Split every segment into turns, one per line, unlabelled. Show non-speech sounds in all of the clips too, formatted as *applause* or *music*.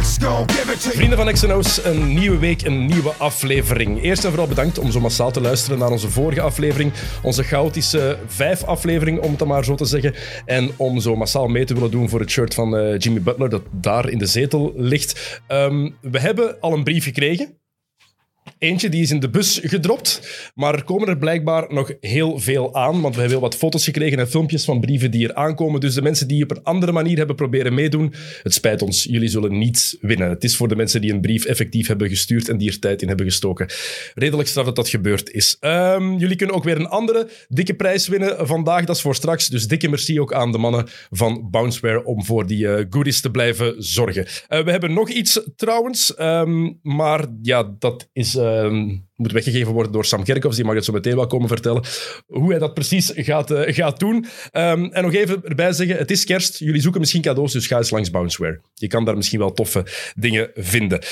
X gon' give it to you.
Vrienden van XNO's, een nieuwe week, een nieuwe aflevering. Eerst en vooral bedankt om zo massaal te luisteren naar onze vorige aflevering. Onze chaotische vijf aflevering, om het dan maar zo te zeggen. En om zo massaal mee te willen doen voor het shirt van eh, Jimmy Butler, dat daar in de zetel ligt. Ehm, we hebben al een brief gekregen. Eentje die is in de bus gedropt. Maar er komen er blijkbaar nog heel veel aan. Want we hebben heel wat foto's gekregen en filmpjes van brieven die er aankomen. Dus de mensen die op een andere manier hebben proberen meedoen. Het spijt ons, jullie zullen niet winnen. Het is voor de mensen die een brief effectief hebben gestuurd en die er tijd in hebben gestoken. Redelijk straf dat dat gebeurd is. Ehm, jullie kunnen ook weer een andere dikke prijs winnen vandaag. Dat is voor straks. Dus dikke merci ook aan de mannen van Bounceware om voor die eh, goodies te blijven zorgen. Eh, we hebben nog iets trouwens. ehm, maar ja, dat is, ehm, moet weggegeven worden door Sam Gerkhoffs. Die mag het zo meteen wel komen vertellen. Hoe hij dat precies gaat, eh, gaat doen. Ehm, en nog even erbij zeggen: het is kerst. Jullie zoeken misschien cadeaus. Dus ga eens langs Bounceware. Je kan daar misschien wel toffe dingen vinden.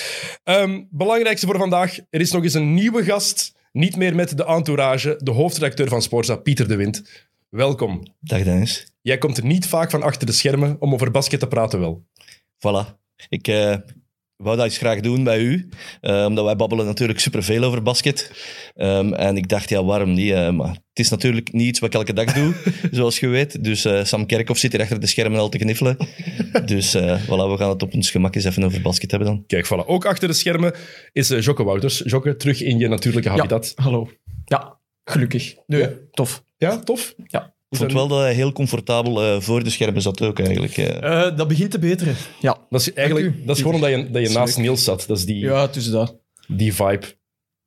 Ehm, belangrijkste voor vandaag: er is nog eens een nieuwe gast. Niet meer met de entourage, de hoofdredacteur van Sporza, Pieter de Wind. Welkom.
Dag Dennis.
Jij komt er niet vaak van achter de schermen om over basket te praten wel.
Voilà. Ik eh, wou dat eens graag doen bij u, eh, omdat wij babbelen natuurlijk superveel over basket. Ehm, en ik dacht, ja, waarom niet? eh, maar het is natuurlijk niet iets wat ik elke dag doe, zoals je weet. Dus eh, Sam Kerkhoff zit hier achter de schermen al te kniffelen. dus eh, voilà, we gaan het op ons gemak eens even over basket hebben dan.
Kijk, voilà. Ook achter de schermen is eh, Jocke Wouters. Jocke, terug in je natuurlijke habitat.
Ja, hallo. Ja, gelukkig. Nee,
Ja.
tof.
Ja, tof.
Ja.
Ik vond wel dat hij heel comfortabel eh, voor de schermen zat ook eigenlijk. eh.
Eh, dat begint te beteren. Ja.
Dat is eigenlijk
Dank u.
dat is gewoon omdat je, dat je
is
naast
leuk.
Niels zat. Dat is die,
Ja, tussen dat.
die vibe.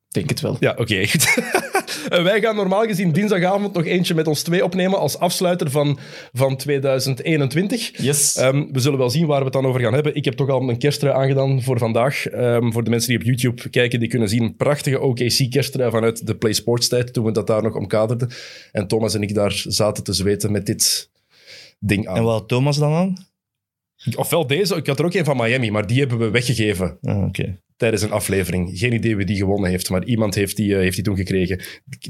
Denk het wel.
Ja, oké. *laughs* goed. Eh, Wij gaan normaal gezien dinsdagavond nog eentje met ons twee opnemen als afsluiter van, van 2021.
Yes.
Ehm, we zullen wel zien waar we het dan over gaan hebben. Ik heb toch al een kersttrui aangedaan voor vandaag. Ehm, voor de mensen die op YouTube kijken, die kunnen zien een prachtige OKC kersttrui vanuit de Play Sports tijd, toen we dat daar nog omkaderden. En Thomas en ik daar zaten te zweten met dit ding
En
aan.
wat had Thomas dan aan?
Ofwel deze, ik had er ook een van Miami, maar die hebben we weggegeven
Ah, Oké.
tijdens een aflevering. Geen idee wie die gewonnen heeft, maar iemand heeft die, eh, heeft die toen gekregen.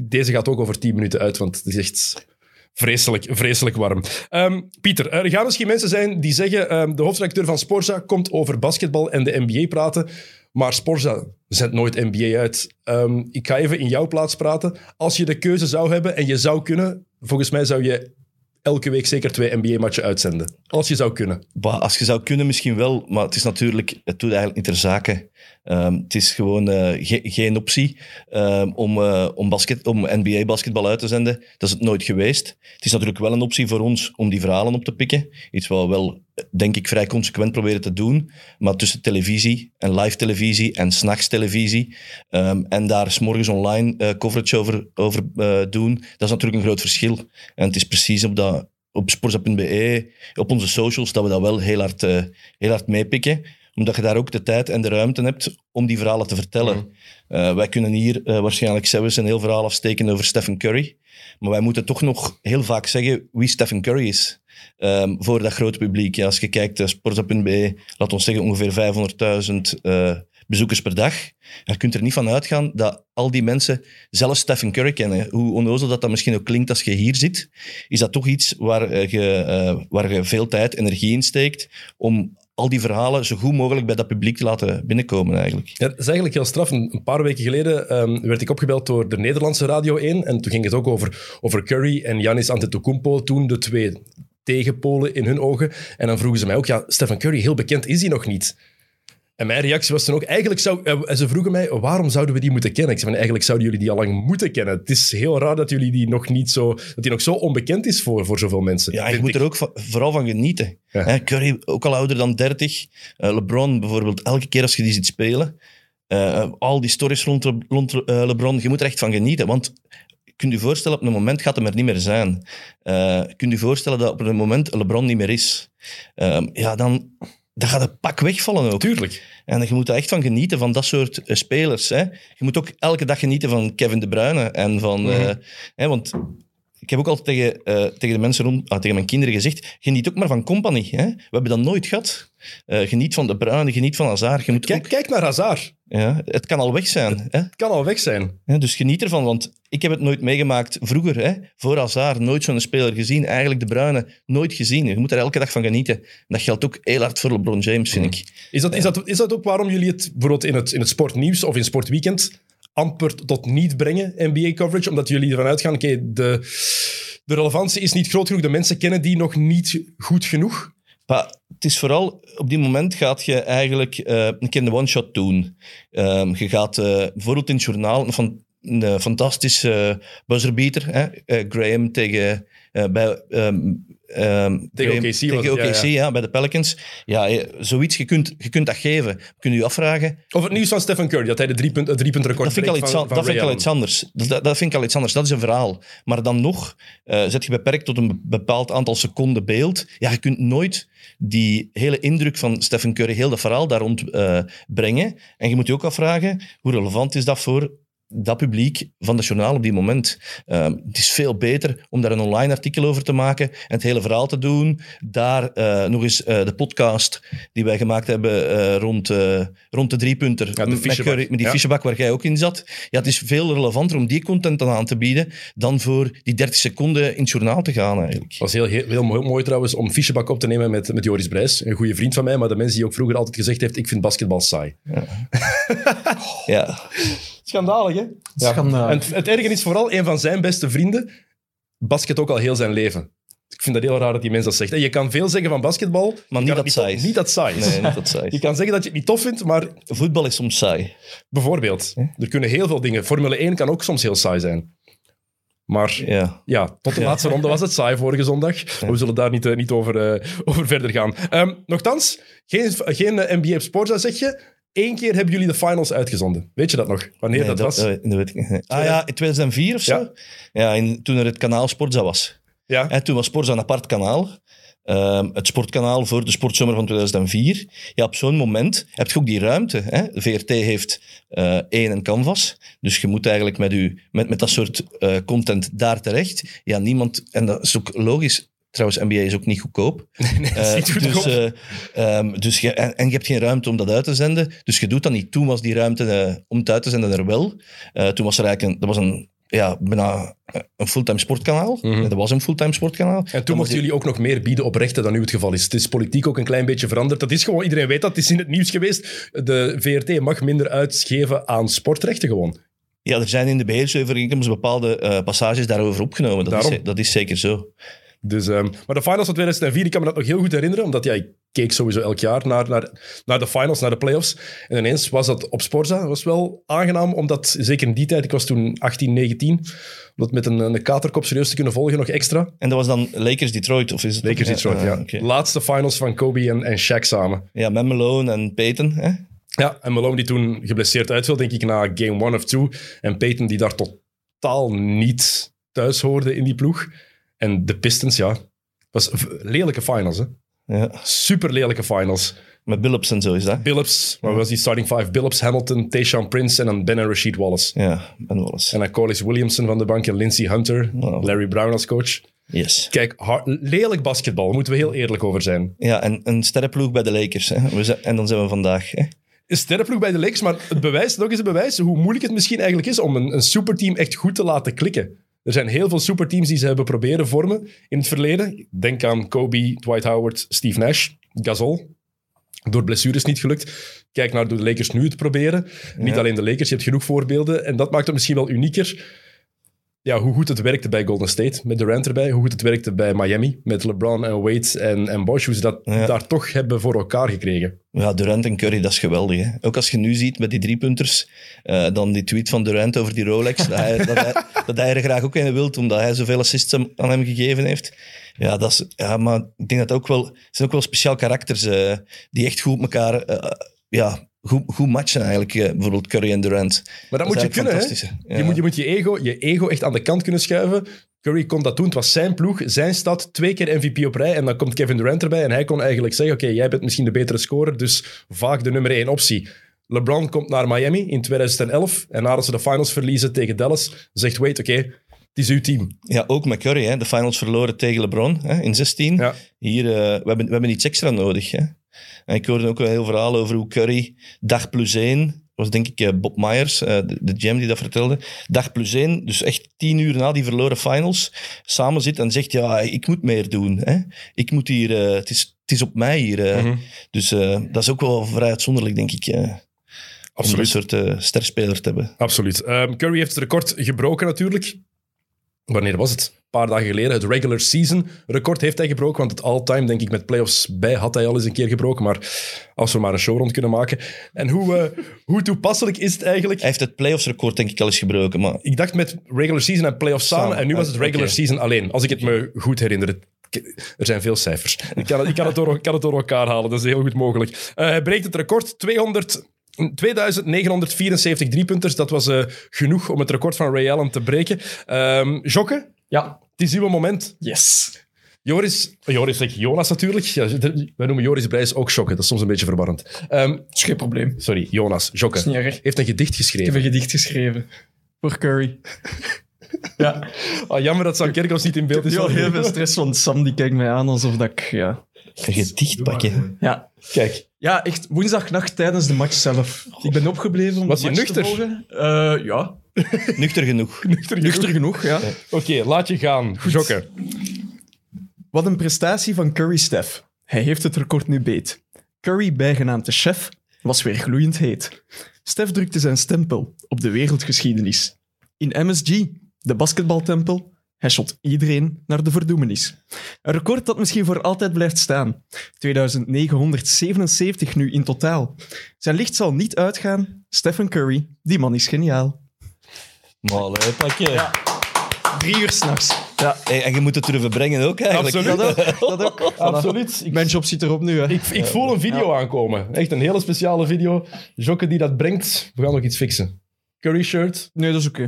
Deze gaat ook over 10 minuten uit, want het is echt vreselijk, vreselijk warm. Ehm, Pieter, er gaan misschien mensen zijn die zeggen ehm, de hoofdredacteur van Sporza komt over basketbal en de NBA praten, maar Sporza zendt nooit NBA uit. Ehm, ik ga even in jouw plaats praten. Als je de keuze zou hebben en je zou kunnen, volgens mij zou je elke week zeker twee NBA-matchen uitzenden. Als je zou kunnen.
Bah, als je zou kunnen, misschien wel. Maar het is natuurlijk, het doet eigenlijk niet ter zake. Ehm, het is gewoon eh, ge- geen optie ehm, om, eh, om, basket, om NBA basketbal uit te zenden. Dat is het nooit geweest. Het is natuurlijk wel een optie voor ons om die verhalen op te pikken. Iets wat we wel, eh, denk ik, vrij consequent proberen te doen. Maar tussen televisie en live televisie en s'nachts televisie ehm, en daar s'morgens online eh, coverage over, over eh, doen, dat is natuurlijk een groot verschil. En het is precies op dat op sportsa.be, E, op onze socials, dat we dat wel heel hard, eh, heel hard meepikken. Omdat je daar ook de tijd en de ruimte hebt om die verhalen te vertellen. Eh, wij kunnen hier eh, waarschijnlijk zelfs een heel verhaal afsteken over Stephen Curry. Maar wij moeten toch nog heel vaak zeggen wie Stephen Curry is. ehm, voor dat grote publiek. Ja, als je kijkt, uh, sportsa.be, laat ons zeggen ongeveer 500.000 eh, bezoekers per dag. Je kunt er niet van uitgaan dat al die mensen zelfs Stephen Curry kennen. Hoe onnozel dat dat misschien ook klinkt als je hier zit, is dat toch iets waar eh, je, eh, waar je veel tijd, energie in steekt om al die verhalen zo goed mogelijk bij dat publiek te laten binnenkomen eigenlijk.
Ja, dat is eigenlijk heel straf. Een een paar weken geleden ehm, werd ik opgebeld door de Nederlandse Radio 1. En toen ging het ook over, over Curry en Janis Antetokounmpo. Toen de twee tegenpolen in hun ogen. En dan vroegen ze mij ook, ja, Stephen Curry, heel bekend is hij nog niet. En mijn reactie was toen ook, eigenlijk zou... eh, ze vroegen mij, waarom zouden we die moeten kennen? Ik zei, van, eigenlijk zouden jullie die al lang moeten kennen. Het is heel raar dat jullie die nog niet zo... Dat die nog zo onbekend is voor, voor zoveel mensen.
Ja, en je
Vind
moet
ik.
er ook van- vooral van genieten.
Ja.
Hè, Curry, ook al ouder dan 30. Eh, LeBron bijvoorbeeld, elke keer als je die ziet spelen, eh, al die stories rond, Le- rond eh, LeBron, je moet er echt van genieten. Want kunt u voorstellen, op een moment gaat hem er niet meer zijn. Eh kunt u voorstellen dat op een moment LeBron niet meer is. Ehm, ja, dan, dan gaat het pak wegvallen ook.
Tuurlijk.
En je moet er echt van genieten, van dat soort eh, spelers. Hè. Je moet ook elke dag genieten van Kevin De Bruyne. En van, eh, hè, want ik heb ook altijd tegen, eh, tegen de mensen rond, ah, tegen mijn kinderen gezegd, geniet ook maar van company. Hè? We hebben dat nooit gehad. Eh, geniet van de Bruine, geniet van Hazard. Je moet
Kijk,
ook-
kijk naar Hazard.
ja, het kan al weg zijn. Hè?
Het kan al weg zijn.
Ja, dus geniet ervan, want ik heb het nooit meegemaakt vroeger. Hè? Voor Hazard nooit zo'n speler gezien. Eigenlijk de Bruine nooit gezien. Je moet er elke dag van genieten. En dat geldt ook heel hard voor LeBron James, vind ik.
Is dat, is dat, is dat ook waarom jullie het bijvoorbeeld in het, in het sportnieuws of in Sportweekend amper tot niet brengen, NBA-coverage? Omdat jullie ervan uitgaan, oké, de, de relevantie is niet groot genoeg. De mensen kennen die nog niet goed genoeg.
Maar het is vooral, op die moment gaat je eigenlijk eh, een keer een one-shot doen. Ehm, je gaat eh, bijvoorbeeld in het journaal een, fan- een eh, fantastische eh, buzzerbeater, hè, eh, Graham tegen... eh, bij, ehm, ehm, Graham-
OKC was
tegen
het, ja,
OKC, ja, bij de Pelicans. Ja, je- zoiets, je kunt, je kunt dat geven. Je kunt je afvragen,
Of het nieuws van Stephen Curry, dat hij de drie punt, het driepuntrecord
dat vind ik al
breekt
iets,
van-
an-
van
dat vind ik
Ray
al
Allen.
iets anders. Dat- Dat, dat vind ik al iets anders. Dat is een verhaal. Maar dan nog, eh zet je beperkt tot een bepaald aantal seconden beeld. Ja, je kunt nooit die hele indruk van Stephen Curry, heel dat verhaal daar rond eh, brengen. En je moet je ook afvragen, hoe relevant is dat voor dat publiek van de journaal op die moment. Ehm, het is veel beter om daar een online artikel over te maken en het hele verhaal te doen. Daar eh, nog eens eh, de podcast die wij gemaakt hebben eh, rond, eh, rond de driepunter.
de
met
Fischerbak.
Curry- met die
Ja.
Fischerbak waar jij ook in zat. Ja, het is veel relevanter om die content dan aan te bieden dan voor die 30 seconden in het journaal te gaan eigenlijk.
Het was heel, heel, heel mooi, mooi trouwens om Fischebak op te nemen met, met Joris Brijs. Een goede vriend van mij, maar de mens die ook vroeger altijd gezegd heeft, ik vind basketbal saai.
Oh. Ja.
Schandalig, hè?
Schandalig.
En het, het erge is vooral, een van zijn beste vrienden basket ook al heel zijn leven. Ik vind dat heel raar dat die mens dat zegt. En je kan veel zeggen van basketbal, je kan
niet
het
dat saai is.
Niet dat saai is.
Nee, niet dat
Je
saai.
kan zeggen dat je het niet tof vindt, maar
*laughs* Voetbal is soms saai.
bijvoorbeeld, er kunnen heel veel dingen. Formule 1 kan ook soms heel saai zijn. Maar
Ja.
ja, tot de laatste ronde was het saai vorige zondag. Maar we zullen daar niet, eh, niet over, eh, over verder gaan. Ehm nochtans, geen, geen eh, NBA op Sportza zeg je. Eén keer hebben jullie de finals uitgezonden. Weet je dat nog? Wanneer
Nee,
dat, was?
eh, dat weet ik *laughs* niet. Ah ja, in 2004 of zo?
Ja.
Ja, in, toen er het kanaal Sportza was.
ja.
En toen was Sportza een apart kanaal. Ehm, het sportkanaal voor de sportzomer van 2004. Ja, op zo'n moment heb je ook die ruimte. Hè? De VRT heeft eh één en canvas. Dus je moet eigenlijk met, u, met, met dat soort eh, content daar terecht. Ja, niemand... En dat is ook logisch. Trouwens, NBA is ook niet
*laughs*
goedkoop.
is niet
Eh,
goedkoop.
Dus, eh, ehm, dus je, en, en je hebt geen ruimte om dat uit te zenden. Dus je doet dat niet. Toen was die ruimte eh, om het uit te zenden er wel. Eh, toen was er eigenlijk een, dat was een, ja, bijna eh, een fulltime sportkanaal. Dat was een fulltime sportkanaal.
En toen mochten jullie ook nog meer bieden op rechten dan nu het geval is. Het is politiek ook een klein beetje veranderd. Dat is gewoon, iedereen weet dat, het is in het nieuws geweest. De VRT mag minder uitgeven aan sportrechten gewoon.
Ja, er zijn in de beheersovereenkomst bepaalde eh, passages daarover opgenomen. Dat,
Daarom.
is, dat is zeker zo.
Dus, ehm, maar de finals van 2004, ik kan me dat nog heel goed herinneren, omdat ja, ik keek sowieso elk jaar naar, naar, naar de finals, naar de playoffs. En ineens was dat op Sporza, dat was wel aangenaam, omdat zeker in die tijd, ik was toen 18, 19, om dat met een, een katerkop serieus te kunnen volgen nog extra.
En dat was dan Lakers-Detroit, of is het?
Lakers Detroit,
Ah,
ja.
oké.
Laatste finals van Kobe en, en Shaq samen.
Ja, met Malone en Peyton. Hè?
Ja, en Malone die toen geblesseerd uitviel, denk ik, na game one of two. En Peyton die daar totaal niet thuis hoorde in die ploeg. En de Pistons, ja. was een v- lelijke finals, hè.
Ja.
Super lelijke finals.
Met Billups en zo is dat.
Billups, maar was die starting five? Billups, Hamilton, Tayshaun Prince en dan Ben en Rashid Wallace.
Ja, Ben Wallace.
En dan Collis Williamson van de bank en Lindsey Hunter.
Wow.
Larry Brown als coach.
Yes.
Kijk, har- lelijk basketbal, daar moeten we heel eerlijk over zijn.
Ja, en een sterrenploeg bij de Lakers. Hè? We zijn- en dan zijn we vandaag. Hè?
een sterrenploeg bij de Lakers, maar het bewijst, nog eens het bewijs, hoe moeilijk het misschien eigenlijk is om een, een superteam echt goed te laten klikken. Er zijn heel veel superteams die ze hebben proberen vormen in het verleden. Denk aan Kobe, Dwight Howard, Steve Nash, Gasol. Door blessures niet gelukt. Kijk naar hoe de Lakers nu het proberen. Niet alleen de Lakers, je hebt genoeg voorbeelden. En dat maakt het misschien wel unieker. Ja, hoe goed het werkte bij Golden State, met Durant erbij. Hoe goed het werkte bij Miami, met LeBron en Wade en, en Bosch. Hoe ze dat
Ja.
daar toch hebben voor elkaar gekregen.
Ja, Durant en Curry, dat is geweldig. Hè? Ook als je nu ziet met die driepunters, eh dan die tweet van Durant over die Rolex, dat hij, dat, hij, dat hij er graag ook in wil, omdat hij zoveel assists hem- aan hem gegeven heeft. Ja, dat is, ja maar ik denk dat ook wel, het zijn ook wel speciaal karakters eh, die echt goed met elkaar eh, ja, goed, goed matchen eigenlijk, eh, bijvoorbeeld Curry en Durant.
Maar dat, moet je
is
kunnen,
eigenlijk
hè?
fantastisch, hè?
Je,
Ja.
moet, je moet je ego, je ego echt aan de kant kunnen schuiven. Curry kon dat doen. Het was zijn ploeg, zijn stad. Twee keer MVP op rij. En dan komt Kevin Durant erbij. En hij kon eigenlijk zeggen: Oké, jij bent misschien de betere scorer. Dus vaak de nummer één optie. LeBron komt naar Miami in 2011. En nadat ze de finals verliezen tegen Dallas, zegt Wade: Oké, Het is uw team.
Ja, ook met Curry. Hè. De finals verloren tegen LeBron hè, in 16.
Ja.
Hier, eh, we, hebben, we hebben iets extra nodig. Hè. En ik hoorde ook een heel verhaal over hoe Curry dag plus één, was denk ik eh, Bob Myers, eh, de, de GM die dat vertelde, dag plus één, dus echt tien uur na die verloren finals, samen zit en zegt, ja, ik moet meer doen. Hè. Ik moet hier, eh, het, is, het is op mij hier. eh.
Mhm.
Dus eh, dat is ook wel vrij uitzonderlijk, denk ik, eh, om
Absoluut.
een soort eh, sterspeler te hebben.
Absoluut. Ehm, Curry heeft het record gebroken natuurlijk. Wanneer was het? Een paar dagen geleden. Het regular season record heeft hij gebroken. Want het all-time, denk ik, met playoffs bij had hij al eens een keer gebroken. Maar als we maar een show rond kunnen maken. En hoe, eh, hoe toepasselijk is het eigenlijk?
Hij heeft het playoffs record denk ik al eens gebroken, maar
Ik dacht met regular season en playoffs samen,
Samen.
En nu was het
Ah, oké.
regular season alleen. Als ik het me goed herinner. Het- ik- Er zijn veel cijfers. Ik kan het, ik kan het, door, ik kan het door elkaar halen. Dat is heel goed mogelijk. Eh, hij breekt het record. 200... 2974 driepunters, dat was eh, genoeg om het record van Ray Allen te breken. Ehm Jokke,
Ja.
het is uw moment.
Yes.
Joris, Joris zeg ik, Jonas natuurlijk. Ja, wij noemen Joris Brijs ook Jokke, dat is soms een beetje verwarrend. Ehm,
Dat is geen probleem. Ik
sorry, Jonas,
Dat is niet
Jokke.
erg.
Heeft een gedicht
heb
geschreven.
een gedicht geschreven. Voor Curry. ja.
Ah, jammer dat Sam Kerkhoffs niet in beeld is.
Ik heb al heel veel stress, want Sam die kijkt mij aan alsof dat ik... Ja.
een gedicht pakken.
ja.
Kijk,
Ja, echt woensdagnacht tijdens de match zelf. Ik ben opgebleven om
Was
de
je
match
nuchter?
te volgen. Eh, ja.
Nuchter genoeg.
Nuchter genoeg, ja.
Oké, laat je gaan. Jokke.
Wat een prestatie van Curry Stef. Hij heeft het record nu beet. Curry, bijgenaamd de chef, was weer gloeiend heet. Stef drukte zijn stempel op de wereldgeschiedenis. In MSG, de basketbaltempel, hij shot iedereen naar de verdoemenis. Een record dat misschien voor altijd blijft staan. 2977 nu in totaal. Zijn licht zal niet uitgaan. Stephen Curry, die man is geniaal.
Malé pakje.
Drie uur s'nachts. Ja,
Hey, en je moet het durven brengen ook eigenlijk.
dat ook. Dat *laughs* ook.
Absoluut. Ik,
Mijn job zit erop nu. Hè.
ik, ik voel een video aankomen. Echt een hele speciale video. Jokke die dat brengt. We gaan nog iets fixen. Curry shirt.
Nee, dat is oké.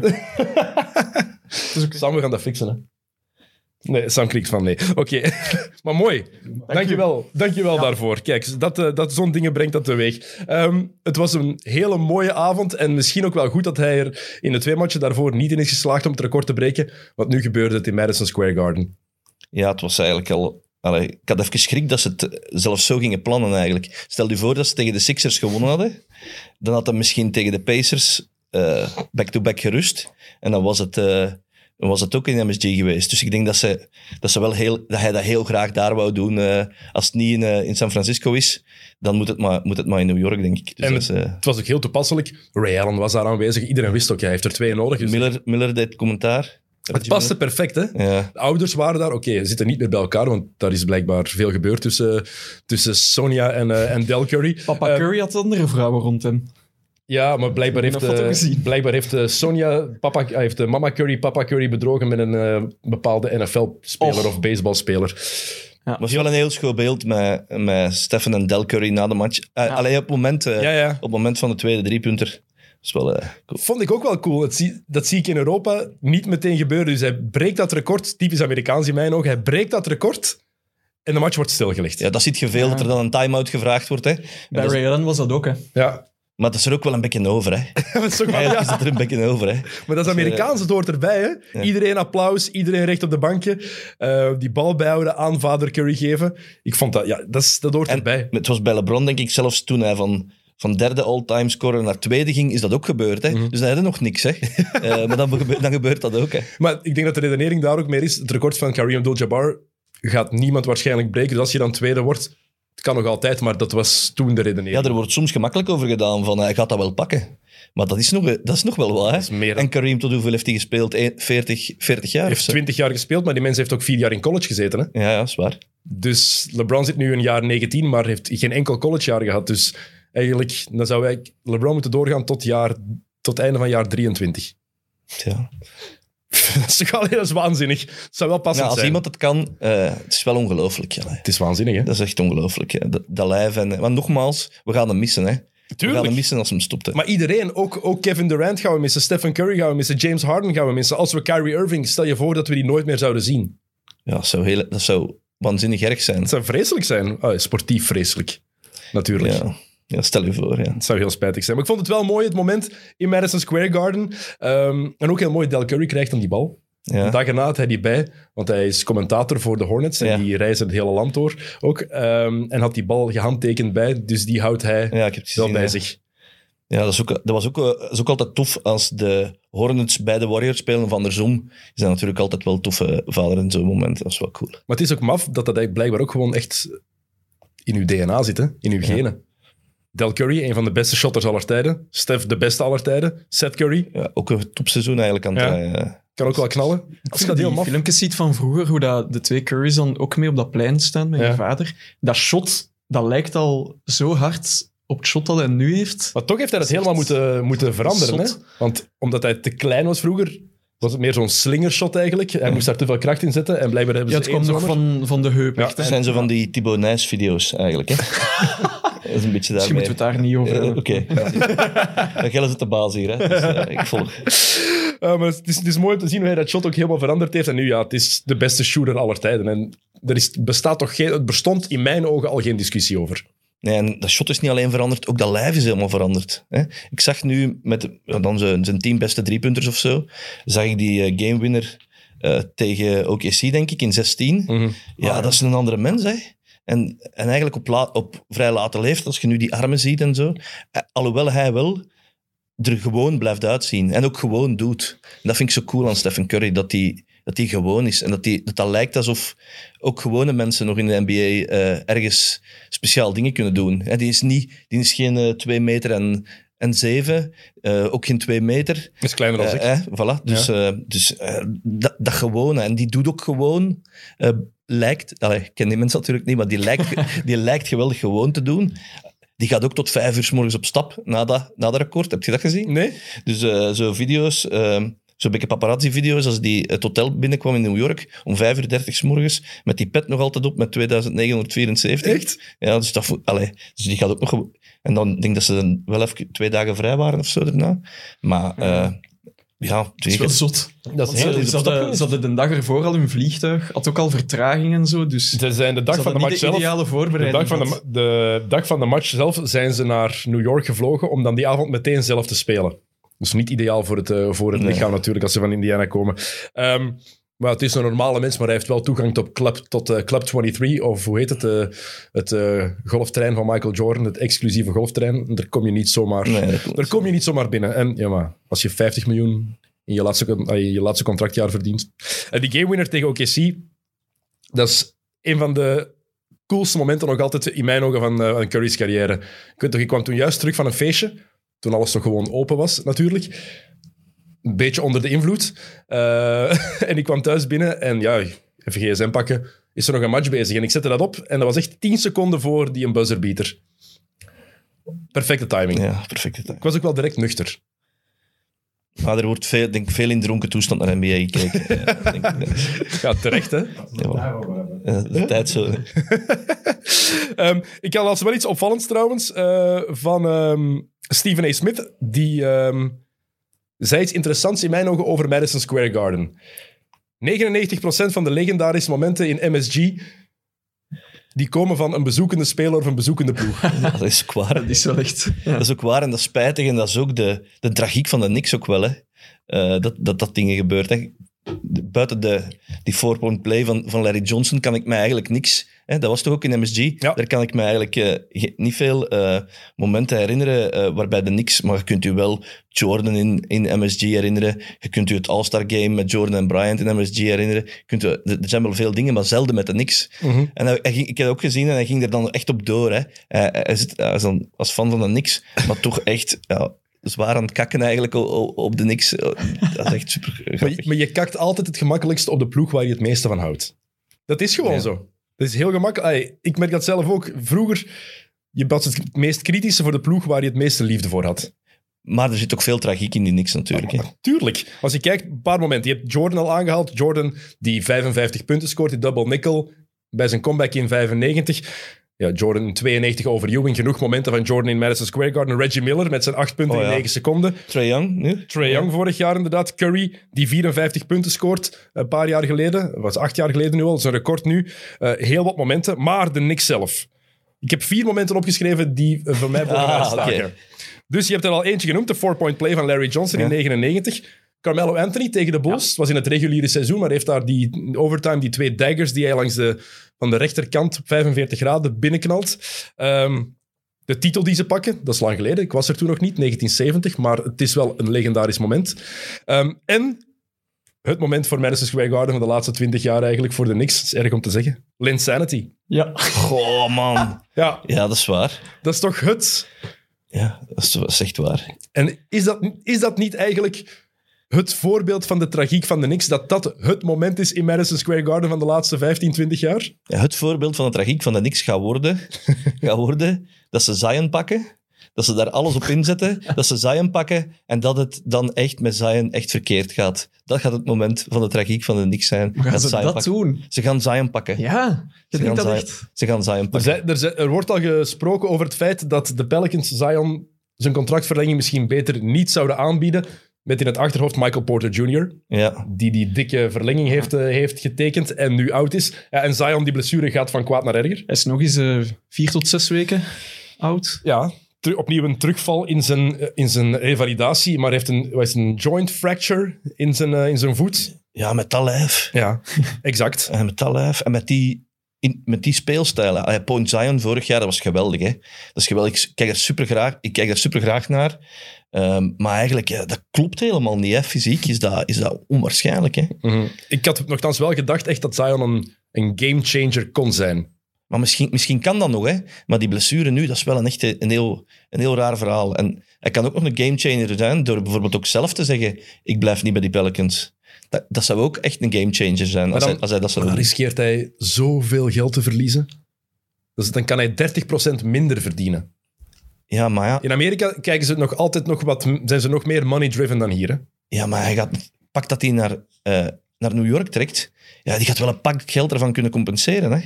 Sam, we gaan dat fixen, hè. Nee, Sam klikt van nee. Oké, *laughs* maar mooi. Dankjewel, Dankjewel daarvoor. Kijk, dat, eh, dat zo'n dingen brengt dat teweeg. Ehm, het was een hele mooie avond en misschien ook wel goed dat hij er in de twee matchen daarvoor niet in is geslaagd om het record te breken, want nu gebeurde het in Madison Square Garden.
Ja, het was eigenlijk al... Allee, ik had even schrik dat ze het eh, zelfs zo gingen plannen eigenlijk. Stel je voor dat ze tegen de Sixers gewonnen hadden. Dan had dat misschien tegen de Pacers eh, back-to-back gerust. En dan was het, eh, dan was het ook in MSG geweest. Dus ik denk dat, ze, dat, ze wel heel, dat hij dat heel graag daar wou doen. eh, als het niet in, eh, in San Francisco is, dan moet het maar, moet het maar in New York, denk ik. Dus
En
dat is, eh,
Het was ook heel toepasselijk. Ray Allen was daar aanwezig. Iedereen wist ook, hij heeft er twee nodig. Dus
Miller, Miller deed commentaar.
het paste perfect, hè?
Ja.
De ouders waren daar. Oké, ze zitten niet meer bij elkaar, want daar is blijkbaar veel gebeurd tussen, tussen Sonia en, eh, en Del Curry.
Papa
Eh,
Curry had andere vrouwen rond hem.
Ja, maar blijkbaar heeft,
heb dat foto
eh,
gezien.
blijkbaar heeft eh, Sonia papa, eh, heeft, eh, mama Curry papa Curry bedrogen met een eh, bepaalde NFL-speler
Och.
of baseballspeler.
was wel een heel schoon beeld met, met Stefan en Del Curry na de match. Eh, Alleen op het, moment, eh,
Ja, ja.
op het moment van de tweede driepunter. Dat is wel eh, cool.
Vond ik ook wel cool. Dat zie, dat zie ik in Europa niet meteen gebeuren. Dus hij breekt dat record, typisch Amerikaans in mijn ogen. Hij breekt dat record en de match wordt stilgelegd.
Ja, dat ziet je veel, dat er dan een time-out gevraagd wordt. Hè. En
Bij
dat is-
Ray Allen was dat ook, hè.
ja.
maar dat is er ook wel een beetje over. Hè.
*laughs* Dat is toch wel-
Eigenlijk
ja.
is het er een beetje over. Hè.
Maar dat is
Dus, eh,
Amerikaans, het hoort erbij. Hè? Iedereen applaus, iedereen recht op de bankje. Eh, die bal bijhouden, aan vader Curry geven. Ik vond dat, ja, dat, is, dat hoort erbij.
Het was bij LeBron, denk ik, zelfs toen hij van, van derde all-time scorer naar tweede ging, is dat ook gebeurd. Hè.
Mhm.
Dus hij had nog niks. Hè. *laughs* Eh, maar dan, gebe- dan gebeurt dat ook. Hè.
Maar ik denk dat de redenering daar ook meer is. Het record van Kareem Abdul-Jabbar gaat niemand waarschijnlijk breken. Dus als je dan tweede wordt, het kan nog altijd. Maar dat was toen de
Ja,
redenering.
er wordt soms gemakkelijk over gedaan van eh, hij gaat dat wel pakken. Maar dat is nog, eh, dat is nog wel wat. Hè?
is meer dan-
En Kareem, tot hoeveel heeft hij gespeeld? Eén- 40, 40
Hij
jaar of
heeft
zo?
20 jaar gespeeld, maar die mens heeft ook vier jaar in college gezeten. Hè?
Ja, ja, is waar.
Dus LeBron zit nu een jaar 19, maar heeft geen enkel collegejaar gehad. Dus eigenlijk dan zou wij LeBron moeten doorgaan tot, jaar, tot het einde van jaar 23. *laughs*
Tja.
dat is toch alleen dat is waanzinnig. Het zou wel passend
Nou, als
zijn.
iemand het kan, eh, het is wel ongelooflijk. Ja, hè.
Het is waanzinnig, hè?
dat is echt ongelooflijk. hè. Dat, dat lijf. En, eh, want nogmaals, we gaan hem missen. Hè? We gaan hem
Tuurlijk.
missen als hem stopt. hè.
Maar iedereen, ook, ook Kevin Durant gaan we missen, Stephen Curry gaan we missen, James Harden gaan we missen. Als we Kyrie Irving, stel je voor dat we die nooit meer zouden zien.
Ja, dat, zou heel, dat zou waanzinnig erg zijn.
Het zou vreselijk zijn. Ah, sportief vreselijk, natuurlijk.
Ja. Ja, stel je voor. Ja.
Het zou heel spijtig zijn. Maar ik vond het wel mooi, het moment in Madison Square Garden. Ehm, en ook heel mooi, Del Curry krijgt dan die bal.
Ja.
De dag erna had hij die bij, want hij is commentator voor de Hornets en
Ja.
die reizen het hele land door ook. ehm, en had die bal gehandtekend bij, dus die houdt hij
Ja, ik heb het
wel
gezien,
bij
ja.
zich.
Ja, dat is ook, dat was ook, eh, dat is ook altijd tof als de Hornets bij de Warriors spelen van de Zoom. Is dat natuurlijk altijd wel toffe vader en zo'n moment. Dat is wel cool.
Maar het is ook maf dat dat eigenlijk blijkbaar ook gewoon echt in uw DNA zit, hè? in uw genen. Del Curry, een van de beste shotters aller tijden. Steph, de beste aller tijden. Seth Curry,
Ja, ook een topseizoen eigenlijk aan het
Ja.
draaien.
kan ook wel knallen. Ik
Als
vind
je
dat heel
die
maf.
filmpjes ziet van vroeger, hoe dat de twee Currys dan ook mee op dat plein staan met
Ja.
je vader, dat shot, dat lijkt al zo hard op het shot dat hij nu heeft.
Maar toch heeft hij dat helemaal moeten, moeten veranderen. Hè?
Zot.
Want omdat hij te klein was vroeger, was het meer zo'n slingershot eigenlijk. Hij moest daar te veel kracht in zetten en blijkbaar hebben
Ja,
ze
het kwam
één
nog
zomer-
van, van de heup.
Ja.
echt, hè.
Dat zijn zo van die Thibaut Nijs-video's
*laughs*
eigenlijk. Hè? dat is een beetje
Misschien
daarmee.
moeten we het daar niet over
Eh,
hebben. *laughs*
Oké. Gel is het de baas hier. Hè? Dus, eh, ik volg.
Ja, Eh, maar het is, het is mooi om te zien hoe hij dat shot ook helemaal veranderd heeft. En nu, ja, het is de beste shooter aller tijden. En er is, bestaat toch geen, het bestond in mijn ogen al geen discussie over.
Nee, en dat shot is niet alleen veranderd, ook dat lijf is helemaal veranderd. Hè? Ik zag nu met ja, dan zijn, zijn tien beste driepunters of zo, zag ik die eh, gamewinner eh, tegen OKC, denk ik, in 16.
Mhm.
Ja, dat is een andere mens, hè. En, en eigenlijk op, la- op vrij late leeftijd, als je nu die armen ziet en zo, eh, alhoewel hij wel er gewoon blijft uitzien en ook gewoon doet. En dat vind ik zo cool aan Stephen Curry, dat hij dat die gewoon is en dat, die, dat dat lijkt alsof ook gewone mensen nog in de NBA eh, ergens speciaal dingen kunnen doen. Hè, die, is niet, die is geen eh, 2 meter en, en 7, ook geen 2 meter.
is kleiner dan ik.
Eh, eh, voilà. Dus, eh, dus eh, dat, dat gewone. En die doet ook gewoon... eh, lijkt... allee, ik ken die mensen natuurlijk niet, maar die lijkt, die lijkt geweldig gewoon te doen. Die gaat ook tot vijf uur s morgens op stap na dat, na dat record. Heb je dat gezien?
Nee?
Dus eh, zo video's... eh, Zo'n beetje paparazzi-video's, als die het hotel binnenkwam in New York, om 5.30 uur s morgens, met die pet nog altijd op, met 2974.
Echt?
Ja, dus, dat, vo- allee, dus die gaat ook nog... En dan denk ik dat ze dan wel even twee dagen vrij waren of zo daarna. Maar eh, ja,
Het is wel zot.
Dat
Want eh, ze, ze hadden, ze hadden de dag ervoor al hun vliegtuig, had ook al vertraging en zo, dus
Ze zijn de dag
ze
van de
hadden
match
niet de
zelf...
ideale
De dag,
voorbereiding.
van de, ma-
gehad.
de dag van de match zelf zijn ze naar New York gevlogen om dan die avond meteen zelf te spelen. Dus niet ideaal voor het, eh, voor het
Nee.
lichaam natuurlijk als ze van Indiana komen. Ehm, maar het is een normale mens, maar hij heeft wel toegang tot Club, tot, eh, club 23, of hoe heet het? eh, het eh, golftrein van Michael Jordan, het exclusieve golftrein. Daar kom je niet zomaar,
Nee, dat komt
daar kom je niet zomaar binnen. En ja, maar als je 50 miljoen in je laatste, con- eh, in je laatste contractjaar verdient. En die gamewinner tegen OKC, dat is een van de coolste momenten nog altijd in mijn ogen van, eh, van Curry's carrière. Ik weet toch, ik kwam toen juist terug van een feestje, toen alles toch gewoon open was natuurlijk. Een beetje onder de invloed. Eh, *laughs* en ik kwam thuis binnen en ja, even gsm pakken, is er nog een match bezig. En ik zette dat op en dat was echt 10 seconden voor die een buzzerbeater. Perfecte timing.
Ja, perfecte tijd.
Ik was ook wel direct nuchter.
Maar er wordt veel, denk, ik, veel in dronken toestand naar NBA gekeken.
*laughs*
Ja, denk, ik, eh,
Ja, terecht hè.
ja, eh, de tijd
*laughs*
zo.
Ehm, ik had als wel iets opvallends trouwens eh, van ehm, Stephen A. Smith. Die ehm, zei iets interessants in mijn ogen over Madison Square Garden. 99% van de legendarische momenten in MSG die komen van een bezoekende speler of een bezoekende ploeg.
Ja, dat is ook waar.
Dat is wel echt...
Dat is ook waar en dat is spijtig. En dat is ook de, de tragiek van de niks ook wel. Hè. Eh, dat, dat dat dingen gebeurt. Hè. De- Buiten de, die four-point play van, van Larry Johnson kan ik mij eigenlijk niks... Hè, dat was toch ook in MSG?
Ja.
Daar kan ik me eigenlijk eh, ge- niet veel eh, momenten herinneren eh, waarbij de niks... Maar je kunt u wel Jordan in, in MSG herinneren. Je kunt u het All-Star Game met Jordan en Bryant in MSG herinneren. Je kunt, u- er er zijn wel veel dingen, maar zelden met de niks. En hij, hij ging- ik heb ook gezien en hij ging er dan echt op door. Hè. Hij, hij, zit, hij is dan als fan van de niks, maar toch echt ja, zwaar aan het kakken eigenlijk o- o- op de niks. Dat is echt super
Maar,
grappig.
je- maar je kakt altijd het gemakkelijkst op de ploeg waar je het meeste van houdt. Dat is gewoon
Ja.
zo. Dat is heel gemakkelijk. Ai, Ik merk dat zelf ook. Vroeger, je was het meest kritische voor de ploeg waar je het meeste liefde voor had.
Maar er zit ook veel tragiek in die niks natuurlijk. Hè.
Tuurlijk. Als je kijkt, een paar momenten. Je hebt Jordan al aangehaald. Jordan die 55 punten scoort, die double nickel bij zijn comeback in 95. Ja, Jordan in 92 over Ewing. Genoeg momenten van Jordan in Madison Square Garden. Reggie Miller met zijn 8 punten
Oh,
in
ja.
9 seconden.
Trae Young nu?
Trae Young vorig jaar inderdaad. Curry die 54 punten scoort eh, een paar jaar geleden. Dat was acht jaar geleden nu al. Zijn record nu. Eh, heel wat momenten. Maar de Knicks zelf. Ik heb vier momenten opgeschreven die eh,
*laughs*
voor mij bovenuit
Ah,
staken.
oké.
Dus je hebt er al eentje genoemd, de four-point play van Larry Johnson in
Ja.
99. Carmelo Anthony tegen de Bulls. Het was in het reguliere seizoen, maar heeft daar die in overtime, die twee daggers die hij langs de, van de rechterkant op 45 graden binnenknalt. Ehm, de titel die ze pakken, dat is lang geleden. Ik was er toen nog niet, 1970, maar het is wel een legendarisch moment. Ehm, en het moment voor Madison Square Garden van de laatste 20 jaar eigenlijk voor de Knicks. Dat is erg om te zeggen. Linsanity.
Ja.
Goh, man.
Ja,
Ja, dat is waar.
dat is toch het?
Ja, dat is, dat is echt waar.
En is dat, is dat niet eigenlijk het voorbeeld van de tragiek van de Knicks? Dat dat het moment is in Madison Square Garden van de laatste 15, 20 jaar?
Ja, het voorbeeld van de tragiek van de niks gaat
*laughs*
worden, gaat worden dat ze Zion pakken, dat ze daar alles op inzetten, dat ze Zion pakken en dat het dan echt met Zion echt verkeerd gaat. Dat gaat het moment van de tragiek van de niks zijn.
Gaan
dat
ze
Zion
dat
pakken.
doen?
Ze gaan Zion pakken.
Ja. Je
Ze, gaan
denkt dat
Zion,
echt...
ze gaan Zion
Er,
pakken.
zei- er, zei- er wordt al gesproken over het feit dat de Pelicans Zion zijn contractverlenging misschien beter niet zouden aanbieden. Met in het achterhoofd Michael Porter Jr.,
Ja.
die die dikke verlenging heeft, eh, heeft getekend en nu oud is. Ja, en Zion, die blessure gaat van kwaad naar erger.
Hij is nog eens eh, vier tot zes weken oud.
Ja, ter- opnieuw een terugval in zijn, eh, in zijn revalidatie, maar heeft een, wat is het, een joint fracture in zijn, eh, in zijn voet.
ja, met dat lijf.
Ja, *laughs* exact.
En met dat lijf. En met die, in, met die speelstijl. Ah ja, Point Zion vorig jaar, dat was geweldig. Hè? Dat is geweldig. Ik kijk er supergraag, ik kijk er supergraag naar. Ehm, maar eigenlijk, ja, dat klopt helemaal niet. Hè? Fysiek is dat, is dat onwaarschijnlijk. Hè?
Ik had nogthans wel gedacht echt dat Zion een, een gamechanger kon zijn.
Maar misschien, misschien kan dat nog. Hè? Maar die blessure nu, dat is wel een, echte, een, heel, een heel raar verhaal. En hij kan ook nog een gamechanger zijn door bijvoorbeeld ook zelf te zeggen, ik blijf niet bij die Pelicans. Dat, dat zou ook echt een gamechanger zijn als,
dan-
hij, als hij dat zou
Maar dan
doen.
riskeert hij zoveel geld te verliezen. Dus dan kan hij 30% minder verdienen.
Ja, maar ja,
In Amerika kijken ze nog altijd nog wat, zijn ze nog meer money-driven dan hier. Hè?
Ja, maar hij gaat, pak dat hij naar, eh, naar New York trekt. Ja, die gaat wel een pak geld ervan kunnen compenseren. Hè?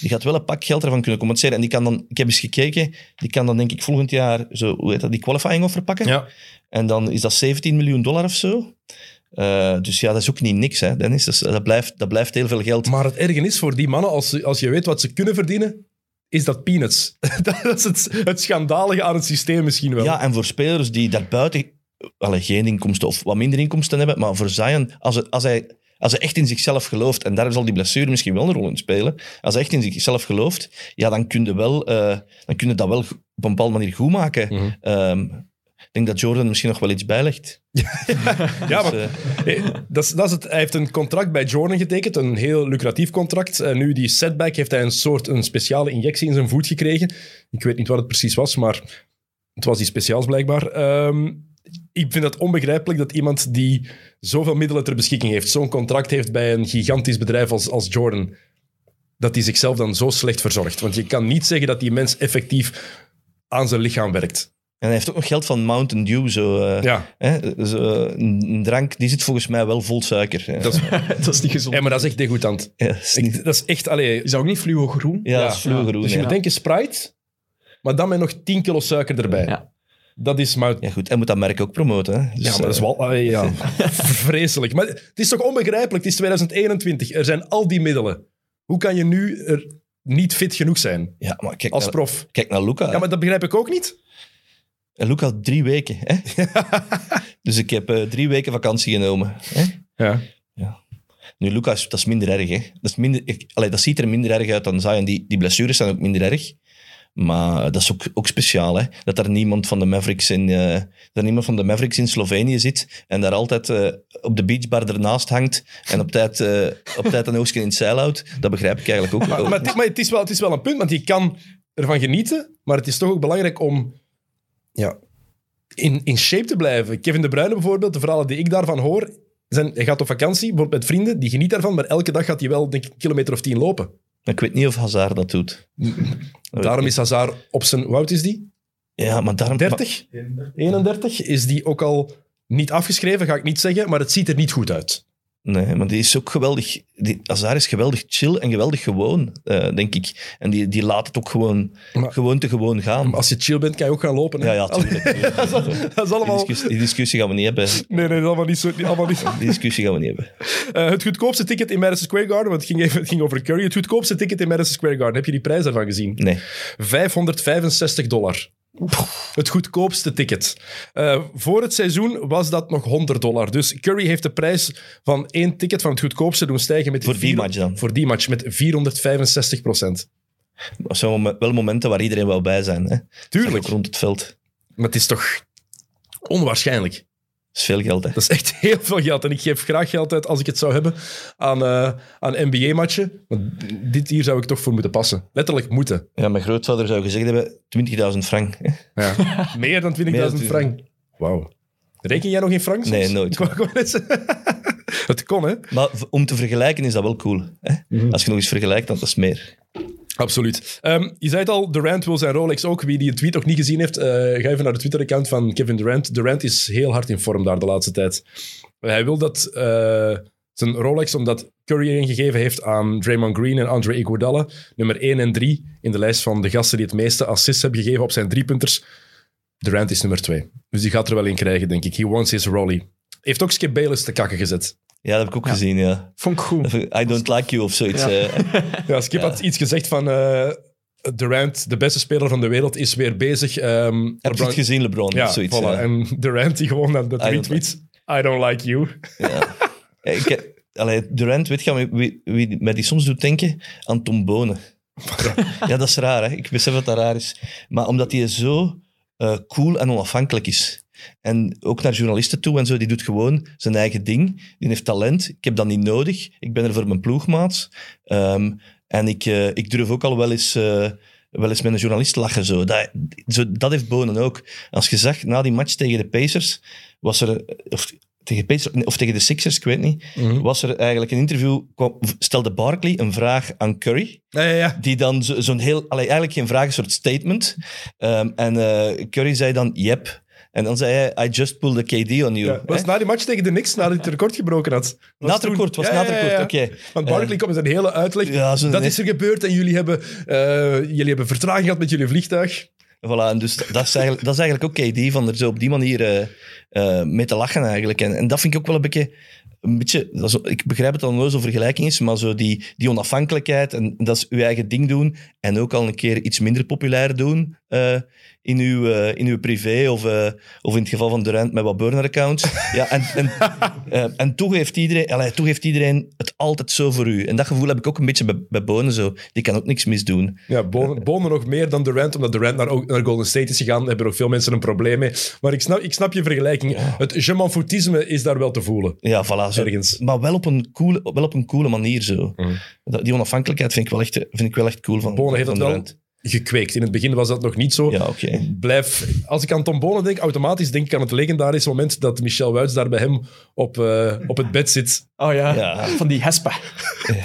Die gaat wel een pak geld ervan kunnen compenseren. En die kan dan, ik heb eens gekeken, die kan dan denk ik volgend jaar zo, hoe heet dat, die qualifying offer pakken.
Ja.
En dan is dat 17 miljoen dollar of zo. Eh, dus ja, dat is ook niet niks, hè, Dennis. Dat, is- dat, blijft, dat blijft heel veel geld.
Maar het erge is voor die mannen, als, ze- als je weet wat ze kunnen verdienen, is dat peanuts. *laughs* dat is het, het schandalige aan het systeem misschien wel.
Ja, en voor spelers die daarbuiten eh, allee, geen inkomsten of wat minder inkomsten hebben, maar voor Zion, als, het, als, hij, als hij echt in zichzelf gelooft, en daar zal die blessure misschien wel een rol in spelen, als hij echt in zichzelf gelooft, ja, dan kun je, wel, eh, dan kun je dat wel op een bepaalde manier goed maken.
Mhm.
Ehm, ik denk dat Jordan misschien nog wel iets bijlegt.
Ja,
Dus,
maar
eh,
Hey, dat is, dat is het. Hij heeft een contract bij Jordan getekend, een heel lucratief contract. En nu die setback heeft hij een soort een speciale injectie in zijn voet gekregen. Ik weet niet wat het precies was, maar het was iets speciaals blijkbaar. Ehm, ik vind het onbegrijpelijk dat iemand die zoveel middelen ter beschikking heeft, zo'n contract heeft bij een gigantisch bedrijf als, als Jordan, dat hij zichzelf dan zo slecht verzorgt. Want je kan niet zeggen dat die mens effectief aan zijn lichaam werkt.
en hij heeft ook nog geld van Mountain Dew. Zo, eh,
Ja.
hè, zo, een een drank, die zit volgens mij wel vol suiker. hè.
Dat is,
*laughs* dat is niet gezond.
ja, maar dat is echt degoutant.
Ja, dat is niet-
Ik- Dat is echt... Allee,
Is dat ook niet fluogroen?
ja, dat is
ja.
vloergroen,
Dus je
ja.
moet denken Sprite, maar dan met nog 10 kilo suiker erbij.
Ja.
Dat is maar...
Ja, goed. Hij moet dat merk ook promoten. Hè? Dus,
Ja, maar dat is
eh,
wel ah, ja. vreselijk. Maar het is toch onbegrijpelijk? Het is 2021. Er zijn al die middelen. Hoe kan je nu er niet fit genoeg zijn
Ja, maar kijk, eh,
als
naar-
prof?
kijk naar Luca.
Ja, maar dat begrijp ik ook niet.
En Luca had drie weken.
*laughs*
Hè? dus ik heb eh, drie weken vakantie genomen. Hè?
Ja.
Nu, Luca, is- dat is minder erg. Hè? Dat, is minder, ik- allee, dat ziet er minder erg uit dan Zion. Die, die blessures zijn ook minder erg. Maar dat is ook, ook speciaal. Hè? Dat er niemand van de Mavericks in, eh, dat er niemand van de Mavericks in Slovenië zit en daar altijd eh, op de beachbar ernaast hangt en op tijd, eh, op tijd een oogstje in het zeil houdt. Dat begrijp ik eigenlijk ook
Maar,
wel.
maar, het, maar het is wel, het is wel een punt, want je kan ervan genieten, maar het is toch ook belangrijk om ja, in, in shape te blijven. Kevin De Bruyne bijvoorbeeld, de verhalen die ik daarvan hoor, zijn, hij gaat op vakantie, bijvoorbeeld met vrienden, die geniet daarvan, maar elke dag gaat hij wel denk ik, een kilometer of tien lopen.
Ik weet niet of Hazard dat doet.
Daarom is Hazard op zijn, hoe oud is die?
Ja, maar daarom...
30? 31? Is die ook al niet afgeschreven, ga ik niet zeggen, maar het ziet er niet goed uit.
Nee, maar die is ook geweldig. Die, Azar is geweldig chill en geweldig gewoon, eh, denk ik. En die, die laat het ook gewoon,
Maar-
gewoon te gewoon gaan.
Als je chill bent, kan je ook gaan lopen. hè?
Ja, ja, tuurlijk.
Oh. *laughs*
tuurlijk.
dat is
Die,
allemaal...
discussie, die discussie gaan we niet hebben.
Nee, nee, dat is allemaal niet zo... niet- Allemaal niet...
Die discussie gaan we niet hebben.
Eh, het goedkoopste ticket in Madison Square Garden, want het ging, even, het ging over Curry. Het goedkoopste ticket in Madison Square Garden, heb je die prijs daarvan gezien?
Nee.
565 dollar. Het goedkoopste ticket. Eh, voor het seizoen was dat nog 100 dollar. Dus Curry heeft de prijs van één ticket van het goedkoopste doen stijgen met
Voor die
vier-
match dan?
Voor die match met 465 procent.
Dat zijn wel- wel momenten waar iedereen wel bij zijn. Hè?
Tuurlijk.
Ook rond het veld. Dat
Maar het is toch onwaarschijnlijk.
is veel geld. Hè?
Dat is echt heel veel geld. En ik geef graag geld uit, als ik het zou hebben, aan, eh, aan NBA-matchen. Want dit hier zou ik toch voor moeten passen. Letterlijk moeten.
Ja, mijn grootvader zou gezegd hebben, 20.000 frank.
*laughs* Meer dan 20.000
Meer dan
frank. Wauw. Reken jij nog in frank? soms?
Nee,
*laughs*
nooit.
Ik wou gewoon net zeggen. Het kon, hè?
Maar v- om te vergelijken is dat wel cool. Hè?
Mhm.
Als je nog eens vergelijkt, dan is het meer.
Absoluut. Ehm, je zei het al, Durant wil zijn Rolex ook. Wie die tweet nog niet gezien heeft, eh, ga even naar de Twitter-account van Kevin Durant. Durant is heel hard in vorm daar de laatste tijd. Hij wil dat eh, zijn Rolex, omdat Curry een gegeven heeft aan Draymond Green en Andre Iguodala, nummer 1 en 3 in de lijst van de gasten die het meeste assists hebben gegeven op zijn driepunters. Durant is nummer 2. Dus die gaat er wel in krijgen, denk ik. He wants his Rolly. Heeft ook Skip Bayless te kakken gezet.
Ja, dat heb ik ook gezien, ja.
Vond ik goed.
I don't like you of zoiets.
Ja.
eh.
Ja, Skip had iets gezegd van... eh, Durant, de beste speler van de wereld, is weer bezig. ehm,
Heb je
LeBron-
het gezien, LeBron?
Ja,
of zoiets,
voilà.
ja.
En Durant die gewoon dat, dat
I don't
retweets. I don't like you.
Ja, Eh, ik heb- allee, Durant, weet je aan wie, wie, wie mij die soms doet denken? Aan Tom Bonen. *laughs* ja, dat is raar, hè? Ik besef dat dat raar is. Maar omdat hij zo eh, cool en onafhankelijk is. En ook naar journalisten toe en zo, die doet gewoon zijn eigen ding. Die heeft talent. Ik heb dat niet nodig. Ik ben er voor mijn ploegmaat. Ehm, en ik, eh, ik durf ook al wel eens, eh, wel eens met een journalist lachen. Zo. Dat, zo, dat heeft Bonen ook. Als je zag, na die match tegen de Pacers, was er... Of, tegen, Pacers, of tegen de Sixers, ik weet niet. Was er eigenlijk een interview... kwam- Stelde Barkley een vraag aan Curry
Ja, ja, ja.
die dan zo- zo'n heel... allee, eigenlijk geen vraag, een soort statement. Ehm, en eh, Curry zei dan, yep. En dan zei hij, I just pulled a KD on you.
Ja, was
Hè?
na die match tegen de Knicks, nadat hij het record gebroken had.
na het record, was na het record, oké. Eh,
Want Barkley kwam met een hele uitleg.
ja, zo'n-
dat is er gebeurd en jullie hebben, eh, jullie hebben vertraging gehad met jullie vliegtuig.
Voilà, en dus dat is eigenlijk, dat is eigenlijk ook KD, van er zo op die manier eh, eh, mee te lachen eigenlijk. En, en dat vind ik ook wel een beetje... Een beetje dat is- ik begrijp het dat het nooit zo'n vergelijking is, maar zo die, die onafhankelijkheid en dat is uw eigen ding doen en ook al een keer iets minder populair doen eh, in, uw, eh, in uw privé of, eh, of in het geval van Durant met wat burner-accounts. Ja, en, en, eh, en toch, heeft iedereen, allee, toch heeft iedereen het altijd zo voor u. En dat gevoel heb ik ook een beetje bij, bij Bonen zo. Die kan ook niks misdoen.
Ja,
*laughs*
Bonen, Bonen nog meer dan Durant, omdat Durant naar, naar Golden State is gegaan. Daar hebben nog veel mensen een probleem mee. Maar ik snap, ik snap je vergelijking. Het je m'en foutisme is daar wel te voelen.
Ja, voilà. Zo.
Ergens. Mhm.
Maar wel op, een coole, wel op een coole manier zo. Dat- Die onafhankelijkheid vind ik wel echt, vind ik wel echt cool van
Bonen heeft
van
dat wel
Durant.
gekweekt. In het begin was dat nog niet zo.
Ja, oké.
blijf... Als ik aan Tom Bonen denk, automatisch denk ik aan het legendarische moment dat Michel Wuits daar bij hem op, eh, op het bed zit.
Oh ja,
Ja.
van die hespa. *laughs*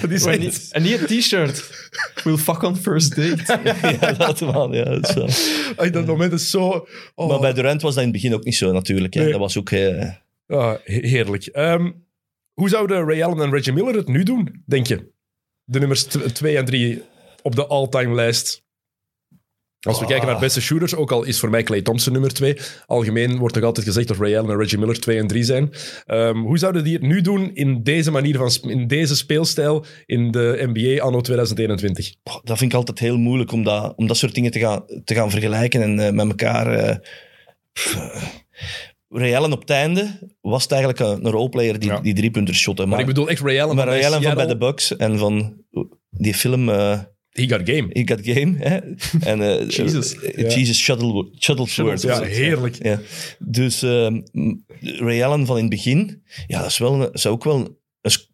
Dat is
En
echt-
die, en die een t-shirt. We'll fuck on first date.
*laughs* ja, laat hem aan. Ja, dat is wel.
Ay, dat moment is zo... *laughs* oh,
Maar bij Durant was dat in het begin ook niet zo natuurlijk. Hè.
Nee.
Dat was ook... eh,
ah, he- heerlijk. Ehm, hoe zouden Ray Allen en Reggie Miller het nu doen, denk je? De nummers 2 en 3 op de all-time lijst. Als
Ah.
we kijken naar beste shooters, ook al is voor mij Clay Thompson nummer 2. Algemeen wordt nog altijd gezegd dat Ray Allen en Reggie Miller 2 en 3 zijn. Ehm, hoe zouden die het nu doen in deze manier van sp- in deze speelstijl in de NBA anno 2021?
Goh, dat vind ik altijd heel moeilijk om dat, om dat soort dingen te gaan, te gaan vergelijken en eh, met elkaar. eh pff, eh. Ray Allen op het einde was het eigenlijk eh, een, een roleplayer die,
Ja.
die drie punten shotte.
Maar
Maar,
ik bedoel echt Ray Allen,
maar Ray Allen van bij de
Seattle,
Bucks en van die film eh
He got game.
He Got Game. Hè? En, eh,
Jesus.
eh,
Ja.
Jesus Shuttle- Shuttlesworth.
Ja,
was het,
heerlijk.
Ja. Dus ehm, Ray Allen van in het begin, ja, dat is wel, een- zou ook wel een, sc-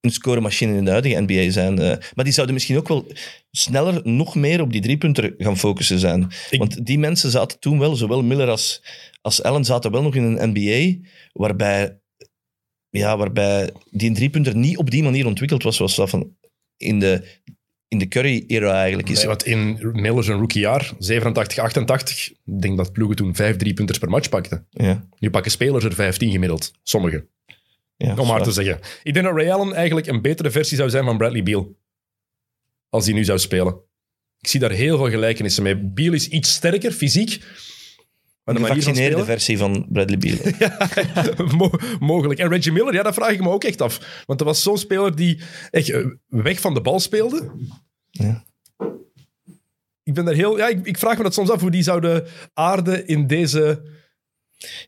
een scoremachine in de huidige NBA zijn. eh. maar die zouden misschien ook wel sneller nog meer op die driepunter gaan focussen zijn.
Ik-
Want die mensen zaten toen wel, zowel Miller als, als Allen, zaten wel nog in een NBA waarbij, ja, waarbij die driepunter niet op die manier ontwikkeld was zoals dat van in de, in de Curry-era eigenlijk is.
Nee, want in Miller's een rookiejaar, 87, 88, ik denk dat ploegen toen vijf driepunters per match pakten.
ja,
Nu pakken spelers er 15 gemiddeld, sommigen,
ja,
om maar
zwaar.
te zeggen. Ik denk dat Ray Allen eigenlijk een betere versie zou zijn van Bradley Beal. Als hij nu zou spelen. Ik zie daar heel veel gelijkenissen mee. Beal is iets sterker, fysiek. Maar de
Een
manier van
gevaccineerde
spelen...
versie van Bradley Beal.
*laughs* Mo- mogelijk. En Reggie Miller, ja, dat vraag ik me ook echt af. Want dat was zo'n speler die echt eh, weg van de bal speelde.
Ja.
ik ben daar heel... Ja, ik, ik vraag me dat soms af hoe die zouden aarden in deze...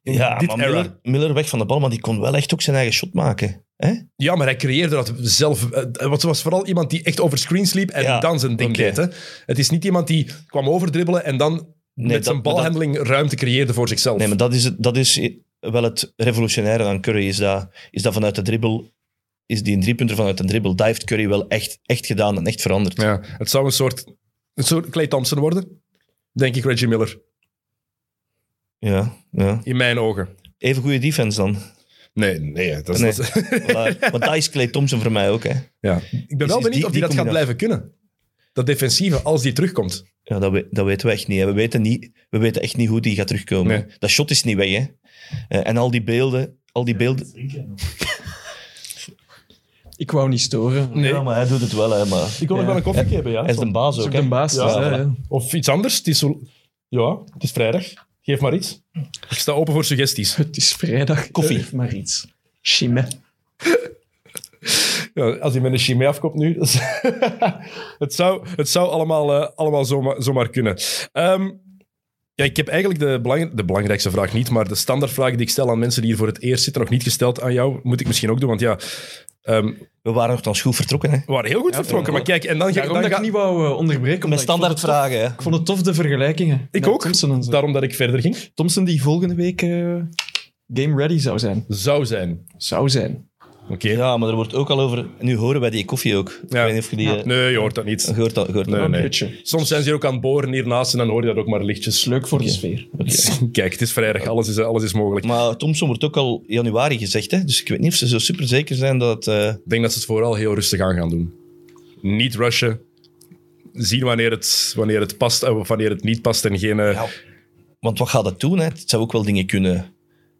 in
Ja,
dit
maar
era.
Miller, Miller weg van de bal, maar die kon wel echt ook zijn eigen shot maken. Hè?
Ja, maar hij creëerde dat zelf. Eh, Want ze was vooral iemand die echt over screens liep en
Ja,
dan zijn ding
oké.
deed. Hè. Het is niet iemand die kwam overdribbelen en dan met
dat-
zijn
maar dat-
balhandeling ruimte creëerde voor zichzelf.
Nee, maar dat is, het, dat is wel het revolutionaire aan Curry. Is dat, is dat vanuit de dribbel, is die een driepunter vanuit de dribbel, dat heeft Curry wel echt, echt gedaan en echt veranderd.
ja, het zou een soort, een soort Clay Thompson worden, denk ik, Reggie Miller.
Ja, ja.
In mijn ogen.
Even goede defense dan.
Nee, nee. Dat is, *laughs*
Nee.
dat is-
Voilà. Want dat is Clay Thompson voor mij ook. Hè.
ja. Ik ben
Is-
wel benieuwd of
is die-
Dus die
die
dat gaat
combinatie-
blijven kunnen. Dat defensieve, als die terugkomt.
Ja, dat, we- dat weten we echt niet, hè. We weten niet. We weten echt niet hoe die gaat terugkomen.
Nee.
Dat shot is niet weg. Hè. Eh, En al die beelden... Al die beelden...
*laughs* Ik wou niet storen.
Nee.
Ja, maar hij doet het wel. Hè, maar...
Ik wil nog wel een koffie hebben, ja.
Hij is de baas ook.
Dat is
hè.
ook de baas.
Ja,
dus, hè,
voilà.
ja.
Of iets anders. Het is zo... Ja, het is vrijdag. Geef maar iets. Ik sta open voor suggesties.
Het is vrijdag.
Koffie.
Geef maar iets. Chimé.
Ja, als hij met een chimé afkomt nu. dus- dat *laughs* is- het, zou, het zou allemaal, eh, allemaal zomaar, zomaar kunnen. Ehm, ja, ik heb eigenlijk de, belang- de belangrijkste vraag niet, maar de standaardvraag die ik stel aan mensen die hier voor het eerst zitten, nog niet gesteld aan jou, moet ik misschien ook doen. Want ja, ehm,
We waren nogthans goed vertrokken. Hè.
we waren heel goed vertrokken. Maar kijk, en dan, ga-
Daarom
dan
dat ik
ga
niet wou eh, onderbreken.
Met
omdat ik vond het tof-
standaardvragen. Hè.
Ik vond het tof, de vergelijkingen.
ik
Met
ook.
Thompson, en zo.
Daarom dat ik verder ging.
Thompson die volgende week eh, game ready zou zijn.
Zou zijn.
Zou zijn.
Oké.
Ja, maar er wordt ook al over... Nu horen wij die koffie ook. Ik weet niet of je die... eh,
Nee, je hoort dat niet.
Gehoord dat, gehoord dat.
Nee, nee.
Beetje.
Soms zijn ze hier ook aan het boren hiernaast en dan hoor je dat ook maar lichtjes.
Leuk voor de sfeer.
Kijk, het is vrijdag. Alles is, alles is mogelijk.
Maar Thompson wordt ook al januari gezegd, hè? dus ik weet niet of ze zo super zeker zijn dat... eh,
Ik denk dat ze het vooral heel rustig aan gaan doen. Niet rushen. Zien wanneer het, wanneer het past en wanneer het niet past. En geen, eh,
Ja. Want wat gaat dat doen? Hè? Het zou ook wel dingen kunnen,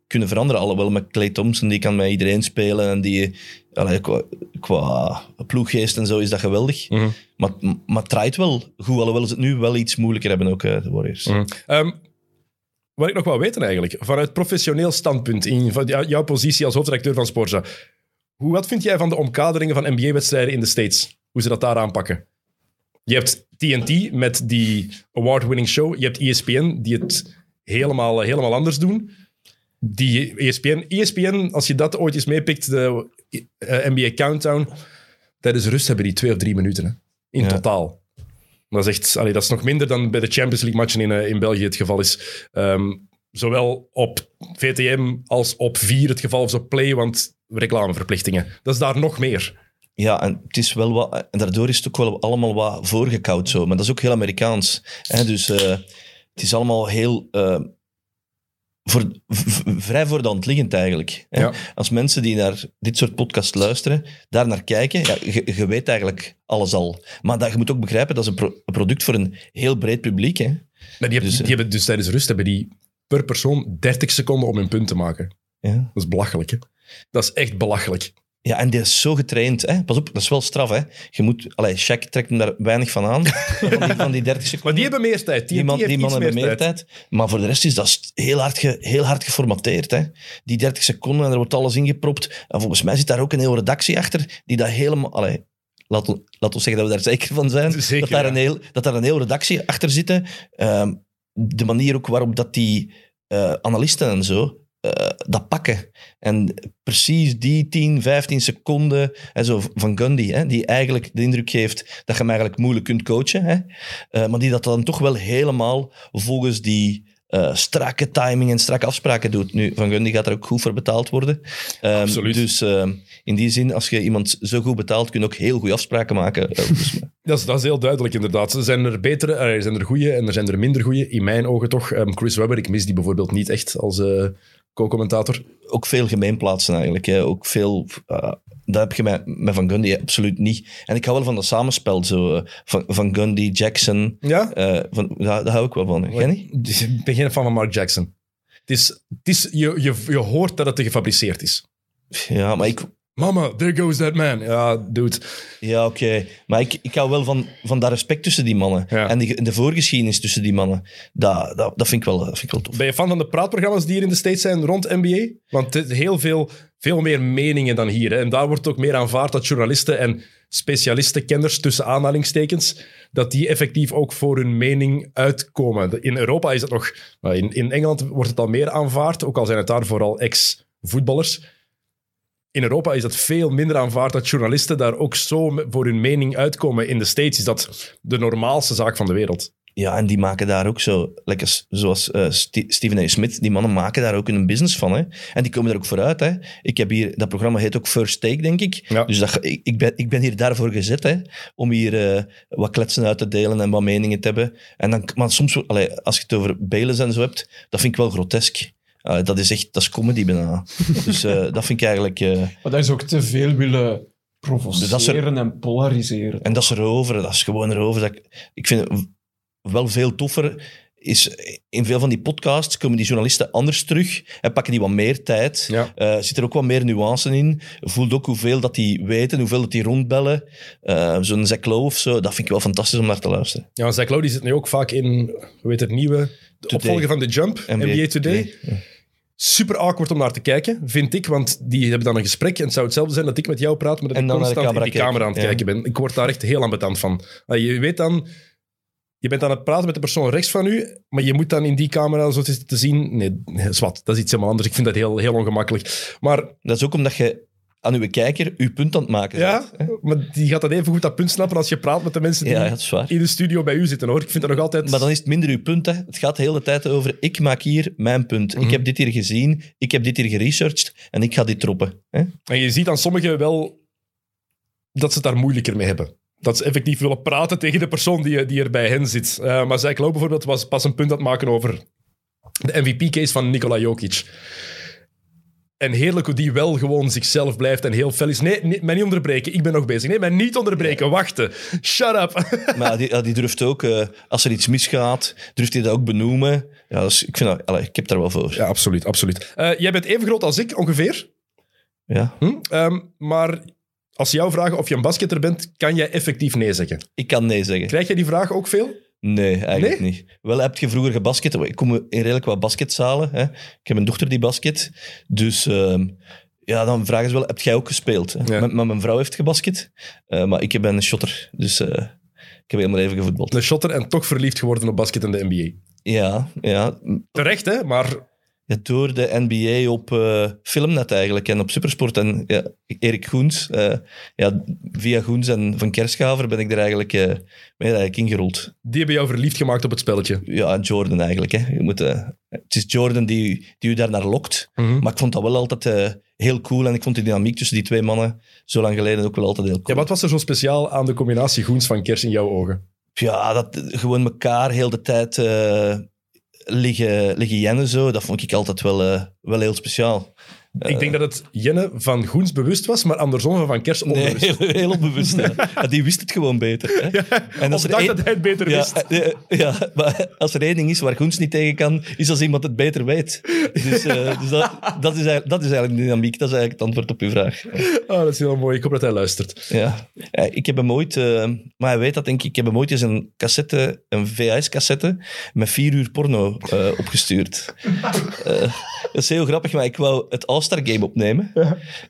kunnen veranderen. Alhoewel met Clay Thompson, die kan met iedereen spelen. En die, allee, qua, qua ploeggeest en zo is dat geweldig.
Mhm.
Maar, maar het draait wel goed. Alhoewel ze het nu wel iets moeilijker hebben, ook eh, de Warriors.
Mhm. ehm, wat ik nog wel weten eigenlijk, vanuit professioneel standpunt, in van jou- jouw positie als hoofdredacteur van Sporza. Hoe, wat vind jij van de omkaderingen van NBA-wedstrijden in de States? Hoe ze dat daar aanpakken? Je hebt TNT met die award-winning show. Je hebt E ESPN die het helemaal, eh, helemaal anders doen. Die E ESPN, ESPN, als je dat ooit eens meepikt, de eh, NBA Countdown. Tijdens rust hebben die twee of drie minuten hè, in
Ja.
totaal. Dat is, echt, allee, dat is nog minder dan bij de Champions League matchen in, eh, in België het geval is. Ehm, zowel op VTM als op 4 het geval, of op Play, want reclameverplichtingen. Dat is daar nog meer.
Ja, en het is wel wat, en daardoor is het ook wel allemaal wat voorgekoud zo. Maar dat is ook heel Amerikaans. Hè? Dus eh, het is allemaal heel eh, voor, v- v- vrij voor de hand liggend eigenlijk. Hè?
Ja.
Als mensen die naar dit soort podcasts luisteren, daar naar kijken, ja, je, je weet eigenlijk alles al. Maar dat, je moet ook begrijpen, dat is een, pro- een product voor een heel breed publiek. Hè?
Maar die, hebben,
Dus, eh,
die hebben dus tijdens rust hebben die per persoon 30 seconden om hun punt te maken.
Ja.
Dat is belachelijk, hè? Dat is echt belachelijk.
Ja, en die is zo getraind. Hè? Pas op, dat is wel straf. Hè? Je moet, allee, Shaq trekt hem daar weinig van aan, van die, van die 30
*laughs*
seconden.
Maar die hebben meer tijd. Die,
Die, man, die mannen
meer
hebben meer
tijd.
tijd. Maar voor de rest is dat st- heel hard, ge- heel hard geformateerd. Hè. Die 30 seconden en er wordt alles ingepropt. En volgens mij zit daar ook een hele redactie achter die dat helemaal... Allee, laat, on- laat ons zeggen dat we daar zeker van zijn.
Zeker,
dat, daar
ja.
een heel, dat daar een hele redactie achter zitten. Ehm, de manier ook waarop dat die eh, analisten en zo eh, dat pakken. En precies die 10, 15 seconden hè, zo van Gundy, hè, die eigenlijk de indruk geeft dat je hem eigenlijk moeilijk kunt coachen. Hè, Eh, maar die dat dan toch wel helemaal volgens die eh, strakke timing en strakke afspraken doet. Nu, Van Gundy gaat er ook goed voor betaald worden. Ehm,
Absoluut.
Dus ehm, in die zin, als je iemand zo goed betaalt, kun je ook heel goede afspraken maken. eh, volgens mij.
Dat is, dat is heel duidelijk, inderdaad. Er zijn er betere, eh, er zijn er goede en er zijn er minder goede. In mijn ogen toch. Ehm, Chris Webber, ik mis die bijvoorbeeld niet echt als eh, co-commentator.
ook veel gemeenplaatsen eigenlijk. Hè. Ook veel, eh, dat heb je met, met Van Gundy absoluut niet. En ik hou wel van dat samenspel. Zo, eh, van, van Gundy, Jackson.
Ja?
eh, van, daar, daar hou ik wel van. Ken je?
Ik ben geen fan van Mark Jackson. Het is, het is, je, je, je hoort dat het gefabriceerd is.
Ja, maar ik...
Mama, there goes that man. Ja, dude.
Ja, oké. Maar ik, ik hou wel van, van dat respect tussen die mannen.
Ja.
En die, en de voorgeschiedenis tussen die mannen. Dat, dat, dat, eh, vind, ik wel, dat vind ik wel tof.
Ben je fan van de praatprogramma's die hier in de States zijn rond NBA? Want het- heel veel veel meer meningen dan hier. Hè. En daar wordt ook meer aanvaard dat journalisten en specialisten, kenners tussen aanhalingstekens, dat die effectief ook voor hun mening uitkomen. De- In Europa is dat nog... nou, In, in Engeland wordt het al meer aanvaard, ook al zijn het daar vooral ex-voetballers. In Europa is dat veel minder aanvaard dat journalisten daar ook zo me- voor hun mening uitkomen. In de States is dat de normaalste zaak van de wereld.
Ja, en die maken daar ook zo, lekker s- zoals eh, Ste- Steven A. Smith, die mannen maken daar ook een business van. Hè? En die komen er ook vooruit. Hè? Ik heb hier, dat programma heet ook First Take, denk ik.
Ja.
Dus dat, ik, ik ben, ik ben hier daarvoor gezet, hè? om hier eh, wat kletsen uit te delen en wat meningen te hebben. En dan, maar soms, wordt- allee, als je het over Beles en zo hebt, dat vind ik wel grotesk. Allee, dat is echt, dat is comedy bijna. *laughs* dus eh, dat vind ik eigenlijk, eh,
Maar dat is ook te veel willen provoceren
Dat Dus is er-
en polariseren.
en dat is erover, dat is gewoon erover. Dat ik, ik vind het wel veel toffer is in veel van die podcasts komen die journalisten anders terug en pakken die wat meer tijd.
Ja.
Eh, zit er ook wat meer nuance in. Voelt ook hoeveel dat die weten, hoeveel dat die rondbellen. Eh, Zo'n Zack Lowe of zo, dat vind ik wel fantastisch om naar te luisteren.
Ja, Zach Lowe die zit nu ook vaak in, hoe heet het nieuwe, de opvolger van The Jump, NBA, Today. Super awkward om naar te kijken, vind ik, want die hebben dan een gesprek en het zou hetzelfde zijn dat ik met jou praat, maar dat
En
ik
dan naar de
constant in die
camera
camera aan het
kijken,
kijken ben. Ik word daar echt heel ambetant van. Nou, Je weet dan, je bent aan het praten met de persoon rechts van u, maar je moet dan in die camera zo te te zien. Nee, zwart, dat is iets helemaal anders. Ik vind dat heel, heel ongemakkelijk. Maar
Dat is ook omdat je aan uw kijker uw punt aan het maken
ja,
bent.
maar die gaat dat even goed dat punt snappen als je praat met de mensen die
Ja, ja, dat is waar.
in de studio bij u zitten, hoor. Ik vind dat nog altijd...
Maar dan is het minder uw punt. Hè. Het gaat de hele tijd over, ik maak hier mijn punt. Ik heb dit hier gezien, ik heb dit hier geresearched en ik ga dit troppen. *laughs* Hè?
En je ziet aan sommigen wel dat ze het daar moeilijker mee hebben. Dat ze effectief willen praten tegen de persoon die, die er bij hen zit. Eh, maar Zach Lowe bijvoorbeeld was pas een punt aan het maken over de MVP-case van Nikola Jokic. En heerlijk hoe die wel gewoon zichzelf blijft en heel fel is. Nee, nee, mij niet onderbreken, ik ben nog bezig. Nee, mij niet onderbreken, wachten. Shut up. *laughs*
Maar die, ja, die durft ook, eh, als er iets misgaat, durft hij dat ook benoemen. Ja, dus ik, vind dat, allee, ik heb daar wel voor. Ja.
Ja, absoluut, absoluut. Eh, jij bent even groot als ik, ongeveer. Hm? Ehm, maar als ze jou vragen of je een basketter bent, kan jij effectief nee zeggen.
Ik kan nee zeggen.
Krijg jij die vraag ook veel?
Nee, eigenlijk niet. Wel heb je vroeger gebasket. Oh, Ik kom in redelijk wat basketzalen. Hè. Ik heb een dochter die basket. Dus ehm, ja, dan vragen ze wel, heb jij ook gespeeld? Hè?
Ja.
Mijn- Maar mijn vrouw heeft gebasket. eh, maar ik ben een shotter. Dus eh, ik heb helemaal even gevoetbald.
een shotter en toch verliefd geworden op basket in de NBA.
Ja, ja.
Terecht, hè? Maar
Ja, door de NBA op eh, filmnet eigenlijk en op Supersport. En ja, Erik Goens, eh, ja, via Goens en Van Kerschaver ben ik er eigenlijk, eh, ben ik er eigenlijk ingerold.
die hebben jou verliefd gemaakt op het spelletje.
Ja, en Jordan eigenlijk. Hè. Je moet, eh, het is Jordan die, die u daar naar lokt. Maar ik vond dat wel altijd eh, heel cool. En ik vond die dynamiek tussen die twee mannen zo lang geleden ook wel altijd heel
Ja,
cool.
wat was er zo speciaal aan de combinatie Goens van Kers in jouw ogen?
Ja, dat gewoon elkaar heel de tijd eh, liggen, liggen jennen zo. Dat vond ik altijd wel, eh, wel heel speciaal.
Ik denk dat het Jenne van Goens bewust was, maar andersom van Van Kers
Nee, *laughs*
onbewust.
heel, heel
*laughs*
onbewust. ja. Ja, die wist het gewoon beter. Hè. en
Of dacht
één-
dat hij het beter
ja,
wist.
eh, ja, maar als er één ding is waar Goens niet tegen kan, is als iemand het beter weet. Dus, eh, dus dat, dat, is eigenlijk, dat is eigenlijk de dynamiek. Dat is eigenlijk het antwoord op uw vraag.
Oh, dat is heel mooi. Ik hoop dat hij luistert.
Ja. Eh, Ik heb hem ooit, eh, maar hij weet dat denk ik, ik heb hem ooit eens een cassette, een VHS-cassette met vier uur porno eh, opgestuurd. Eh, dat is heel grappig, maar ik wou het All-Star Game opnemen.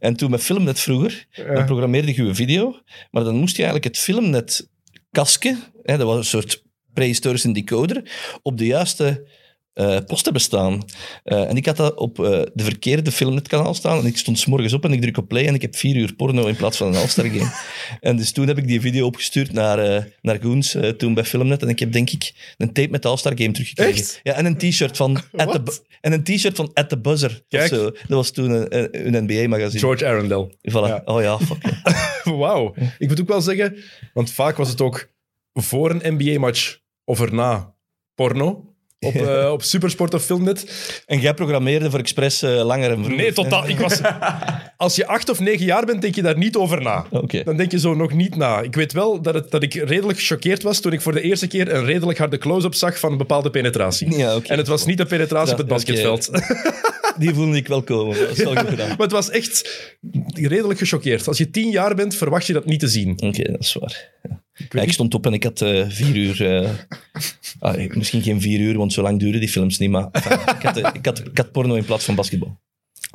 En toen met Filmnet vroeger, dan programmeerde ik uw video, maar dan moest je eigenlijk het Filmnet kasken, hè, dat was een soort prehistorische decoder, op de juiste eh, post hebben staan. Eh, en ik had dat op eh, de verkeerde filmnetkanaal staan. En ik stond 's morgens op en ik druk op play en ik heb vier uur porno in plaats van een All-Star
*laughs*
game. en dus toen heb ik die video opgestuurd naar, eh, naar Goens, eh, toen bij Filmnet. En ik heb denk ik een tape met de All-Star game teruggekregen.
Echt?
Ja, en een t-shirt
*laughs*
van, at the Bu- en een t-shirt van At the Buzzer.
Kijk.
Of zo. Dat was toen een, een, NBA-magazine.
George Arundel. *laughs* Ja.
Oh ja, fuck.
Wauw. Ik moet ook wel zeggen, want vaak was het ook voor een NBA-match of erna porno. Op, eh, op Supersport of Filmnet.
en jij programmeerde voor Express eh, langer en vroeger.
Nee, totaal. Ik was, als je acht of negen jaar bent, denk je daar niet over na.
Oké.
Dan denk je zo nog niet na. Ik weet wel dat, het, dat ik redelijk gechoqueerd was toen ik voor de eerste keer een redelijk harde close-up zag van een bepaalde penetratie.
Ja, oké.
En het was niet de penetratie
Ja,
op het basketveld.
Die voelde ik wel komen. Dat is wel goed gedaan.
*laughs* maar het was echt redelijk gechoqueerd. Als je tien jaar bent, verwacht je dat niet te zien.
Oké, dat is waar. Ja. Ja, Ik, stond op en ik had eh, vier uur... eh, ah, ik- misschien geen vier uur, want zo lang duren die films niet, maar enfin, ik, had, eh, ik, had, ik had porno in plaats van basketbal.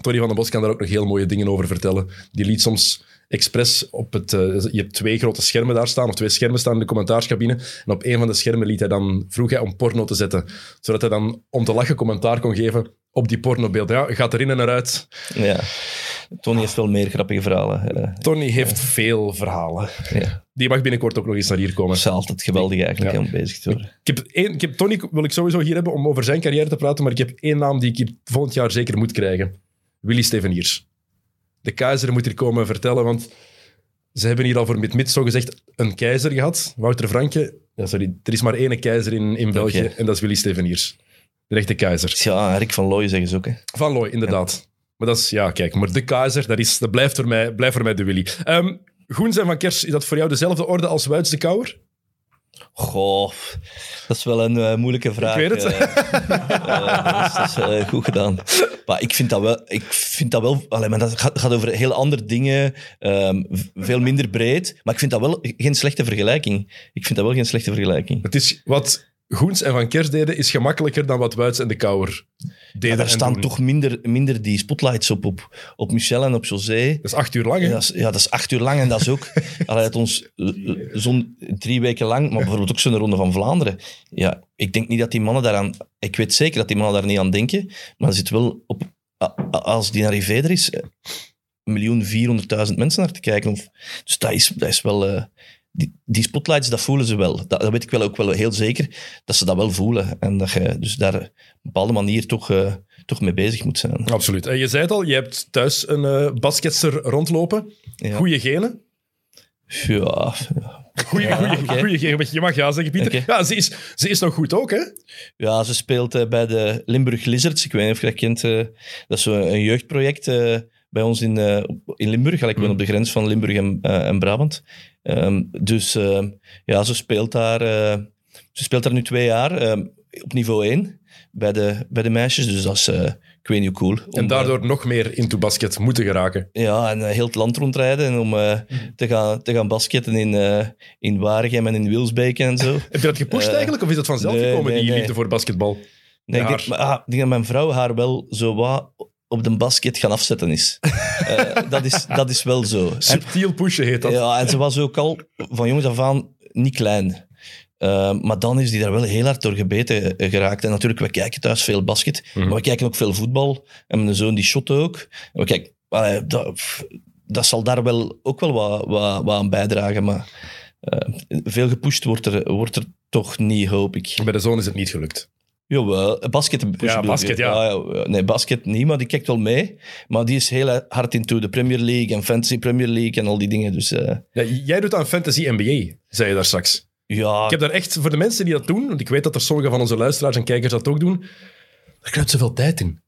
Tony van den Bos kan daar ook nog heel mooie dingen over vertellen. Die liet soms expres op het... eh, je hebt twee grote schermen daar staan, of twee schermen staan in de commentaarscabine. En op een van de schermen liet hij dan, vroeg hij om porno te zetten. Zodat hij dan om te lachen commentaar kon geven op die pornobeelden. Ja, gaat erin en eruit.
Ja. Tony heeft wel meer grappige verhalen. eh.
Tony heeft veel verhalen.
Ja.
Die mag binnenkort ook nog eens naar hier komen.
Dat is altijd geweldig eigenlijk
Ja.
om bezig te worden.
Ik heb, één, ik heb Tony wil ik sowieso hier hebben om over zijn carrière te praten, maar ik heb één naam die ik hier volgend jaar zeker moet krijgen. Willy Steveniers. De keizer moet hier komen vertellen, want ze hebben hier al voor mid-mid zogezegd een keizer gehad. Wouter Franke. Ja, sorry, er is maar één keizer in, in België
Oké.
en dat is Willy Steveniers. De rechte keizer.
Ja, Rick van Looy zeggen ze ook. Hè.
Van Looy, inderdaad. Maar dat is, ja, kijk, maar de keizer, dat, is, dat blijft, voor mij, blijft voor mij de Willy. Ehm Groen zijn van Kers, is dat voor jou dezelfde orde als Wuits de Kouwer?
Goh, dat is wel een eh, moeilijke vraag.
Ik weet het.
eh. Eh, dat is, dat is, eh, goed gedaan. Maar ik vind dat wel... Ik vind dat, wel allee, maar dat gaat, gaat over heel andere dingen, ehm, v- veel minder breed. Maar ik vind dat wel geen slechte vergelijking. Ik vind dat wel geen slechte vergelijking.
Het is wat Goens en Van Kers deden, is gemakkelijker dan wat Wuits en de Kouwer deden.
Maar daar
en
staan
doen.
toch minder, minder die spotlights op, op, op Michel en op José.
Dat is acht uur lang, hè?
Ja, dat is, ja, dat is acht uur lang en dat is ook... Allee, het ons eh, eh, zo'n drie weken lang, maar bijvoorbeeld ook zo'n Ronde van Vlaanderen. Ja, ik denk niet dat die mannen daaraan... Ik weet zeker dat die mannen daar niet aan denken, maar er zit wel op... a- a- Als die naar Riveder is, eh, 1.400.000 mensen naar te kijken. Of, dus dat is, dat is wel... eh, die, die spotlights, dat voelen ze wel. Dat, dat weet ik wel ook wel heel zeker, dat ze dat wel voelen. En dat je dus daar op een bepaalde manier toch, eh, toch mee bezig moet zijn.
Absoluut. En je zei het al, je hebt thuis een eh, basketster rondlopen.
Ja.
Goeie genen.
Ja,
Goeie, goeie,
oké.
goeie genen. Je mag ja zeggen, Pieter.
Oké.
Ja, ze is, ze is nog goed ook, hè?
Ja, ze speelt eh, bij de Limburg Lizards. Ik weet niet of je dat kent. eh, dat is zo een jeugdproject eh, bij ons in, eh, op- in Limburg. Allee, Ik ben op de grens van Limburg en, eh, en Brabant. Ehm, dus ehm, ja, ze speelt, daar, eh, ze speelt daar nu twee jaar ehm, op niveau 1 bij de, bij de meisjes. Dus dat is, eh, ik weet niet hoe cool. Om,
En daardoor nog meer into basket moeten geraken.
eh, ja, en eh, heel het land rondrijden en om eh,
Mhm.
te, gaan, te gaan basketten in, eh in Waregem en in Wilsbeek en zo.
Heb je dat gepusht
Eh,
eigenlijk? Of is dat vanzelf
nee,
gekomen,
nee,
die
nee.
liefde voor basketbal?
Nee, ik
Haar.
denk, maar, ah, ik denk dat mijn vrouw haar wel zo wat op de basket gaan afzetten is. Eh, dat is. Dat is wel zo. En,
Subtiel pushen heet dat.
ja, en ze was ook al van jongens af aan niet klein. Eh, maar dan is die daar wel heel hard door gebeten eh, geraakt. En natuurlijk, we kijken thuis veel basket, maar we kijken ook veel voetbal. En mijn zoon die shot ook. En we kijken, allee, dat, pff, dat zal daar wel ook wel wat, wat, wat aan bijdragen. Maar eh, veel gepusht wordt er, wordt er toch niet, hoop ik.
Bij de zoon is het niet gelukt.
Jawel, basket. een push
Ja,
bedoel
basket,
je?
ja.
ja, ja. Nee, basket niet, maar die kijkt wel mee. Maar die is heel hard into de Premier League en Fantasy Premier League en al die dingen. Dus eh,
Ja, jij doet aan fantasy NBA, zei je daar straks.
ja,
Ik heb daar echt, voor de mensen die dat doen, want ik weet dat er sommige van onze luisteraars en kijkers dat ook doen, daar kruipt zoveel tijd in.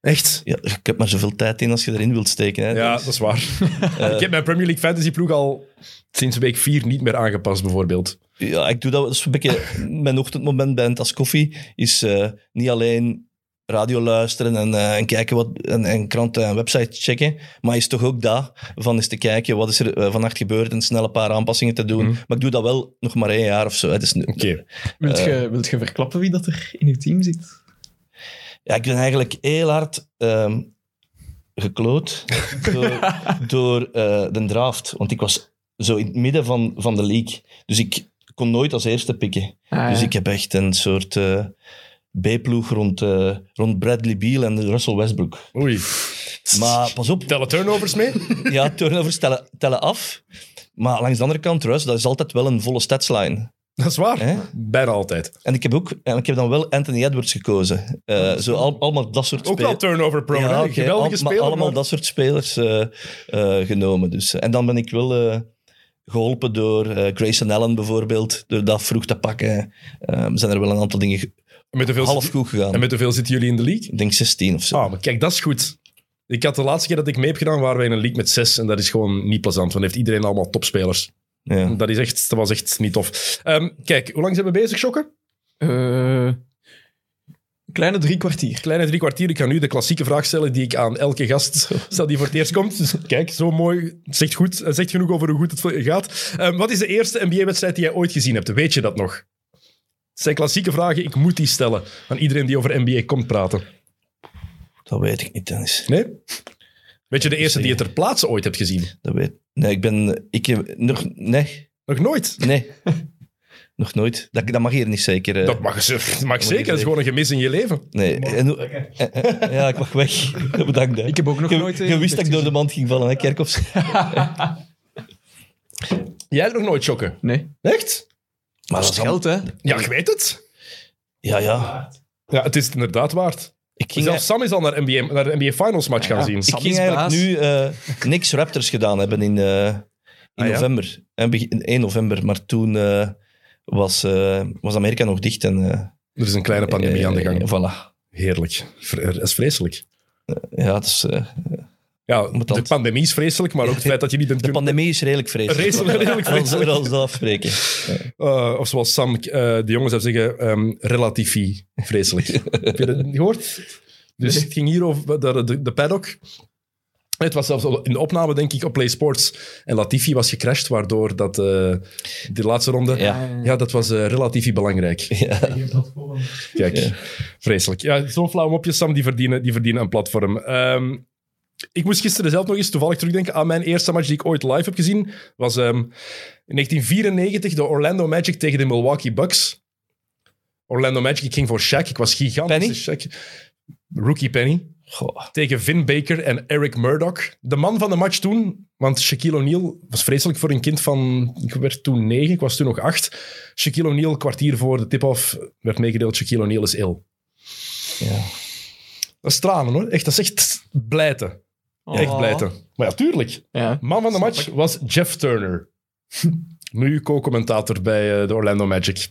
Echt?
ja, ik heb maar zoveel tijd in als je erin wilt steken. Hè.
Ja,
Dus,
dat is
*laughs*
waar. ik heb mijn Premier League fantasy ploeg al sinds week 4 niet meer aangepast, bijvoorbeeld.
ja, ik doe dat, dat is een beetje *laughs* mijn ochtendmoment bij een tas koffie. Is eh, niet alleen radio luisteren en, eh, en kijken wat, en, en kranten en websites checken, maar is toch ook dat van eens te kijken wat is er eh, vannacht gebeurd en snel een paar aanpassingen te doen. Maar ik doe dat wel nog maar één jaar of zo. hè. Het is nu-
Mhm. Oké.
Wilt
Eh.
je wilt je verklappen wie dat er in uw team zit?
Ja, ik ben eigenlijk heel hard ehm,
*laughs*
gekloot door, door eh, de draft. Want ik was zo in het midden van, van de league. Dus ik kon nooit als eerste
Ah,
pikken.
Ah,
Dus ik heb echt een soort eh, B-ploeg rond, eh, rond Bradley Beal en Russell Westbrook.
Oei.
Maar pas op,
Tellen turnovers
*laughs*
mee? *laughs*
ja, turnovers tellen, tellen af. Maar langs de andere kant, Russ, dat is altijd wel een volle statsline.
Dat is waar.
Hè?
Bijna altijd.
En ik heb ook, en ik heb dan wel Anthony Edwards gekozen. Eh, zo al, allemaal dat soort
Ook wel
spelers.
turnover pro.
Ja,
hè?
oké, al-
Geweldige
maar
speler.
allemaal
maar-
dat soort spelers eh, eh, genomen. Dus. En dan ben ik wel eh, geholpen door eh Grayson Allen bijvoorbeeld, door dat vroeg te pakken. Ehm, zijn er wel een aantal dingen ge-
Met hoeveel
half
zitten-
goed gegaan.
En met hoeveel zitten jullie in de league?
Ik denk 16 of zo.
Ah, maar kijk, dat is goed. Ik had de laatste keer dat ik mee heb gedaan, waren wij in een league met zes. En dat is gewoon niet plezant, want dan heeft iedereen allemaal topspelers.
ja.
Dat, is echt, dat was echt niet tof. Ehm, kijk, hoe lang zijn we bezig, Sjokke?
Eh, kleine drie kwartier.
Kleine drie kwartier. Ik ga nu de klassieke vraag stellen die ik aan elke gast stel die voor het eerst komt. Dus kijk, zo mooi. Het Zegt, goed, het zegt genoeg over hoe goed het gaat. Ehm, wat is de eerste NBA-wedstrijd die jij ooit gezien hebt? Weet je dat nog? Het zijn klassieke vragen. Ik moet die stellen aan iedereen die over NBA komt praten.
Dat weet ik niet, Dennis.
Nee? Weet je de eerste die je ter plaatse ooit hebt gezien?
Dat weet... Nee, ik ben... Ik heb nog... Nee.
Nog nooit.
Nee. *laughs* nog nooit. Dat, dat mag hier niet zeker. eh.
Dat mag, ze- dat mag zeker. Dat
zeggen.
is gewoon een gemis in je leven.
Nee. En hoe- eh, eh, ja, ik mag weg. *laughs* Bedankt. Hè.
Ik heb ook nog
Je-
nooit, eh,
Je wist dat ik door de mand ging vallen, hè,
*laughs*
Kerkhoffs?
Jij hebt nog nooit chokken.
Nee.
Echt?
Maar
Dat is geld, hè?
Ja, ik weet het.
Ja, ja.
Ja, het is het inderdaad waard.
Ik ging,
Zelfs Sam is al naar, NBA, naar de NBA Finals match gaan zien.
ik ging eigenlijk nu eh niks Raptors gedaan hebben in, eh, in
Ah, ja?
november. En begin- 1 november. Maar toen eh, was, eh, was Amerika nog dicht. En, eh,
Er is een kleine pandemie aan de
eh,
gang.
voilà.
Heerlijk. Vre- Dat is vreselijk.
Ja, het is, eh,
Ja, de
Ambetant.
pandemie is vreselijk, maar ook
*laughs*
het feit dat je niet bent
de
kunnen...
pandemie is redelijk vreselijk.
Vreselijk, redelijk
Als *laughs* we
vreselijk.
er al zelf spreken.
Eh, of zoals Sam eh, de jongens zou zeggen, ehm relativie
*laughs*
vreselijk. Heb je dat niet gehoord? Dus het ging hier over de, de, de paddock. Het was zelfs in de opname, denk ik, op Play Sports. En Latifi was gecrashed, waardoor dat, eh, de laatste ronde...
Ja.
Ja, dat was eh relatief belangrijk. Kijk,
Ja.
vreselijk. Ja, zo'n flauw mopjes, Sam, die verdienen, die verdienen een platform. Ehm, ik moest gisteren zelf nog eens toevallig terugdenken aan mijn eerste match die ik ooit live heb gezien. was ehm, in 1994 de Orlando Magic tegen de Milwaukee Bucks. Orlando Magic, ik ging voor Shaq. Ik was gigantisch. Penny? Rookie Penny.
Goh.
Tegen Vin Baker en Eric Murdoch. De man van de match toen, want Shaquille O'Neal was vreselijk voor een kind van... Ik werd toen negen, ik was toen nog acht. Shaquille O'Neal, kwartier voor de tip-off, werd meegedeeld. Shaquille O'Neal is ill.
Ja.
Dat is tranen, hoor. Echt, dat is echt blijten. Echt blijten. Maar ja, tuurlijk.
Oh. Ja.
Man van de match was Jeff Turner. *laughs* nu co-commentator bij eh, de Orlando Magic.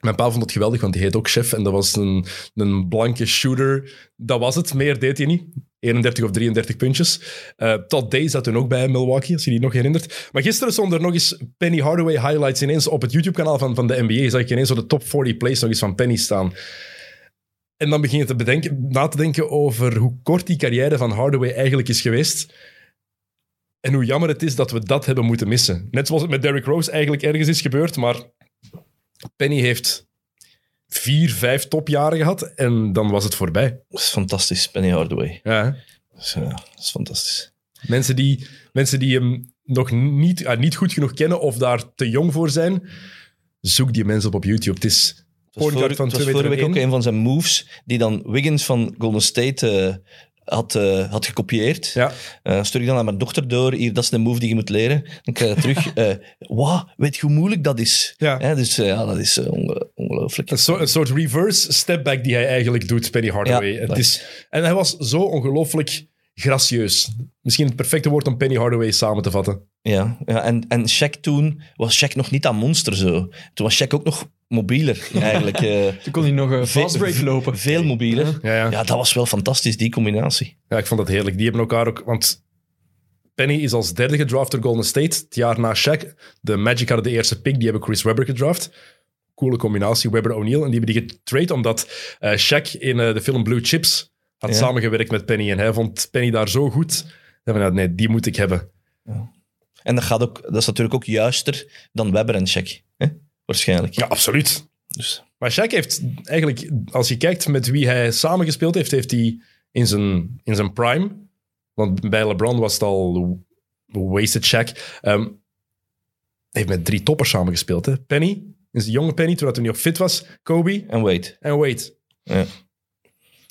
Mijn pa vond het geweldig, want die heet ook Chef. En dat was een, een blanke shooter. Dat was het, meer deed hij niet. 31 of 33 puntjes. Eh Todd Day zat toen ook bij Milwaukee, als je die nog herinnert. Maar gisteren stonden er nog eens Penny Hardaway highlights ineens op het YouTube-kanaal van, van de NBA. Zag ik ineens zo de top 40 plays nog eens van Penny staan. En dan begin je te bedenken, na te denken over hoe kort die carrière van Hardaway eigenlijk is geweest. En hoe jammer het is dat we dat hebben moeten missen. Net zoals het met Derrick Rose eigenlijk ergens is gebeurd, maar Penny heeft vier, vijf topjaren gehad en dan was het voorbij.
Dat is fantastisch, Penny Hardaway.
Ja.
Dat is, ja, dat is fantastisch.
Mensen die, mensen die hem nog niet, ah, niet goed genoeg kennen of daar te jong voor zijn, zoek die mensen op op YouTube. Het is
Het was,
point guard
voor,
van
het was
2 meter
vorige week ook
en één.
een van zijn moves die dan Wiggins van Golden State eh, had, eh, had gekopieerd.
Ja.
Eh, stuur ik dan aan mijn dochter door. Hier, dat is een move die je moet leren. Dan krijg je
*laughs*
terug. eh Wauw, weet je hoe moeilijk dat is?
Ja.
Hè, dus eh, ja, dat is eh, onge- ongelooflijk.
Een, soort- een soort reverse stepback die hij eigenlijk doet, Penny Hardaway.
Ja,
het
dat-
is, en hij was zo ongelooflijk gracieus. Misschien het perfecte woord om Penny Hardaway samen te vatten.
Ja, ja en, en Shaq toen was Shaq nog niet dat monster zo. Toen was Shaq ook nog mobieler eigenlijk. eh,
*laughs*
Toen kon hij nog een
ve-
fastbreak
ve-
lopen.
Veel mobieler.
Ja, ja.
Ja, dat was wel fantastisch, die combinatie.
Ja, ik vond dat heerlijk. Die hebben elkaar ook... Want Penny is als derde gedraft door Golden State. Het jaar na Shaq. De Magic hadden de eerste pick. Die hebben Chris Webber gedraft. Coole combinatie, Webber-O'Neal. En die hebben die getrade omdat eh Shaq in eh, de film Blue Chips had
Ja.
samengewerkt met Penny. En hij vond Penny daar zo goed. Dat we, nou, nee, die moet ik hebben.
En dat, gaat ook, dat is natuurlijk ook juister dan Webber en Shaq. Hè? Waarschijnlijk.
Ja, absoluut.
Dus.
Maar Shaq heeft eigenlijk, als je kijkt met wie hij samengespeeld heeft, heeft hij in zijn, in zijn prime, want bij LeBron was het al wasted Shaq, ehm, heeft met drie toppers samengespeeld. Hè? Penny, in zijn jonge Penny, toen hij nog fit was, Kobe
En Wade.
en Wade.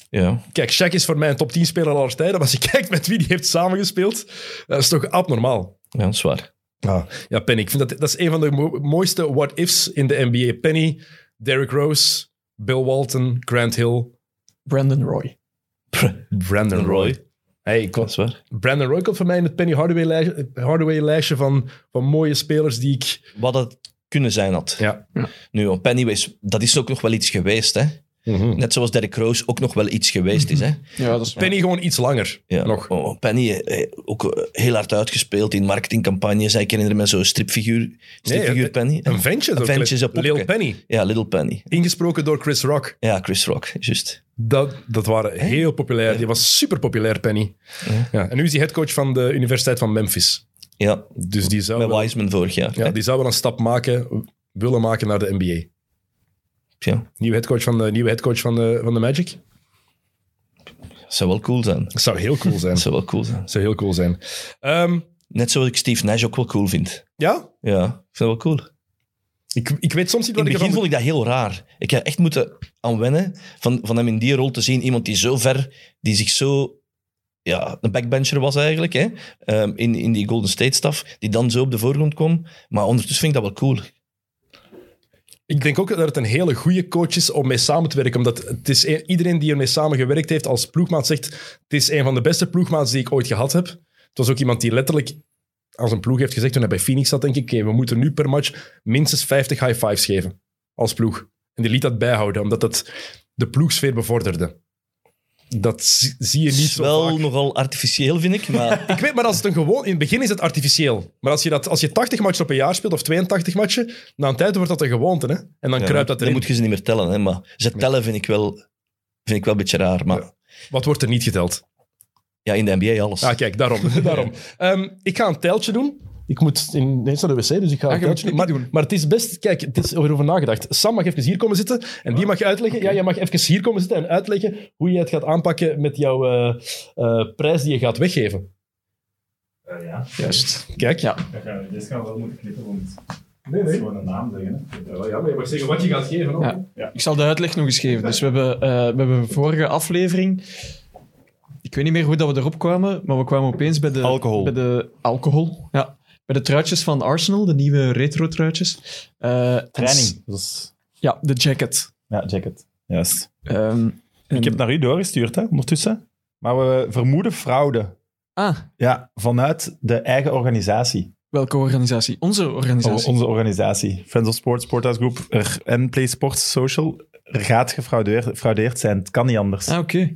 Ja.
Kijk, Shaq is voor mij een top 10 speler aller tijden, maar als je *laughs* kijkt met wie die heeft samengespeeld, dat is toch abnormaal.
Ja, dat is waar.
Ja, ja Penny. Ik vind dat, dat is een van de mo- mooiste what-ifs in de NBA. Penny, Derrick Rose, Bill Walton, Grant Hill,
Brandon Roy.
Brandon
Roy.
Roy. Hey, ik
Dat
was-
is waar.
Brandon Roy komt voor mij in het Penny Hardaway lijstje, Hardaway lijstje van, van mooie spelers die ik...
Wat het kunnen zijn had.
Ja.
Nu, op Penny was, dat is ook nog wel iets geweest. Hè?
Mhm.
Net zoals Derrick Rose ook nog wel iets geweest is. Hè?
Ja, dat is
Penny gewoon iets langer.
Ja.
Mhm. Nog.
Oh, Penny eh, ook eh, heel hard uitgespeeld in marketingcampagnes. Ik herinner me zo'n stripfiguur, stripfiguur
Nee,
Penny.
Een ventje.
Een ventje, zo'n popke.
Lil Penny.
Ja, Little Penny.
Ingesproken door Chris Rock.
Ja, Chris Rock, juist.
Dat, dat waren heel populair. Die was super populair, Penny. Ja. En nu is hij headcoach van de Universiteit van Memphis.
Ja,
Dus die zou,
met
wel,
Wiseman vorig jaar.
ja,
hè.
die zou wel een stap maken, willen maken naar de NBA.
Ja,
Nieuwe headcoach van de, nieuwe headcoach van de, van de Magic.
zou wel cool zijn.
Dat zou heel cool
*laughs*
zijn.
Dat zou wel cool zijn.
Dat zou heel cool zijn. Ehm,
Net zoals ik Steve Nash ook wel cool vind.
ja,
Ja, ik vind dat wel cool.
ik, ik weet soms niet
In
wat ik
het
ervan
begin vond ik dat heel raar. Ik heb echt moeten aan wennen van, van hem in die rol te zien. Iemand die zo ver, die zich zo... Ja, een backbencher was eigenlijk, hè? ehm, in, in die Golden State-staf, die dan zo op de voorgrond kwam. Maar ondertussen vind ik dat wel cool.
Ik denk ook dat het een hele goede coach is om mee samen te werken. Omdat het is een- iedereen die ermee samen gewerkt heeft als ploegmaat zegt: Het is een van de beste ploegmaats die ik ooit gehad heb. Het was ook iemand die letterlijk als een ploeg heeft gezegd toen hij bij Phoenix zat: Denk ik, oké, we moeten nu per match minstens 50 high fives geven als ploeg. En die liet dat bijhouden, omdat dat de ploegsfeer bevorderde. Dat zi- zie je niet
is
zo
wel
vaak.
nogal artificieel, vind ik.
*laughs*
Maar
Ik weet, maar als het een gewoon... In het begin is het artificieel. Maar als je, dat, als je 80 matchen op een jaar speelt, of 82 matchen, na een tijd wordt dat een gewoonte. Hè? En dan kruipt dat
dan
erin.
moet je ze niet meer tellen. Hè? Maar ze tellen vind ik wel, vind ik wel een beetje raar. Maar ja.
Wat wordt er niet geteld?
in de NBA alles.
Ah, kijk, *laughs* daarom. daarom. Ehm, ik ga een teltje doen. Ik moet ineens naar de wc, dus ik ga een
je moet pipi
teltje doen. Maar,
doen.
maar het is best... Kijk, het is erover nagedacht. Sam mag even hier komen zitten en die mag uitleggen. Ja, jij mag even hier komen zitten en uitleggen hoe je het gaat aanpakken met jouw eh, eh, prijs die je gaat weggeven.
Eh, ja,
Juist.
Kijk.
Ja.
dat gaan we, dit gaan we wel moeten knippen, want het is gewoon een naam zeggen. hè.
Ja, maar je mag zeggen wat je gaat geven.
Ja. Ik zal de uitleg nog eens geven. Dus we hebben, eh, we hebben een vorige aflevering. Ik weet niet meer hoe dat we erop kwamen, maar we kwamen opeens bij de
Alcohol.
Bij de alcohol, ja. Bij de truitjes van Arsenal, de nieuwe retro truitjes. Eh, en s-
Training, dat is...
Ja, de jacket.
Ja, jacket. Juist.
Ehm, en-
Ik heb het naar u doorgestuurd, hè, ondertussen. Maar we vermoeden fraude.
Ah,
Ja, vanuit de eigen organisatie.
welke organisatie? Onze organisatie.
O- Onze organisatie. Friends of Sports, Sporthouse Group er- en Play Sports Social. Er gaat gefraudeerd gefraudeerd zijn. Het kan niet anders.
Ah, oké.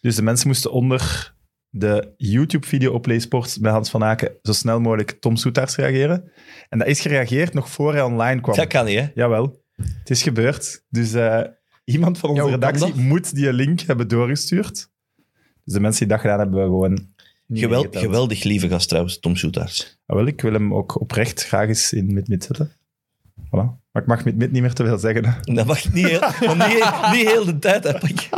Dus de mensen moesten onder de YouTube-video op PlaySports bij Hans van Aken zo snel mogelijk Tom Soetaars reageren. En dat is gereageerd nog voor hij online kwam.
Dat kan niet, hè?
Jawel, het is gebeurd. Dus eh, iemand van onze
Ja, hoe kan
redactie moet die link hebben doorgestuurd. Dus de mensen die dat gedaan hebben, hebben we gewoon... niet
Gewel-
meegeteld.
geweldig lieve gast trouwens, Tom Soetaars.
Ah, wel, ik wil hem ook oprecht graag eens in mid-mid zetten. Voilà. Maar ik mag mid-mid niet meer te veel zeggen. hè.
Dat mag ik niet
*laughs*
heel, want niet, heel- niet heel de tijd heb ik.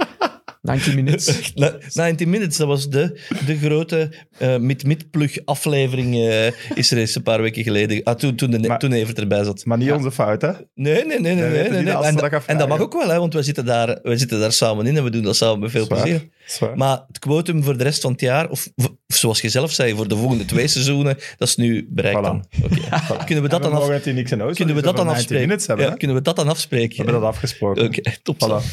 90 minutes.
*laughs*
*laughs* Na- 90 Minutes, dat was de, de grote eh mid-mid-plug aflevering eh, is er eens een paar weken geleden. Ah, toen, toen, de,
Maar-
toen Evert erbij zat.
Maar niet onze fout, hè?
Nee, nee, nee. nee,
Dan
nee,
weten
nee,
die
nee.
de
En,
afslag
dat- en dat
afvragen.
mag ook wel, hè, want wij zitten, daar, wij zitten daar samen in en we doen dat samen met veel
Zwaar.
plezier.
Zwaar.
Maar het quotum voor de rest van het jaar, of, of zoals je zelf zei, voor de volgende
*laughs*
twee seizoenen, dat is nu bereikt
Voilà.
dan.
*laughs*
Oké. Kunnen we dat dan,
En we
af,
mogen het hier niks in huis,
kunnen we
want
dat
die
dan
zullen
afspreken?
90 minutes hebben,
ja,
hè?
kunnen we dat dan
We
afspreken?
hebben dat
Oké,
afgesproken.
top.
Voilà.
*laughs*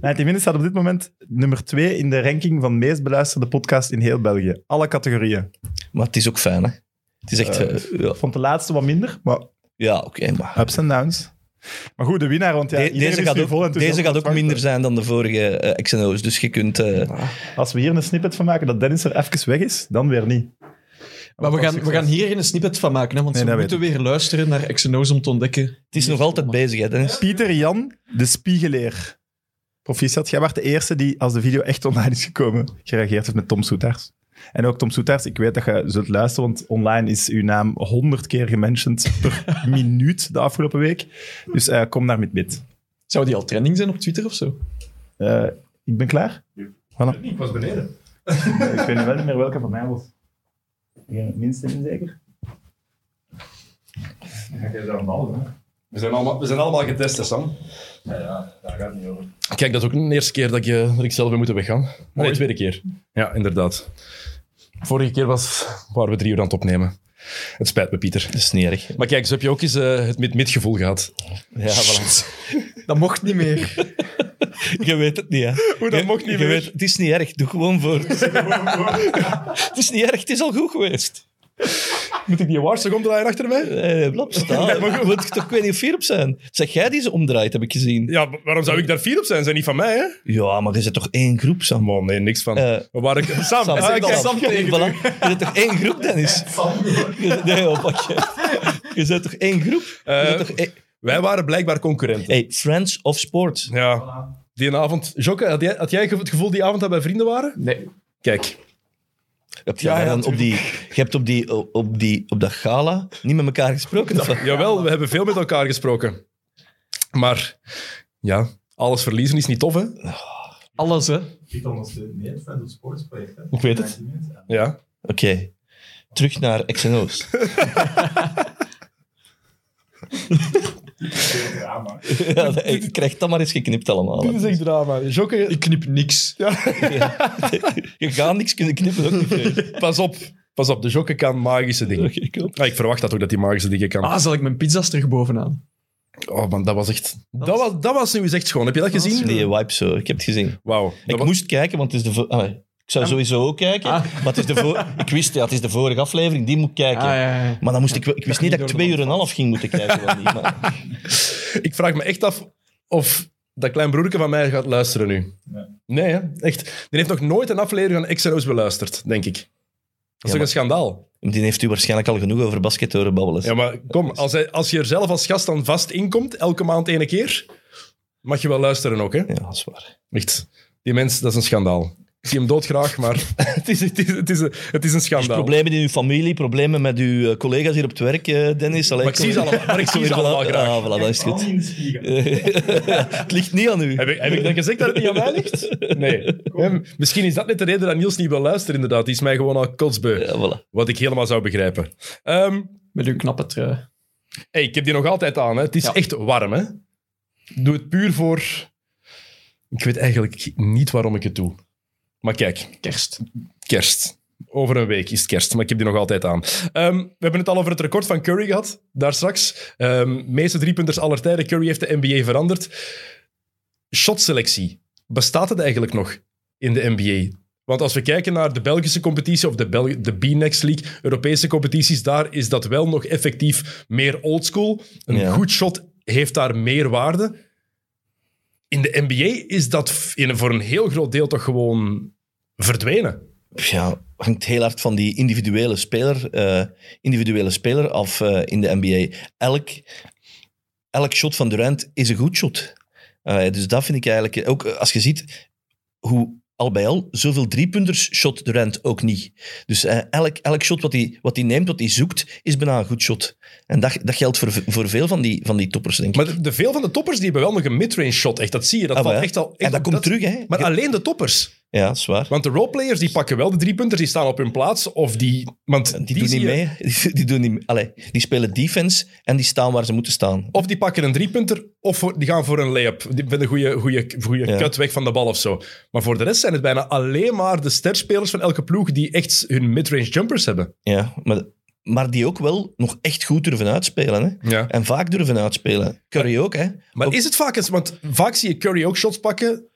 90 Minutes staat op dit moment nummer 2 in de ranking van meest beluisterde podcast in heel België. Alle categorieën.
Maar het is ook fijn, hè? Het is echt...
Eh,
eh, ja,
Ik vond de laatste wat minder, maar
ja oké, maar...
ups en downs. Maar goed, de winnaar, want ja,
De-
iedereen
deze
is
gaat
nu vol
ook,
enthousiast
deze gaat ook
ontvangen.
minder zijn dan de vorige eh, XNO's. Dus je kunt. eh,
Als we hier een snippet van maken dat Dennis er even weg is, dan weer niet.
Maar we gaan, we gaan hier geen snippet van maken, hè, want
Nee,
ze
dat
moeten weer luisteren naar Exynos om te ontdekken.
het is nog altijd bezig, hè, Dennis?
Pieter Jan, de spiegeleer. Proficiat, jij was de eerste die, als de video echt online is gekomen, gereageerd heeft met Tom Soetaars. En ook Tom Soetaars, ik weet dat je zult luisteren, want online is uw naam honderd keer gementiond
*laughs*
per minuut de afgelopen week. Dus eh, kom daar met mid.
Zou die al trending zijn op Twitter of zo?
Eh, ik ben klaar.
Ik was beneden.
Ik weet wel niet meer welke van mij was. Ik ben het minste in zeker.
We zijn, allemaal, we zijn allemaal getest, hè, Sam.
Ja, ja, daar gaat het niet over.
Kijk, dat is ook de eerste keer dat ik, eh, dat ik zelf heb moeten weggaan. Nee, tweede keer. Ja, inderdaad. Vorige keer was, waren we drie uur aan het opnemen. Het spijt me, Pieter.
Dat is niet erg.
Maar kijk, zo heb je ook eens eh, het mid-mid gevoel gehad.
Ja, voilà.
Dat mocht niet meer.
*laughs* Je weet het niet, hè?
Hoe, dat
Je-
mocht niet
je
meer.
weet- het is niet erg. Doe gewoon voor.
*laughs*
het is niet erg. Het is al goed geweest.
*laughs* Moet ik die awards nog omdraaien achter mij?
Eh, blab, staan. Je moet toch, ik weet niet of vier op zijn. Zeg jij die ze omdraait, heb ik gezien.
Ja, maar waarom zou ik daar fier op zijn? Zijn niet van mij, hè?
Ja, maar je zit toch één groep, Sam?
Man, nee, niks van.
Eh,
We waren... Sam,
Sam,
ah,
zeg
ik-
dan.
Sam tegen.
Voilà. Je zit toch één groep, Dennis? Je- Nee, oh, pak je. Je zit toch één groep? Je
Eh,
zit toch één-
Wij waren blijkbaar concurrenten.
Hey, Friends of Sport.
Ja. Die avond... Jokke, had jij, had jij het gevoel die avond dat wij vrienden waren?
Nee.
Kijk.
Heb je, daar dan op die, je hebt op, die, op, die, op dat gala niet met elkaar gesproken. of wat?
Jawel, we hebben veel met elkaar gesproken. Maar ja, alles verliezen is niet tof, hè?
*laughs* Alles, hè.
Ik ondersteun mee het Friends of Sports project.
Ik weet het. Ja.
Oké. Terug naar XNO's. ja, nee, ik krijg dat maar eens geknipt allemaal.
Dit is echt drama. Jokke,
Ik knip niks.
Je gaat niks kunnen knippen. ook niet veel.
pas op. Pas op, de Jokke kan magische dingen. Ah, ik verwacht dat ook, dat hij magische dingen kan.
Ah, zal ik mijn pizza's terug bovenaan?
Oh man, dat was echt... Dat was, dat was nu eens echt schoon. Heb je dat gezien?
Nee, wipe zo. Ik heb het gezien.
Wauw.
Ik
Dat was-
moest kijken, want het is de... vo- ah, ik zou sowieso ook kijken. Maar het is de vo- ik wist, ja, het is de vorige aflevering, die moet ik kijken.
Ah, ja, ja.
Maar dan moest ik, wel- ik wist
niet
niet dat ik
door de
twee uur en een half ging moeten kijken. wel niet, maar-
Ik vraag me echt af of dat klein broertje van mij gaat luisteren nu. Nee, hè? echt. Die heeft nog nooit een aflevering van XNO's beluisterd, denk ik. Dat is toch
maar-
een schandaal?
Die heeft u waarschijnlijk al genoeg over basket horen babbelen.
Ja, maar kom, als, hij, als je er zelf als gast dan vast inkomt, elke maand ene keer, mag je wel luisteren ook, hè?
Ja, dat is waar.
Echt. Die mens, dat is een schandaal. Ik zie hem doodgraag, maar *laughs* het is, het is, het is, een, het is een
Dus
schandaal.
problemen in uw familie, problemen met uw eh, collega's hier op het werk, eh, Dennis. Allee,
Maar ik zie ze allemaal, maar ik zie ze
Voilà,
allemaal graag.
ah, voilà, dat is goed. Eh, *laughs* het ligt niet aan u.
Heb ik, heb ik dan gezegd dat het niet aan mij ligt? Nee. Hè, misschien is dat net de reden dat Niels niet wil luisteren, inderdaad. Die is mij gewoon al kotsbeu.
Ja, voilà.
Wat ik helemaal zou begrijpen. Ehm,
Met uw knappe trui.
hey, ik heb die nog altijd aan. Hè. Het is
Ja.
echt warm. Hè. Doe het puur voor... Ik weet eigenlijk niet waarom ik het doe. Maar kijk,
Kerst.
kerst. Over een week is het kerst, maar ik heb die nog altijd aan. Ehm, we hebben het al over het record van Curry gehad, daar straks. Ehm meeste driepunters aller tijden. Curry heeft de NBA veranderd. Shotselectie. Bestaat het eigenlijk nog in de NBA? Want als we kijken naar de Belgische competitie of de, Bel- de B-Next League, Europese competities, daar is dat wel nog effectief meer oldschool. Een
Ja.
goed shot heeft daar meer waarde. In de NBA is dat f- in een- voor een heel groot deel toch gewoon verdwenen.
Ja, hangt heel hard van die individuele speler, eh, individuele speler af eh, in de NBA. Elk, elk shot van Durant is een goed shot. Eh, dus dat vind ik eigenlijk... Ook eh, als je ziet hoe al bij al zoveel driepunters shot Durant ook niet. Dus eh, elk, elk shot wat hij, wat hij neemt, wat hij zoekt, is bijna een goed shot. En dat, dat geldt voor, voor veel van die, van die toppers, denk ik.
Maar de, de veel van de toppers die hebben wel nog een midrange shot. Echt, dat zie je. Dat
Ah,
valt
wel, hè?
echt al. echt
en dat
op
komt terug, hè.
Maar alleen de toppers.
ja, dat is waar.
Want de roleplayers die pakken wel de driepunters, die staan op hun plaats. Of die. Want
Die,
die
doen
zie
niet
je-
mee. *laughs* Die, doen niet mee. Allee, die spelen defense en die staan waar ze moeten staan.
Of die pakken een driepunter, of voor- die gaan voor een lay-up. Die vinden een goede, goede, goede
Ja.
cut weg van de bal of zo. Maar voor de rest zijn het bijna alleen maar de sterspelers van elke ploeg die echt hun midrange jumpers hebben.
Ja, maar, maar die ook wel nog echt goed durven uitspelen. Hè?
Ja.
En vaak durven uitspelen. Curry ook, hè?
Maar
Ook-
is het vaak eens, want vaak zie je Curry ook shots pakken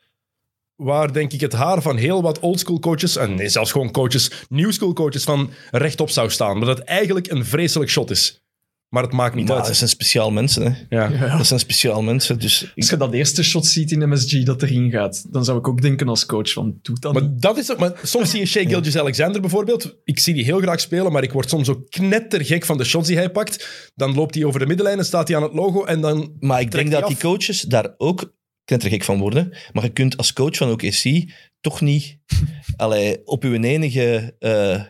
waar denk ik het haar van heel wat oldschool coaches, en nee, zelfs gewoon coaches, new school coaches van rechtop zou staan. Dat het eigenlijk een vreselijk shot is. Maar het maakt niet
maar dat
uit.
zijn speciaal mensen, hè?
Ja.
Dat zijn speciaal mensen. Dus
Als je dat eerste shot ziet in MSG dat erin gaat, dan zou ik ook denken als coach van, doe dat niet.
Maar, dat is, ook- maar soms zie je Shea Gilgis Alexander bijvoorbeeld. Ik zie die heel graag spelen, maar ik word soms ook knettergek van de shots die hij pakt. Dan loopt hij over de middenlijn en staat hij aan het logo. En dan,
Maar ik
Trekt
denk
die
dat die
af.
coaches daar ook knettergek van worden. Maar je kunt als coach van OKC toch niet *laughs* allee, op uw enige, eh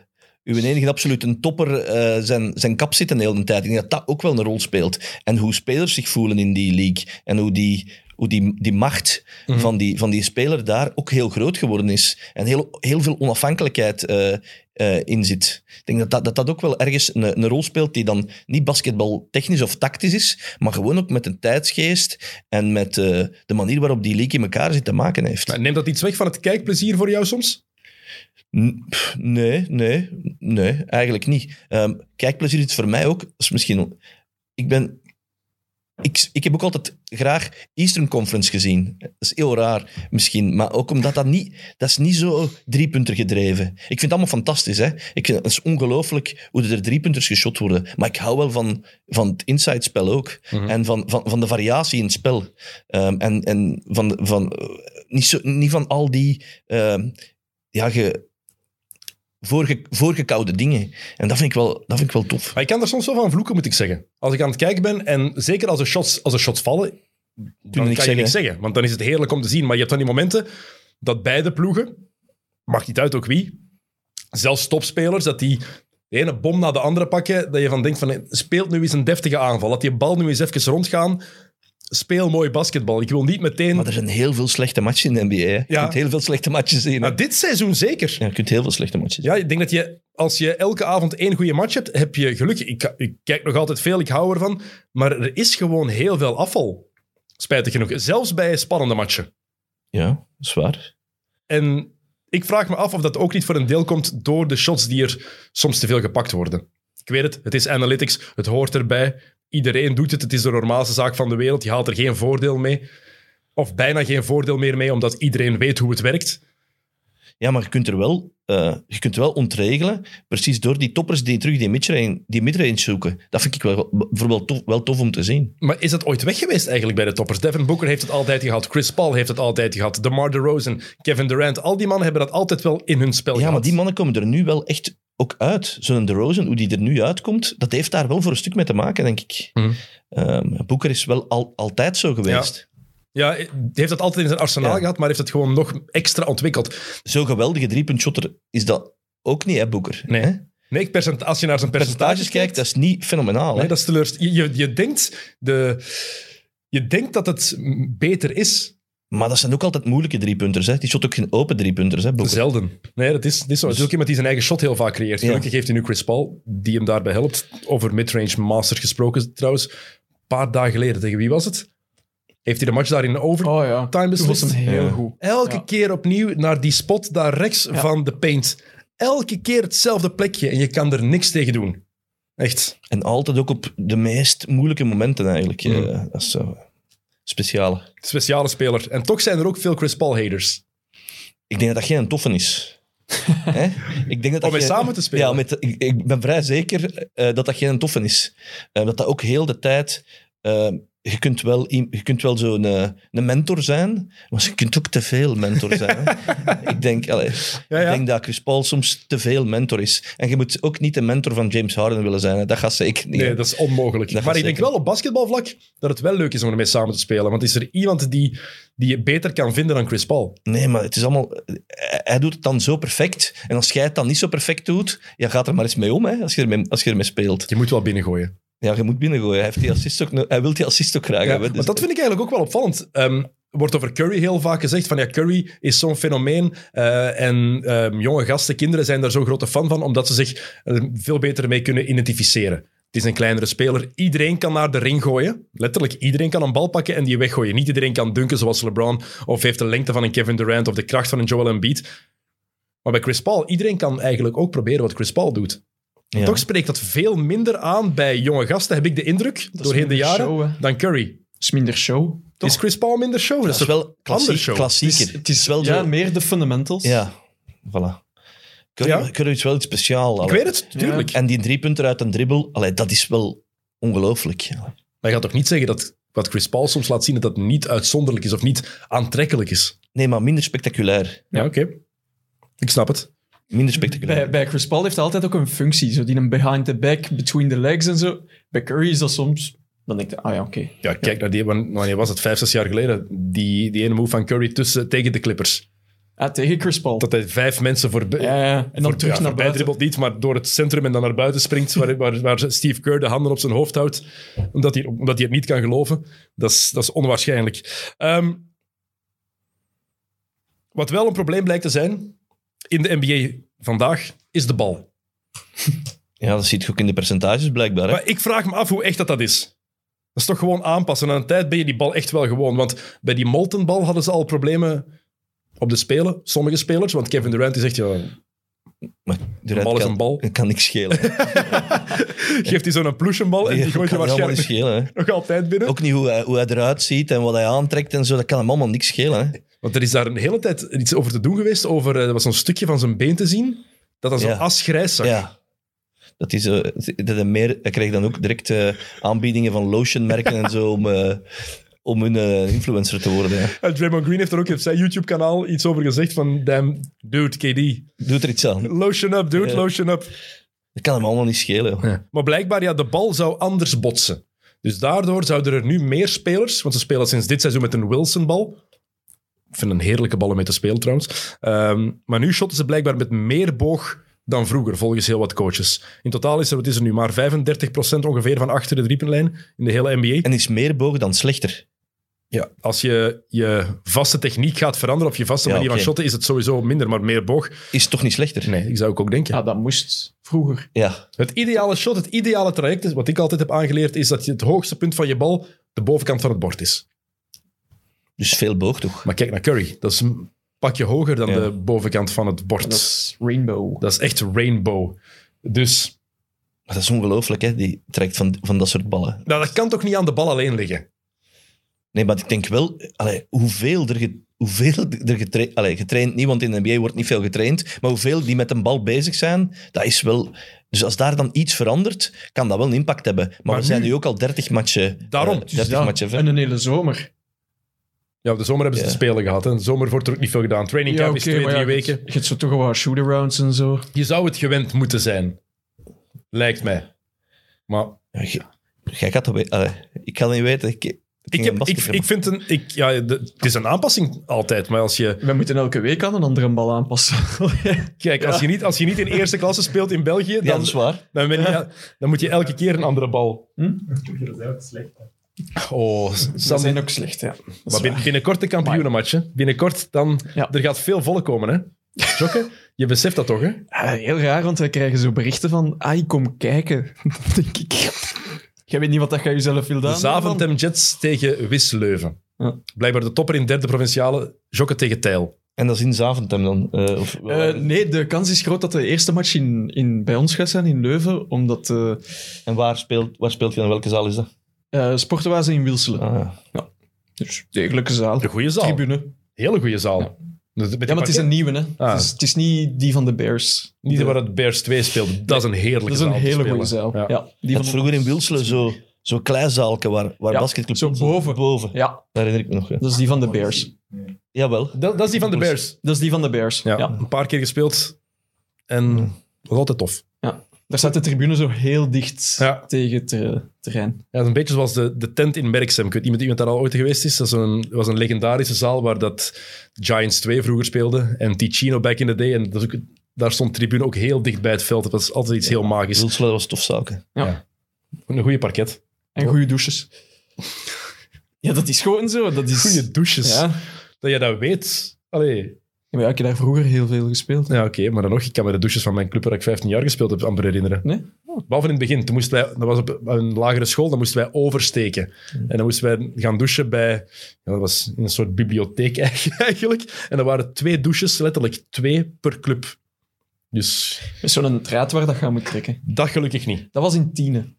uw enige absolute topper eh, zijn, zijn kap zitten de hele tijd. Ik denk dat dat ook wel een rol speelt. En hoe spelers zich voelen in die league. En hoe die, hoe die, die macht van, die, van die speler daar ook heel groot geworden is. En heel, heel veel onafhankelijkheid eh, eh, in zit. Ik denk dat dat, dat dat ook wel ergens een, een rol speelt die dan niet basketbaltechnisch of tactisch is, maar gewoon ook met een tijdsgeest en met eh, de manier waarop die league in elkaar zit te maken heeft.
nou, neemt dat iets weg van het kijkplezier voor jou soms?
N- pff, Nee, nee, nee, eigenlijk niet. Ehm, kijkplezier is voor mij ook, is misschien... Ik ben... Ik, ik heb ook altijd graag Eastern Conference gezien. Dat is heel raar misschien, maar ook omdat dat niet... Dat is niet zo driepunter gedreven. Ik vind het allemaal fantastisch, hè. Ik vind, het is ongelooflijk hoe er driepunters geschot worden. Maar ik hou wel van, van het inside spel ook.
Mhm.
En van, van, van de variatie in het spel. Ehm, en en van, de- van, eh, niet, zo, niet van al die... ehm, ja, ge, voorge, voorgekoude dingen. En dat vind ik wel, dat vind ik wel tof.
Maar ik kan er soms wel van vloeken, moet ik zeggen. Als ik aan het kijken ben, en zeker als er shots, als er shots vallen, dan kan
niks
je
zeggen,
niks
hè?
zeggen. Want dan is het heerlijk om te zien. Maar je hebt dan die momenten dat beide ploegen, maakt niet uit ook wie, zelfs topspelers, dat die de ene bom eh, na de andere pakken, dat je van denkt van, speelt nu eens een deftige aanval. Laat die bal nu eens even rondgaan. speel mooi basketbal. Ik wil niet meteen...
Maar er zijn heel veel slechte matchen in de NBA. hè. Je
Ja.
kunt heel veel slechte matchen zien. hè.
Maar dit seizoen zeker.
Ja, je kunt heel veel slechte matchen zien.
Ja, ik denk dat je, als je elke avond één goede match hebt, heb je geluk. Ik, ik kijk nog altijd veel, ik hou ervan. Maar er is gewoon heel veel afval. Spijtig genoeg. Zelfs bij spannende matchen.
Ja, dat is waar.
En ik vraag me af of dat ook niet voor een deel komt door de shots die er soms te veel gepakt worden. Ik weet het, het is analytics, het hoort erbij. Iedereen doet het, het is de normaalste zaak van de wereld. Je haalt er geen voordeel mee. Of bijna geen voordeel meer mee, omdat iedereen weet hoe het werkt.
Ja, maar je kunt er wel, eh, je kunt wel ontregelen, precies door die toppers die terug die midrange, die midrange zoeken. Dat vind ik wel, bijvoorbeeld tof, wel tof om te zien.
Maar is dat ooit weg geweest eigenlijk bij de toppers? Devin Booker heeft het altijd gehad. Chris Paul heeft het altijd gehad. DeMar DeRozan, Kevin Durant. Al die mannen hebben dat altijd wel in hun spel
Ja,
gehad.
maar die mannen komen er nu wel echt ook uit. Zo'n DeRozan, hoe die er nu uitkomt, dat heeft daar wel voor een stuk mee te maken, denk ik.
Mhm.
Ehm, Boeker is wel al, altijd zo geweest.
Ja, die heeft dat altijd in zijn arsenaal
Ja.
gehad, maar heeft het gewoon nog extra ontwikkeld.
Zo'n geweldige driepuntshotter is dat ook niet, hè, Boeker?
Nee.
Hè?
Nee, ik percent- als je naar zijn
Percentages kijkt, dat is niet fenomenaal.
Nee,
hè?
dat is teleurst. Je, je, je, denkt de, je denkt dat het mm, beter is.
Maar dat zijn ook altijd moeilijke driepunters. Hè? Die shot ook geen open driepunters, hè,
Dus
Boeker?
Zelden. Nee, dat is, dat
Dus-
is zo. Het is ook iemand die zijn eigen shot heel vaak creëert.
Ja.
Gelukkig heeft hij nu Chris Paul, die hem daarbij helpt. Over midrange masters gesproken trouwens. Een paar dagen geleden, tegen wie was het? Heeft hij de match daar in overtime
Oh ja. Toen was hem
beslist?
heel goed.
Elke
Ja.
keer opnieuw naar die spot daar rechts van de paint. Elke keer hetzelfde plekje en je kan er niks tegen doen. Echt.
En altijd ook op de meest moeilijke momenten eigenlijk. eh,
Mhm.
dat is zo speciale.
Speciale speler. En toch zijn er ook veel Chris Paul-haters.
Ik denk dat dat geen toffe
*laughs*
is. Hè? ik denk dat dat
Om mee
geen-
samen te spelen.
Ja, met, ik, ik ben vrij zeker eh, dat dat geen toffe is. Eh, dat dat ook heel de tijd... eh, je kunt wel, i- je kunt wel zo'n eh, een mentor zijn, maar je kunt ook te veel
*laughs*
mentor zijn. hè. ik, denk, allee,
Ja, ja.
ik denk dat Chris Paul soms te veel mentor is. En je moet ook niet de mentor van James Harden willen zijn. Hè. Dat gaat zeker niet.
Nee, dat is onmogelijk.
Dat
maar
gaat
ik denk
zeker.
wel op basketbalvlak dat het wel leuk is om ermee samen te spelen. Want is er iemand die, die je beter kan vinden dan Chris Paul?
Nee, maar het is allemaal... eh, Hij hij doet het dan zo perfect. En als jij het dan niet zo perfect doet, ja, gaat er maar eens mee om, hè, als, je ermee, als je ermee speelt.
Je moet wel binnengooien.
Ja, je moet binnengooien. Hij, heeft die assist ook, no- hij wil die assist ook graag
Ja,
hebben.
want
Dus,
dat vind ik eigenlijk ook wel opvallend. Ehm, er wordt over Curry heel vaak gezegd van ja, Curry is zo'n fenomeen eh, en ehm, jonge gasten, kinderen zijn daar zo'n grote fan van omdat ze zich eh, veel beter mee kunnen identificeren. Het is een kleinere speler. Iedereen kan naar de ring gooien. Letterlijk, iedereen kan een bal pakken en die weggooien. Niet iedereen kan dunken zoals LeBron of heeft de lengte van een Kevin Durant of de kracht van een Joel Embiid. Maar bij Chris Paul, iedereen kan eigenlijk ook proberen wat Chris Paul doet.
ja.
Toch spreekt dat veel minder aan bij jonge gasten, heb ik de indruk, doorheen de
minder
jaren,
show, hè.
dan Curry.
is minder show.
Is Chris Paul minder show?
dat is wel
dus ander
klassiek,
show.
klassieker.
Het is, het is
wel
wel ja,
zo-
meer de fundamentals.
Ja, voilà. Curry,
Ja.
Curry is wel iets speciaals.
Ik
allee.
weet het, tuurlijk.
En die driepunter uit een dribbel, allee, dat is wel ongelooflijk. Ja.
Maar je gaat toch niet zeggen dat wat Chris Paul soms laat zien, dat dat niet uitzonderlijk is of niet aantrekkelijk is?
Nee, maar minder spectaculair.
Ja, oké. Ik snap het.
Minder spectaculair.
Bij, bij Chris Paul heeft hij altijd ook een functie. Zo die een behind the back, between the legs en zo. Bij Curry is dat soms... Dan denk je, ah ja, oké.
Ja, kijk naar die, wan- wanneer was het? Vijf, zes jaar geleden. Die, die ene move van Curry tussen, tegen de Clippers.
Ah, tegen Chris Paul.
Dat hij vijf mensen voorbij...
ja, ja. En dan
voor-
terug
ja,
naar
voorbij
buiten.
dribbelt niet, maar door het centrum en dan naar buiten springt, waar, waar, *laughs* waar Steve Kerr de handen op zijn hoofd houdt, omdat hij, omdat hij het niet kan geloven. Dat is, dat is onwaarschijnlijk. Ehm, wat wel een probleem blijkt te zijn in de NBA vandaag, is de bal.
Ja, dat ziet je ook in de percentages blijkbaar. Hè?
Maar ik vraag me af hoe echt dat, dat is. Dat is toch gewoon aanpassen. Aan een tijd ben je die bal echt wel gewoon. Want bij die moltenbal hadden ze al problemen op de spelen. Sommige spelers. Want Kevin Durant die zegt, ja,
*laughs* Maar Durant
bal is
kan-
een bal.
kan niks
*laughs*
schelen.
geeft hij zo'n ploesjenbal en die
Ja,
Oh, gooit je
kan helemaal niet
waarschijnlijk
schelen. hè.
nog altijd binnen.
Ook niet hoe hij, hoe hij eruit ziet en wat hij aantrekt en zo. Dat kan hem allemaal niks schelen. Hè?
Want er is daar een hele tijd iets over te doen geweest. Over, eh, er was zo'n stukje van zijn been te zien. Dat als
Ja.
een asgrijs zag.
Ja. Dat is, eh, dat hij meer, hij krijgt dan ook direct eh, aanbiedingen van lotionmerken en zo om, eh, om hun eh, influencer te worden. Hè.
En Draymond Green heeft er ook op zijn YouTube-kanaal iets over gezegd. Van, damn, dude, KD.
Doet er iets aan.
Lotion up, dude,
Ja.
lotion up.
Dat kan hem allemaal niet schelen. joh.
Maar blijkbaar, ja, de bal zou anders botsen. Dus daardoor zouden er nu meer spelers, want ze spelen sinds dit seizoen met een Wilson-bal. Ik vind een heerlijke bal om mee te spelen trouwens. Ehm, maar nu shotten ze blijkbaar met meer boog dan vroeger, volgens heel wat coaches. In totaal is er, wat is er nu, maar 35% ongeveer van achter de driepuntlijn in de hele NBA.
En is meer boog dan slechter.
Ja, als je je vaste techniek gaat veranderen of je vaste
Ja,
manier
oké.
van shotten, is het sowieso minder, maar meer boog.
Is toch niet slechter?
Nee, ik zou ook denken.
Ja, dat moest vroeger.
Ja.
Het ideale shot, het ideale traject, is- wat ik altijd heb aangeleerd, is dat je het hoogste punt van je bal de bovenkant van het bord is.
Dus veel boog toch?
Maar kijk naar Curry. Dat is een pakje hoger dan
Ja.
de bovenkant van het bord.
Dat is Rainbow.
Dat is echt rainbow. Dus
Maar dat is ongelooflijk, hè, die trekt van, van dat soort ballen.
nou, dat kan toch niet aan de bal alleen liggen?
Nee, maar ik denk wel, allee, hoeveel er, ge- hoeveel er getraind... Allee, getraind niet, want in de NBA wordt niet veel getraind. Maar hoeveel die met een bal bezig zijn, dat is wel... Dus als daar dan iets verandert, kan dat wel een impact hebben. Maar,
Maar
we zijn
nu-
nu ook al 30 matchen...
Daarom,
eh,
dus
30
Ja,
matchen ver.
en een hele zomer.
Ja, de zomer hebben ze
Ja.
te spelen gehad. Hè. De zomer wordt er ook niet veel gedaan. Training camp is twee,
maar
drie
ja,
weken.
Je hebt zo toch wel wat shoot-arounds en zo.
Je zou het gewend moeten zijn. Lijkt mij. Maar
Ja, j- Jij gaat dat we- allee, ik ga dat niet weten. Ik,
ik, heb, ik, ik vind een... Ik, ja, de- het is een aanpassing altijd, maar als je...
We moeten elke week aan een andere bal *laughs* aanpassen.
Kijk, als, je niet, als je niet in eerste klasse speelt in België, dan,
Ja, dat is waar.
dan, ben je- dan moet je elke keer een andere bal... Oh,
Dat
Sandy.
zijn ook slecht, ja.
Maar bin- binnenkort de kampioenenmatch, hè. Binnenkort dan...
Ja.
Er gaat veel volk komen, hè. Jokke, je beseft dat
*laughs*
toch, hè?
Ah, heel raar, want wij krijgen zo berichten van... Ah, ik kom kijken. *laughs* Dan denk ik... Jij weet niet wat dat jij jezelf wil doen.
De Zaventem Jets tegen Wisleuven.
Ja.
Blijkbaar de topper in derde provinciale, Jokke tegen Tijl.
En dat is in Zaventem dan? eh, of,
Eh, nee, de kans is groot dat de eerste match in, in, bij ons gaat zijn, in Leuven. Omdat eh
en waar speelt, waar speelt je en welke zaal is dat?
eh sportenwazen in Wilselen.
Ah, ja.
Dus degelijke zaal.
De goede zaal.
Tribune.
Hele goede zaal. Dus Met die
Ja, maar het is
parkeer-
een nieuwe, hè.
Ah.
Het, is, het is niet die van de Bears.
Niet
De-
waar het Bears 2 speelt. Dat is een heerlijke
Dat is een
zaal om te
hele
spelen.
goede zaal. Ja.
Ja.
die
Je
van
had vroeger in Wilselen zo- zo'n klein zaalke waar, waar
Ja,
basketclub
zo
in zat.
boven.
boven.
Ja,
Daar herinner ik me nog. Ja.
dat is die van de Bears.
Jawel.
Dat, dat is die van de Bears.
Dat is die van de Bears.
Ja,
Ja.
Een paar keer gespeeld. En dat was altijd tof.
Daar staat de tribune zo heel dicht
Ja.
tegen het eh, terrein.
Ja, dat is een beetje zoals de, de tent in Merksem. Ik weet niet of iemand daar al ooit geweest is. Dat is een, was een legendarische zaal waar dat Giants 2 vroeger speelde. En Ticino back in the day. En dat is ook, daar stond tribune ook heel dicht bij het veld. Dat was altijd iets heel magisch.
Wilselen was tof zaalke.
Een goede parket.
En goede douches. *laughs* Ja, dat is gewoon zo. Dat is...
Goede douches.
Ja.
Dat je dat weet. Allee.
Ja, maar ja, ik heb daar vroeger heel veel gespeeld.
Ja, oké, maar dan nog. Ik kan me de douches van mijn club waar ik 15 jaar gespeeld heb amper herinneren.
Nee? Oh.
Behalve in het begin. Toen moesten wij, dat was op een lagere school, dan moesten wij oversteken.
Mm.
En dan moesten wij gaan douchen bij... ja, dat was in een soort bibliotheek *laughs* eigenlijk. En er waren twee douches, letterlijk twee per club. Dus
Met zo'n draad waar dat gaan moet trekken.
dat gelukkig niet.
Dat was in Tiene.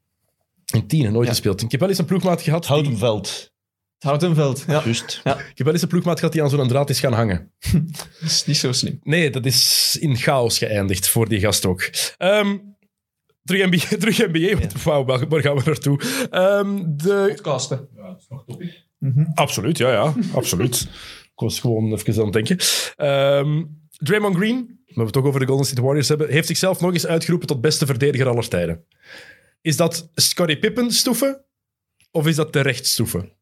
In tien, nooit
Ja.
gespeeld. Ik heb wel eens een ploegmaat gehad... die-
Houtenveld.
Het Houtenveld. Ja,
Juist.
ik heb wel eens een ploegmaat gehad die aan zo'n draad is gaan hangen.
dat is niet zo slim.
Nee, dat is in chaos geëindigd voor die gast ook. Ehm, terug NBA, *laughs* terug NBA want wauw, waar waar gaan we naartoe? Ehm, de...
Podcasten.
Absoluut, ja, ja, absoluut. Ik was gewoon even aan het denken. Ehm, Draymond Green, omdat we het toch over de Golden State Warriors hebben, heeft zichzelf nog eens uitgeroepen tot beste verdediger aller tijden. Is dat Scottie Pippen stoeven? Of is dat terecht stoeven?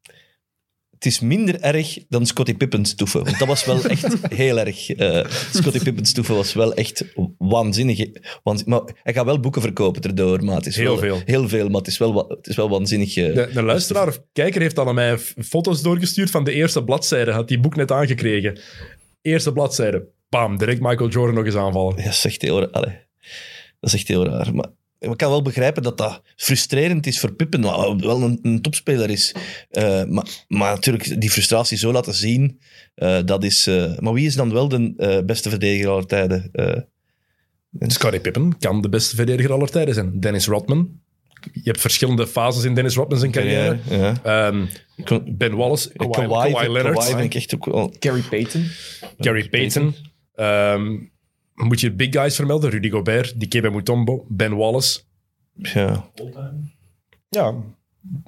Het is minder erg dan Scottie Pippen stoeven. Want dat was
*laughs*
wel echt heel erg. eh Scottie Pippen stoeven was wel echt waanzinnig. Waanzin- maar hij gaat wel boeken verkopen erdoor, maar het is
Heel
wel,
veel.
Heel veel, maar het is wel, wa- het is wel waanzinnig. eh,
De, de luisteraar of kijker heeft al aan mij f- foto's doorgestuurd van de eerste bladzijde. Had die boek net aangekregen. Eerste bladzijde. Bam, direct Michael Jordan nog eens aanvallen.
Ja, dat is echt heel raar. Allee, Dat is echt heel raar. Maar ik kan wel begrijpen dat dat frustrerend is voor Pippen, wat wel een, een topspeler is. Eh, maar, maar natuurlijk, die frustratie zo laten zien, eh, dat is... eh, maar wie is dan wel de eh, beste verdediger aller tijden? Eh,
Scottie Pippen kan de beste verdediger aller tijden zijn. Dennis Rodman. Je hebt verschillende fases in Dennis Rodman zijn carrière.
Ja.
Ehm,
Ka-
ben Wallace, Kawhi,
Kawhi,
Kawhi Leonard,
Kawhi vind ik echt ook wel...
Gary Payton.
Gary Payton. Ehm, moet je big guys vermelden? Rudy Gobert, Dikembe Mutombo, Ben Wallace.
Ja.
Ja,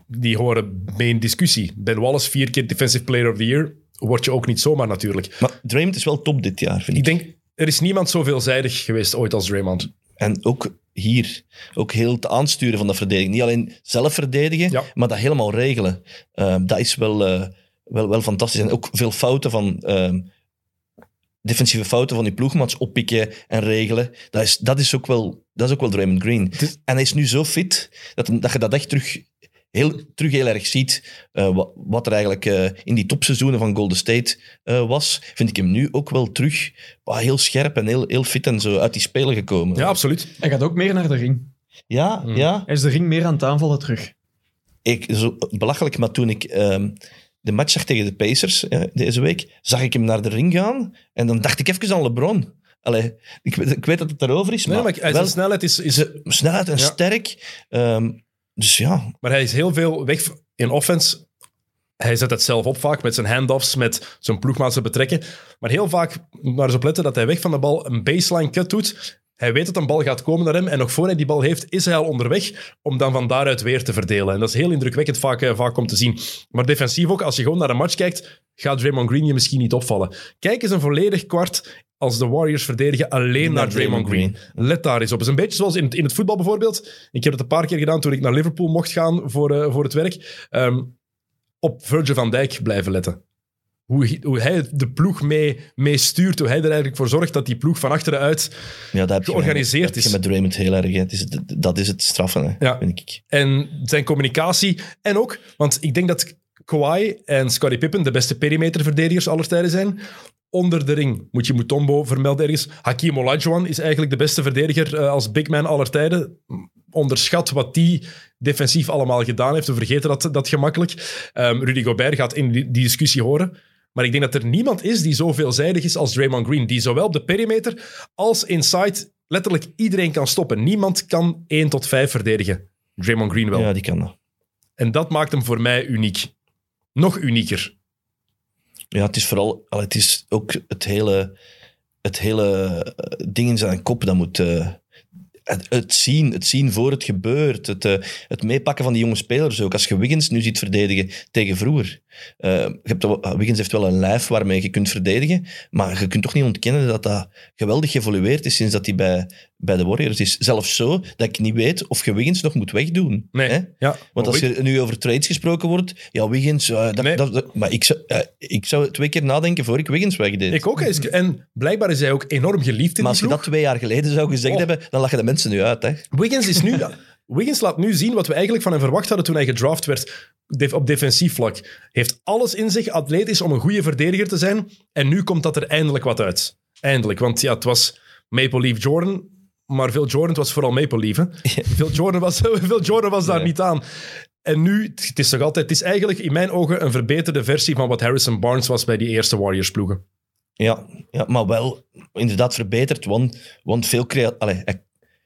die horen mee in discussie. Ben Wallace, vier keer Defensive Player of the Year, word je ook niet zomaar natuurlijk.
Maar Draymond is wel top dit jaar, vind ik.
Ik denk, er is niemand zo veelzijdig geweest ooit als Draymond.
En ook hier, ook heel het aansturen van de verdediging. Niet alleen zelf verdedigen,
Ja.
maar dat helemaal regelen. Ehm, dat is wel, eh, wel, wel fantastisch. En ook veel fouten van... ehm, defensieve fouten van die ploegmats oppikken en regelen. Dat is, dat is, ook, wel, dat is ook wel Draymond Green.
is-
En hij is nu zo fit dat, hem- dat je dat echt terug heel, terug heel erg ziet eh, wa- wat er eigenlijk eh, in die topseizoenen van Golden State eh, was, vind ik hem nu ook wel terug ah, heel scherp en heel, heel fit en zo uit die spelen gekomen.
Ja, absoluut.
Hij gaat ook meer naar de ring.
ja,
Mm.
ja.
Hij is de ring meer aan het aanvallen terug.
Ik, zo, belachelijk, maar toen ik ehm, de match zag tegen de Pacers eh, deze week, zag ik hem naar de ring gaan en dan dacht ik even aan LeBron. Allee, ik, weet- ik weet dat het daarover is,
Nee,
maar,
maar hij-
wel
zijn snelheid is, is...
snelheid en
Ja.
sterk. Ehm, dus ja,
Maar hij is heel veel weg v- in offense. Hij zet het zelf op vaak met zijn handoffs, met zijn ploegmaat te betrekken. Maar heel vaak, maar eens op letten, dat hij weg van de bal een baseline cut doet. Hij weet dat een bal gaat komen naar hem en nog voor hij die bal heeft, is hij al onderweg om dan van daaruit weer te verdelen. En dat is heel indrukwekkend vaak, eh, vaak om te zien. Maar defensief ook, als je gewoon naar een match kijkt, gaat Draymond Green je misschien niet opvallen. Kijk eens een volledig kwart als de Warriors verdedigen alleen naar, Draymond, Green. Let daar eens op. Het is een beetje zoals in het, in het voetbal bijvoorbeeld. Ik heb het een paar keer gedaan toen ik naar Liverpool mocht gaan voor, eh, voor het werk. Ehm, op Virgil van Dijk blijven letten. Hoe, hij- hoe hij de ploeg mee, mee stuurt, hoe hij er eigenlijk voor zorgt dat die ploeg van achteruit...
ja dat heb je,
Georganiseerd
dat heb je
is.
met Draymond heel erg. hè. Het is, dat is het straffen, hè,
Ja.
vind ik.
En zijn communicatie. En ook, want ik denk dat Kawhi en Scottie Pippen de beste perimeterverdedigers aller tijden zijn. Onder de ring moet je Mutombo vermelden ergens. Hakim Olajuwon is eigenlijk de beste verdediger eh, als big man aller tijden. Onderschat wat die defensief allemaal gedaan heeft. We vergeten dat, dat gemakkelijk. Ehm, Rudy Gobert gaat in die, die discussie horen. Maar ik denk dat er niemand is die zo veelzijdig is als Draymond Green. Die zowel op de perimeter als inside letterlijk iedereen kan stoppen. Niemand kan 1 tot 5 verdedigen. Draymond Green wel.
Ja, die kan dat.
En dat maakt hem voor mij uniek. Nog unieker.
Ja, het is vooral... allee, Het is ook het hele, het hele eh, ding in zijn kop dat moet... eh, het, het zien, het zien voor het gebeurt. Het, eh, het meepakken van die jonge spelers ook. Als je Wiggins nu ziet verdedigen tegen vroeger. eh, je hebt, wel- Wiggins heeft wel een lijf waarmee je kunt verdedigen. Maar je kunt toch niet ontkennen dat dat geweldig geëvolueerd is sinds dat hij bij, bij de Warriors is. Zelfs zo dat ik niet weet of je Wiggins nog moet wegdoen.
Nee.
hè?
Ja. Oh,
Want als er nu over trades gesproken wordt, ja, Wiggins... eh, dat,
Nee.
dat, dat- maar ik zou, eh, ik zou twee keer nadenken voor ik Wiggins wegdeed.
Ik ook. hij is- En blijkbaar is hij ook enorm geliefd in
maar
maar
als je dat twee jaar geleden zou gezegd
Oh.
hebben, dan lachen de mensen nu uit. Hè.
Wiggins, is nu, Wiggins laat nu zien wat we eigenlijk van hem verwacht hadden toen hij gedraft werd def- op defensief vlak. Heeft alles in zich, atleet is om een goede verdediger te zijn. En nu komt dat er eindelijk wat uit. Eindelijk. Want ja, het was Maple Leaf Jordan, maar Phil Jordan, het was vooral Maple Leaf. hè. Phil Jordan was, *laughs* Phil Jordan was daar
Nee.
niet aan. En nu, het- het is toch altijd, het is eigenlijk in mijn ogen een verbeterde versie van wat Harrison Barnes was bij die eerste Warriors-ploegen.
Ja, ja, maar wel inderdaad verbeterd. Want, want veel, crea allee, hij-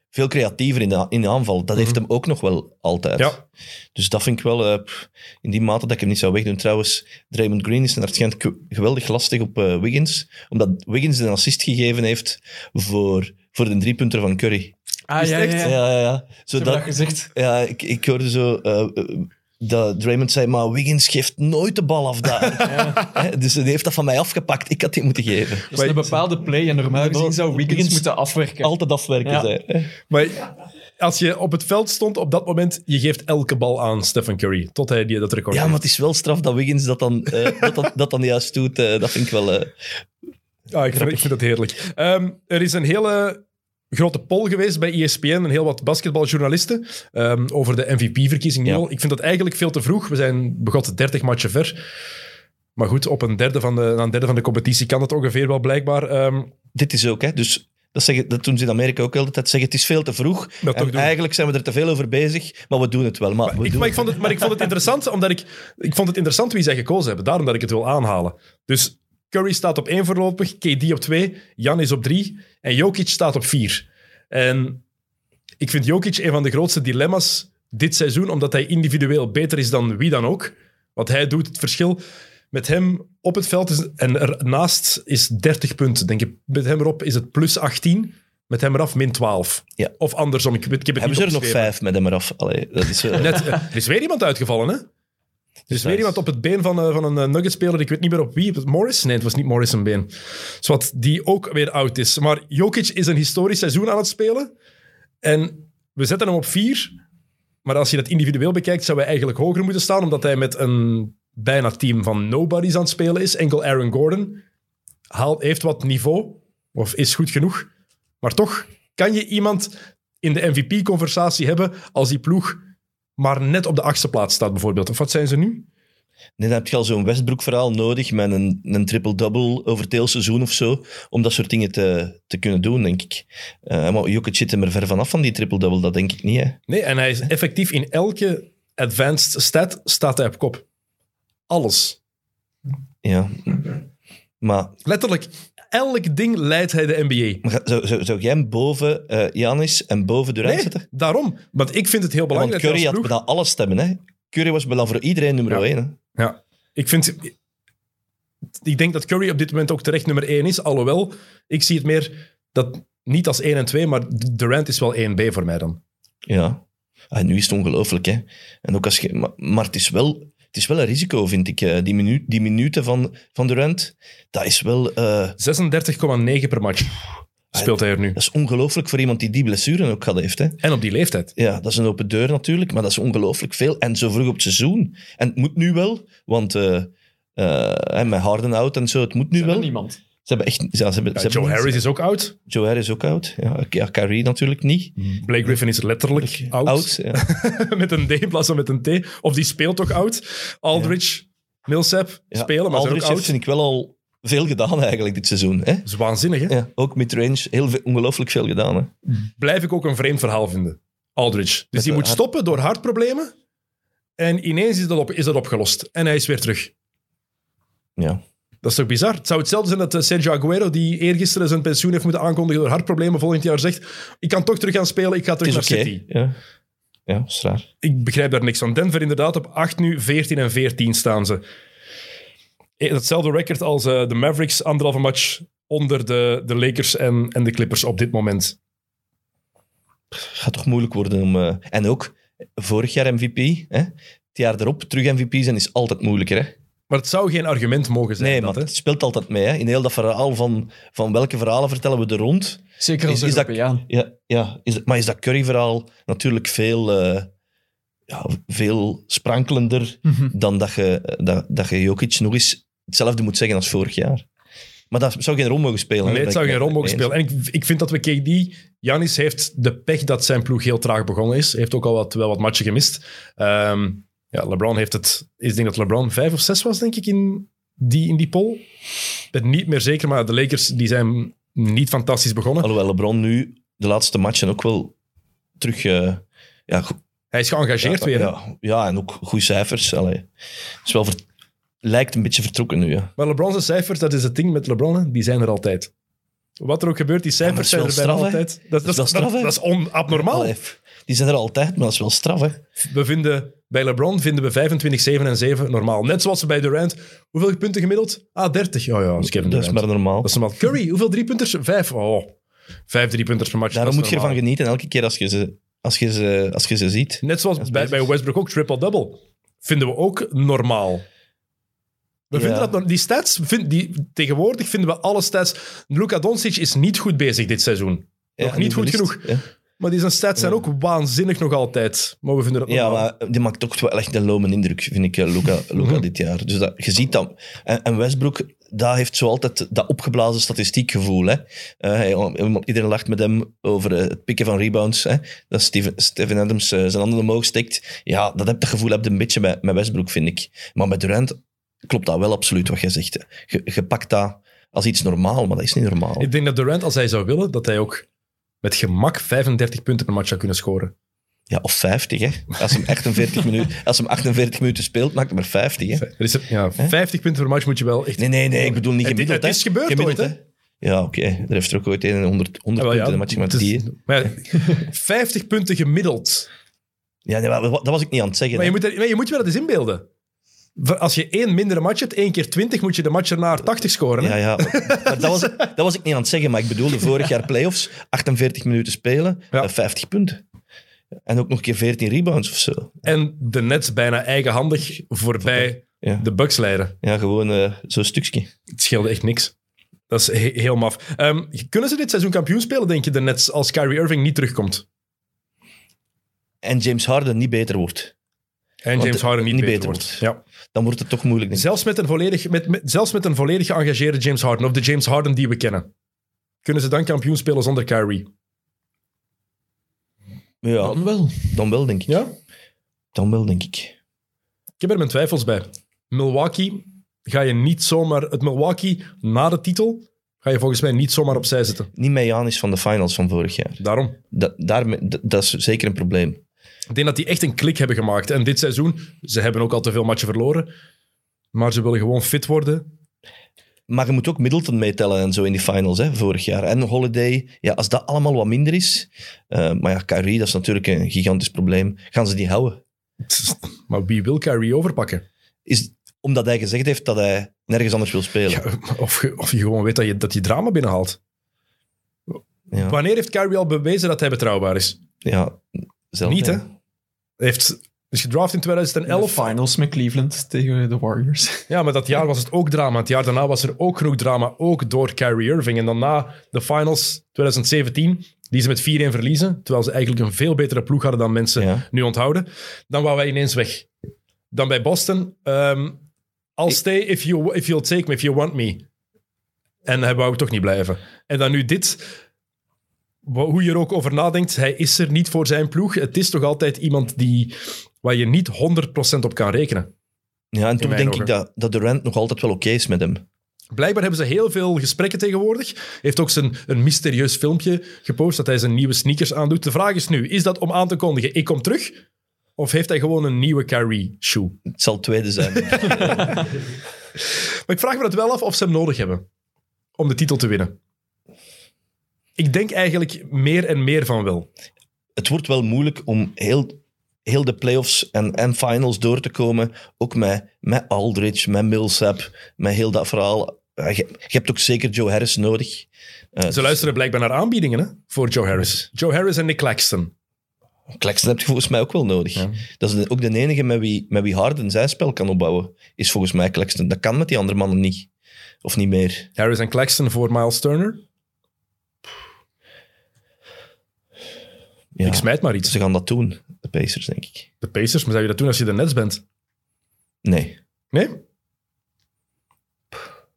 veel creatiever in de, in de aanval, dat heeft hem ook nog wel altijd.
Mhm. Ja.
Dus dat vind ik wel eh, pff, in die mate dat ik hem niet zou wegdoen. Trouwens, Draymond Green is naar het schijnt k- geweldig lastig op eh, Wiggins. Omdat Wiggins een assist gegeven heeft voor, voor de driepunter van Curry.
Ah, ja, ja,
Ja, ja, ja. Zo
dat
dat,
gezegd.
ja ik, ik hoorde zo eh, eh, dat Draymond zei, maar Wiggins geeft nooit de bal af daar. Hè, Dus die heeft dat van mij afgepakt. Ik had die moeten geven.
Dat is een bepaalde play en normaal gezien zou Wiggins moeten afwerken.
Altijd afwerken,
Ja.
zei hij.
Maar als je op het veld stond op dat moment, je geeft elke bal aan Stephen Curry. Tot hij die, dat record
Ja, maar
heeft.
het is wel straf dat Wiggins dat dan, eh, dat, dat, dat dan juist doet. eh, dat vind ik wel... eh,
Ah, ik, vind, ik vind dat heerlijk. Ehm, er is een hele grote poll geweest bij E ESPN en heel wat basketbaljournalisten ehm, over de MVP-verkiezing.
Ja.
Ik vind dat eigenlijk veel te vroeg. We zijn begot 30 matchen ver. Maar goed, op een derde van de, na een derde van de competitie kan dat ongeveer wel blijkbaar. Ehm,
dit is ook, hè. Dus dat, zeggen, dat doen ze in Amerika ook altijd. Dat zeggen, het is veel te vroeg.
Dat
En
toch doen.
eigenlijk zijn we er te veel over bezig, maar we doen het wel. Maar, we
ik,
doen
maar, ik vond het, maar ik vond het interessant, omdat ik, ik vond het interessant wie zij gekozen hebben. Daarom dat ik het wil aanhalen. Dus Curry staat op één voorlopig, KD op twee, Jan is op drie en Jokic staat op vier. En ik vind Jokic een van de grootste dilemma's dit seizoen, omdat hij individueel beter is dan wie dan ook. Wat hij doet, het verschil met hem op het veld is, en ernaast is 30 punten. Denk ik, met hem erop is het plus 18, met hem eraf min 12.
Ja.
Of andersom, ik, weet- ik heb het
Hebben
niet
ze er nog
opgeschreven.
vijf met hem eraf? Allee, dat
*laughs*
is, eh,
Net, eh, er is weer iemand uitgevallen, hè? Er is weer iemand op het been van, eh, van een eh, Nuggetspeler. Ik weet niet meer op wie. Was het Morris? Nee, het was niet Morris een been. Zwat, die ook weer oud is. Maar Jokic is een historisch seizoen aan het spelen. En we zetten hem op vier. Maar als je dat individueel bekijkt, zou hij eigenlijk hoger moeten staan. Omdat hij met een bijna team van nobodies aan het spelen is. Enkel Aaron Gordon haalt, heeft wat niveau. Of is goed genoeg. Maar toch kan je iemand in de MVP-conversatie hebben als die ploeg maar net op de achtste plaats staat bijvoorbeeld. Of wat zijn ze nu?
Nee, dan heb je al zo'n Westbroek-verhaal nodig met een, een triple-double over het hele seizoen of zo, om dat soort dingen te, te kunnen doen, denk ik. Eh, maar Jokic zit hem er ver vanaf van die triple-double, dat denk ik niet. Hè.
Nee, en hij is effectief in elke advanced stat staat hij op kop. Alles.
Ja. Maar
Letterlijk, elk ding leidt hij de NBA.
maar ga- zou, zou, zou jij hem boven eh Janis en boven Durant
Nee,
zetten?
daarom. Want ik vind het heel
Want
belangrijk. dat
Curry
je
had
als ploeg-
bijna alle stemmen. Hè. Curry was bijna voor iedereen nummer 1.
Ja, ik vind... Ik denk dat Curry op dit moment ook terecht nummer 1 is. Alhoewel, ik zie het meer dat, niet als 1 en 2, maar Durant is wel 1B voor mij dan.
Ja. En nu is het ongelooflijk, hè. En ook als je, maar, maar het, is wel, het is wel een risico, vind ik. eh, Die, minu, die minuten van, van Durant, dat is wel... eh,
36,9 per match speelt hij er nu.
dat is ongelooflijk voor iemand die die blessure ook gehad heeft, hè.
En op die leeftijd.
Ja, dat is een open deur natuurlijk, maar dat is ongelooflijk veel. En zo vroeg op het seizoen. En het moet nu wel, want eh eh, hè, met Harden out en zo, het moet nu wel.
niemand.
Ze hebben echt... ja, ze hebben, ze
Ja,
hebben
Joe
niet-
Harris is ook oud.
Joe Harris ook oud. Ja, ja Kyrie natuurlijk niet.
Blake Griffin is letterlijk oud.
Oud, ja.
*laughs* met een D in plaats van met een T. Of die speelt toch oud. Aldridge, Millsap,
Ja,
spelen, maar
Aldridge
zijn ook
heeft,
oud.
vind ik wel al veel gedaan eigenlijk dit seizoen. Hè?
Dat is waanzinnig, hè?
Ja, ook midrange, heel veel, ongelooflijk veel gedaan. Hè?
Blijf ik ook een vreemd verhaal vinden. Aldridge. Dus die
de
moet
hart-
stoppen door hartproblemen. En ineens is dat, op, is dat opgelost. En hij is weer terug.
Ja.
Dat is toch bizar? Het zou hetzelfde zijn dat eh, Sergio Aguero, die eergisteren zijn pensioen heeft moeten aankondigen door hartproblemen, volgend jaar zegt: Ik kan toch terug gaan spelen, ik ga
Het
terug
is
naar
oké.
City.
Ja. ja, is raar.
Ik begrijp daar niks van. Denver inderdaad op 8 nu, 14 en 14 staan ze. Eh, Hetzelfde record als eh, de Mavericks, anderhalve match onder de, de Lakers en, en de Clippers op dit moment.
gaat toch moeilijk worden om... eh, en ook, vorig jaar MVP, hè? het jaar erop terug MVP zijn is altijd moeilijker. Hè?
Maar het zou geen argument mogen zijn.
Nee,
dat,
maar
hè?
het speelt altijd mee. Hè? In heel dat verhaal van, van welke verhalen vertellen we er rond.
Zeker als
Is- is dat-
Europeaan.
Ja, ja is, dat- maar is dat Curry-verhaal natuurlijk veel, eh, ja, veel sprankelender
Mhm.
dan dat je, eh, dat, dat je Jokic nog eens hetzelfde moet zeggen als vorig jaar. Maar dat zou geen rol mogen spelen. hè?
Nee, het
Dat
zou
ben
geen
ik
rol mogen
mee eens.
spelen. En ik, ik vind dat we KD... Janis heeft de pech dat zijn ploeg heel traag begonnen is. Hij heeft ook al wat, wel wat matchen gemist. Ehm, ja, LeBron heeft het... Ik denk dat LeBron vijf of zes was, denk ik, in die, in die poll. Ik ben niet meer zeker, maar de Lakers die zijn niet fantastisch begonnen.
Alhoewel LeBron nu de laatste matchen ook wel terug... eh, ja, go-
Hij is geëngageerd
ja,
weer. hè.
Ja, ja, en ook goede cijfers. Allee. Is wel ver- lijkt een beetje vertrokken nu. Ja.
Maar LeBron's cijfers, dat is het ding met LeBron, hè, die zijn er altijd. Wat er ook gebeurt, die
maar
cijfers
dat
zijn
is
er bijna
wel straf, hè?
altijd. Dat,
Dat is wel straf,
dat,
hè?
dat is on, abnormaal.
Allee, die zijn er altijd, maar dat is wel straf. Hè?
We vinden, bij LeBron vinden we 25, 7 en 7 normaal. Net zoals ze bij Durant. Hoeveel punten gemiddeld? Ah, 30. Oh ja, dat is Kevin
Dat is
Durant.
maar normaal.
Dat is normaal. Curry, hoeveel driepunters? Vijf. Oh, vijf driepunters per match.
Daarom
dat is
moet je ervan
normaal.
genieten elke keer als je ze, als je ze, als je ze ziet.
Net zoals bij, bij Westbrook ook, triple-double. Vinden we ook normaal. We
Ja.
vinden dat, nor- die stats, vind, die, tegenwoordig vinden we alle stats. Luka Doncic is niet goed bezig dit seizoen.
Ja,
nog niet goed
verliest.
genoeg.
Ja.
Maar die zijn stats zijn ook waanzinnig nog altijd. Maar we vinden dat
Ja,
normaal.
maar eh, die maakt toch wel echt een lome indruk, vind ik, eh, Luca, Luca dit jaar. Dus dat, je ziet dat. En, en Westbrook, daar heeft zo altijd dat opgeblazen statistiekgevoel. Hè. Eh, hij- iedereen lacht met hem over eh, het pikken van rebounds. Hè. Dat Steven, Steven Adams eh, zijn handen omhoog steekt. Ja, dat, heb, dat gevoel heb je een beetje met, met Westbrook, vind ik. Maar met Durant klopt dat wel absoluut wat jij zegt. hè. Je, je pakt dat als iets normaal, maar dat is niet normaal.
Ik denk dat Durant, als hij zou willen, dat hij ook met gemak 35 punten per match zou kunnen scoren.
Ja, of 50, hè. Als hem 48, *laughs* minuten, als hem 48 minuten speelt, maakt hij maar 50, hè.
Er is er- ja, 50 punten per match moet je wel echt...
Nee, nee, nee, ik bedoel niet
Het-
gemiddeld.
het is
hè.
gebeurd
Gemiddeld,
ooit, hè?
Ja, oké. Er heeft er ook ooit een 100, 100
Ah, wel,
punten in match met
het is-
die. hè.
maar ja, *laughs* 50 punten gemiddeld.
Ja, nee, maar wat- dat was ik niet aan het zeggen.
Maar je
hè.
moet, er- maar je moet wel dat eens inbeelden. Voor- Als je één mindere match hebt, één keer 20, moet je de match erna 80 scoren. hè?
Ja, ja. Maar dat, was, dat was ik niet aan het zeggen, maar ik bedoelde vorig jaar playoffs, 48 minuten spelen,
Ja.
eh, 50 punten. En ook nog een keer 14 rebounds of zo.
En de Nets bijna eigenhandig voorbij
Ja,
de Bucks leiden.
ja gewoon eh, zo'n stukje.
Het scheelde echt niks. Dat is he- heel maf. Ehm, kunnen ze dit seizoen kampioen spelen, denk je, de Nets, als Kyrie Irving niet terugkomt?
En James Harden niet beter wordt.
En
Want
James
de-
Harden niet,
niet
beter,
beter
wordt.
wordt.
Ja.
Dan wordt het toch moeilijk. denk ik.
Zelfs met, een volledig, met, met- zelfs met een volledig geëngageerde James Harden, of de James Harden die we kennen, kunnen ze dan kampioen spelen zonder Kyrie?
Ja,
wel.
dan wel, denk ik.
Ja?
Dan wel, denk ik.
Ik heb er mijn twijfels bij. Milwaukee ga je niet zomaar... Het Milwaukee na de titel ga je volgens mij niet zomaar opzij zetten.
Niet met Janis van de finals van vorig jaar.
Daarom.
Da- daarmee- d- dat is zeker een probleem.
Ik denk dat die echt een klik hebben gemaakt. En dit seizoen, ze hebben ook al te veel matchen verloren. Maar ze willen gewoon fit worden.
Maar je moet ook Middleton meetellen en zo in die finals, hè, vorig jaar. En Holiday. Ja, als dat allemaal wat minder is... eh, maar ja, Kyrie, dat is natuurlijk een gigantisch probleem. Gaan ze die houden?
Maar wie wil Kyrie overpakken?
Is, omdat hij gezegd heeft dat hij nergens anders wil spelen.
Ja, of, je, of je gewoon weet dat je, dat je drama binnenhaalt.
Ja.
Wanneer heeft Kyrie al bewezen dat hij betrouwbaar is?
Ja, zelf,
Niet,
ja.
hè? Hij Heeft, is gedraft in
De
2011.
finals met Cleveland tegen de Warriors. *laughs*
Ja, maar dat jaar was het ook drama. Het jaar daarna was er ook genoeg drama, ook door Kyrie Irving. En dan na de finals 2017, die ze met 4-1 verliezen, terwijl ze eigenlijk een veel betere ploeg hadden dan mensen
Ja.
nu onthouden, dan waren wij ineens weg. Dan bij Boston, ehm I'll stay if, you, if you'll take me, if you want me. En hij wou toch niet blijven. En dan nu dit, wa- hoe je er ook over nadenkt, hij is er niet voor zijn ploeg. Het is toch altijd iemand die, waar je niet 100% op kan rekenen.
Ja, en toch
mijn
denk
ogen.
ik dat, dat Durant nog altijd wel oké is met hem.
Blijkbaar hebben ze heel veel gesprekken tegenwoordig. Hij Heeft ook zijn, een mysterieus filmpje gepost dat hij zijn nieuwe sneakers aandoet. De vraag is nu, is dat om aan te kondigen, ik kom terug? Of heeft hij gewoon een nieuwe Kyrie shoe?
Het zal het
*laughs*
tweede zijn.
Maar ik vraag me dat wel af of ze hem nodig hebben om de titel te winnen. Ik denk eigenlijk meer en meer van wel.
het wordt wel moeilijk om heel, heel de playoffs en, en finals door te komen. Ook met, met Aldridge, met Millsap, met heel dat verhaal. Eh, Je, je hebt ook zeker Joe Harris nodig. Eh,
Ze luisteren blijkbaar naar aanbiedingen hè, voor Joe Harris. Joe Harris en Nick Claxton.
Claxton heb je volgens mij ook wel nodig. Dat is de- ook de enige met wie, met wie Harden zijn spel kan opbouwen, is volgens mij Claxton. Dat kan met die andere mannen niet. Of niet meer.
Harris en Claxton voor Miles Turner.
Ja.
Ik smijt maar iets.
Ze gaan dat doen, de Pacers, denk ik.
De Pacers, maar zou je dat doen als je de Nets bent?
Nee.
Nee?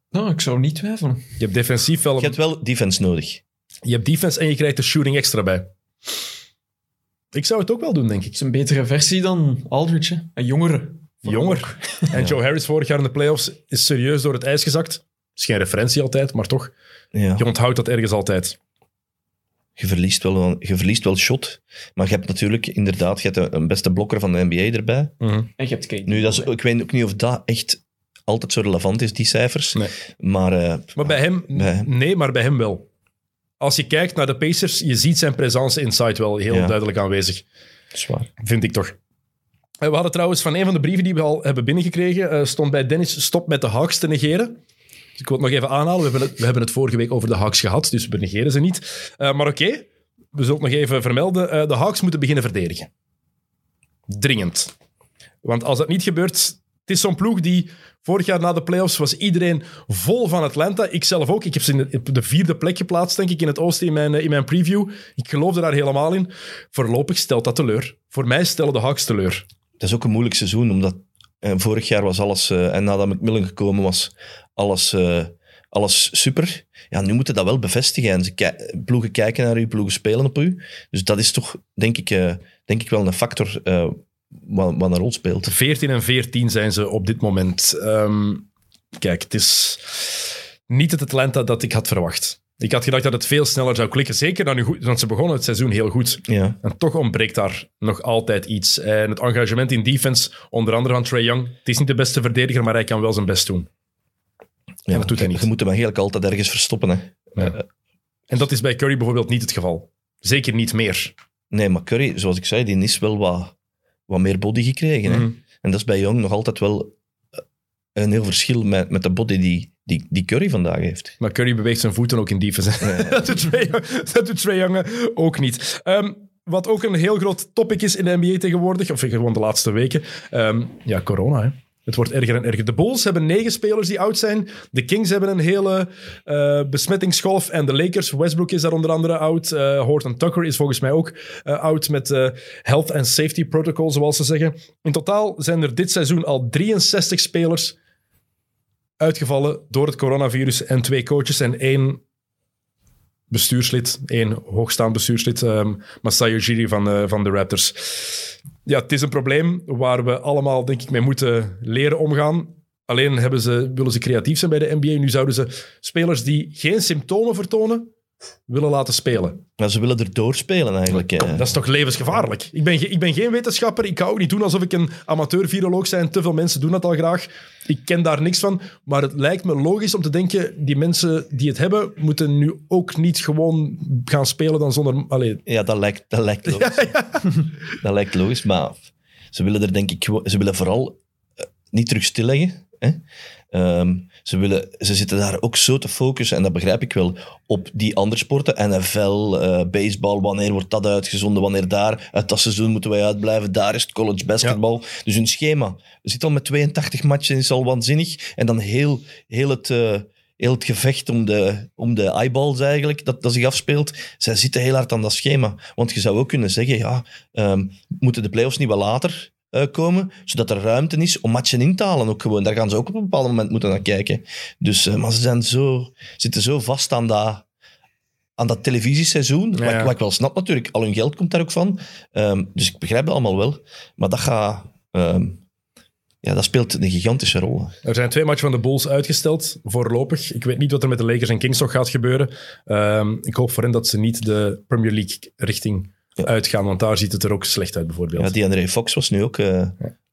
Nou, ik zou niet twijfelen.
Je hebt defensief wel
Je
een
hebt wel defense nodig.
Je hebt defense en je krijgt de shooting extra bij. Ik zou het ook wel doen, denk ik.
Het is een betere versie dan Aldridge. hè. Een jongere.
Jonger. En Joe Harris vorig jaar in de playoffs is serieus door het ijs gezakt. Is geen referentie altijd, maar toch.
Ja.
Je onthoudt dat ergens altijd.
Je verliest, wel, een- je verliest wel shot, maar je hebt natuurlijk inderdaad je hebt een- een beste blokker van de NBA erbij.
En je hebt Kane.
Nu, dat is, ik weet ook niet of dat echt altijd zo relevant is, die cijfers.
Nee.
Maar eh,
Maar bij hem,
Bij hem.
nee, maar bij hem wel. Als je kijkt naar de Pacers, je ziet zijn presence inside wel heel
Ja.
duidelijk aanwezig.
zwaar.
Vind ik toch. Eh, We hadden trouwens van een van de brieven die we al hebben binnengekregen, eh, stond bij Dennis, stop met de Hawks te negeren. Dus ik wil het nog even aanhalen. We hebben het, we hebben het vorige week over de Hawks gehad, dus we negeren ze niet. Eh, maar oké, we zullen het nog even vermelden. Eh, de Hawks moeten beginnen verdedigen. Dringend. Want als dat niet gebeurt, het is zo'n ploeg die vorig jaar na de playoffs was iedereen vol van Atlanta. Ik zelf ook. Ik heb ze in de, op de vierde plek geplaatst, denk ik, in het oosten in mijn, eh, in mijn preview. Ik geloofde daar helemaal in. Voorlopig stelt dat teleur. Voor mij stellen de Hawks teleur.
Dat is ook een moeilijk seizoen, omdat eh, vorig jaar was alles, eh, en nadat McMillan gekomen was, alles, eh, alles super. Ja, nu moeten dat wel bevestigen. En ze ki- ploegen kijken naar u, ploegen spelen op u. Dus dat is toch, denk ik, eh, denk ik wel een factor eh, wat, wat een rol speelt.
14 en 14 zijn ze op dit moment. Ehm, kijk, het is niet het Atlanta dat ik had verwacht. Ik had gedacht dat het veel sneller zou klikken. Zeker dan nu goed, want ze begonnen het seizoen heel goed.
Ja.
En toch ontbreekt daar nog altijd iets. En het engagement in defense, onder andere van Trae Young. Het is niet de beste verdediger, maar hij kan wel zijn best doen.
Ja,
dat doet hij
je-
niet.
Je moet hem eigenlijk altijd ergens verstoppen. Hè.
En dat is bij Curry bijvoorbeeld niet het geval. Zeker niet meer.
Nee, maar Curry, zoals ik zei, die is wel wat, wat meer body gekregen. Hè?
Mhm.
En dat is bij Young nog altijd wel eh, een heel verschil met, met de body die, die, die Curry vandaag heeft.
Maar Curry beweegt zijn voeten ook in defense. *laughs* dat doet Trae Young- dat doet Trae Young eh, ook niet. Ehm, wat ook een heel groot topic is in de NBA tegenwoordig, of gewoon de laatste weken, ehm, ja, corona. Hè. Het wordt erger en erger. De Bulls hebben negen spelers die oud zijn. De Kings hebben een hele eh, besmettingsgolf. En de Lakers, Westbrook is daar onder andere oud. Eh, Horton Tucker is volgens mij ook eh, oud met eh, health and safety protocol, zoals ze zeggen. In totaal zijn er dit seizoen al 63 spelers uitgevallen door het coronavirus en twee coaches en één bestuurslid, één hoogstaand bestuurslid, ehm Masai Ujiri van, eh, van de Raptors. ja, het is een probleem waar we allemaal, denk ik, mee moeten leren omgaan. Alleen hebben ze, willen ze creatief zijn bij de NBA. Nu zouden ze spelers die geen symptomen vertonen, willen laten spelen.
Maar ze willen er doorspelen eigenlijk. eh.
Dat is toch levensgevaarlijk? Ik ben, ge- ik ben geen wetenschapper. Ik ga ook niet doen alsof ik een amateur-viroloog ben. Te veel mensen doen dat al graag. Ik ken daar niks van. Maar het lijkt me logisch om te denken: die mensen die het hebben, moeten nu ook niet gewoon gaan spelen dan zonder. Allee,
Ja, dat lijkt, dat lijkt logisch. *laughs* Dat lijkt logisch, maar ze willen er denk ik gewoon- ze willen vooral eh, niet terug stilleggen. Hè? Ehm, ze, willen, ze zitten daar ook zo te focussen, en dat begrijp ik wel, op die andere sporten. NFL, eh baseball, wanneer wordt dat uitgezonden, wanneer daar. Uit dat seizoen moeten wij uitblijven, daar is het college basketbal. Dus hun schema zit al met 82 matchen, is al waanzinnig. En dan heel, heel het... eh, heel het gevecht om de, om de eyeballs eigenlijk, dat, dat zich afspeelt. Zij zitten heel hard aan dat schema. Want je zou ook kunnen zeggen, ja, ehm, moeten de playoffs niet wat later eh, komen, zodat er ruimte is om matchen in te halen ook gewoon. Daar gaan ze ook op een bepaald moment moeten naar kijken. Dus, eh, maar ze zijn zo, zitten zo vast aan dat, aan dat televisieseizoen, wat, ik-
ja.
wat ik wel snap natuurlijk. Al hun geld komt daar ook van. Ehm, dus ik begrijp het allemaal wel. Maar dat gaat... ehm, ja, dat speelt een gigantische rol.
er zijn twee matchen van de Bulls uitgesteld, voorlopig. Ik weet niet wat er met de Lakers en Kings nog gaat gebeuren. Ehm, ik hoop voor hen dat ze niet de Premier League-richting uitgaan, want daar ziet het er ook slecht uit, bijvoorbeeld.
Ja, die André Fox was nu ook eh,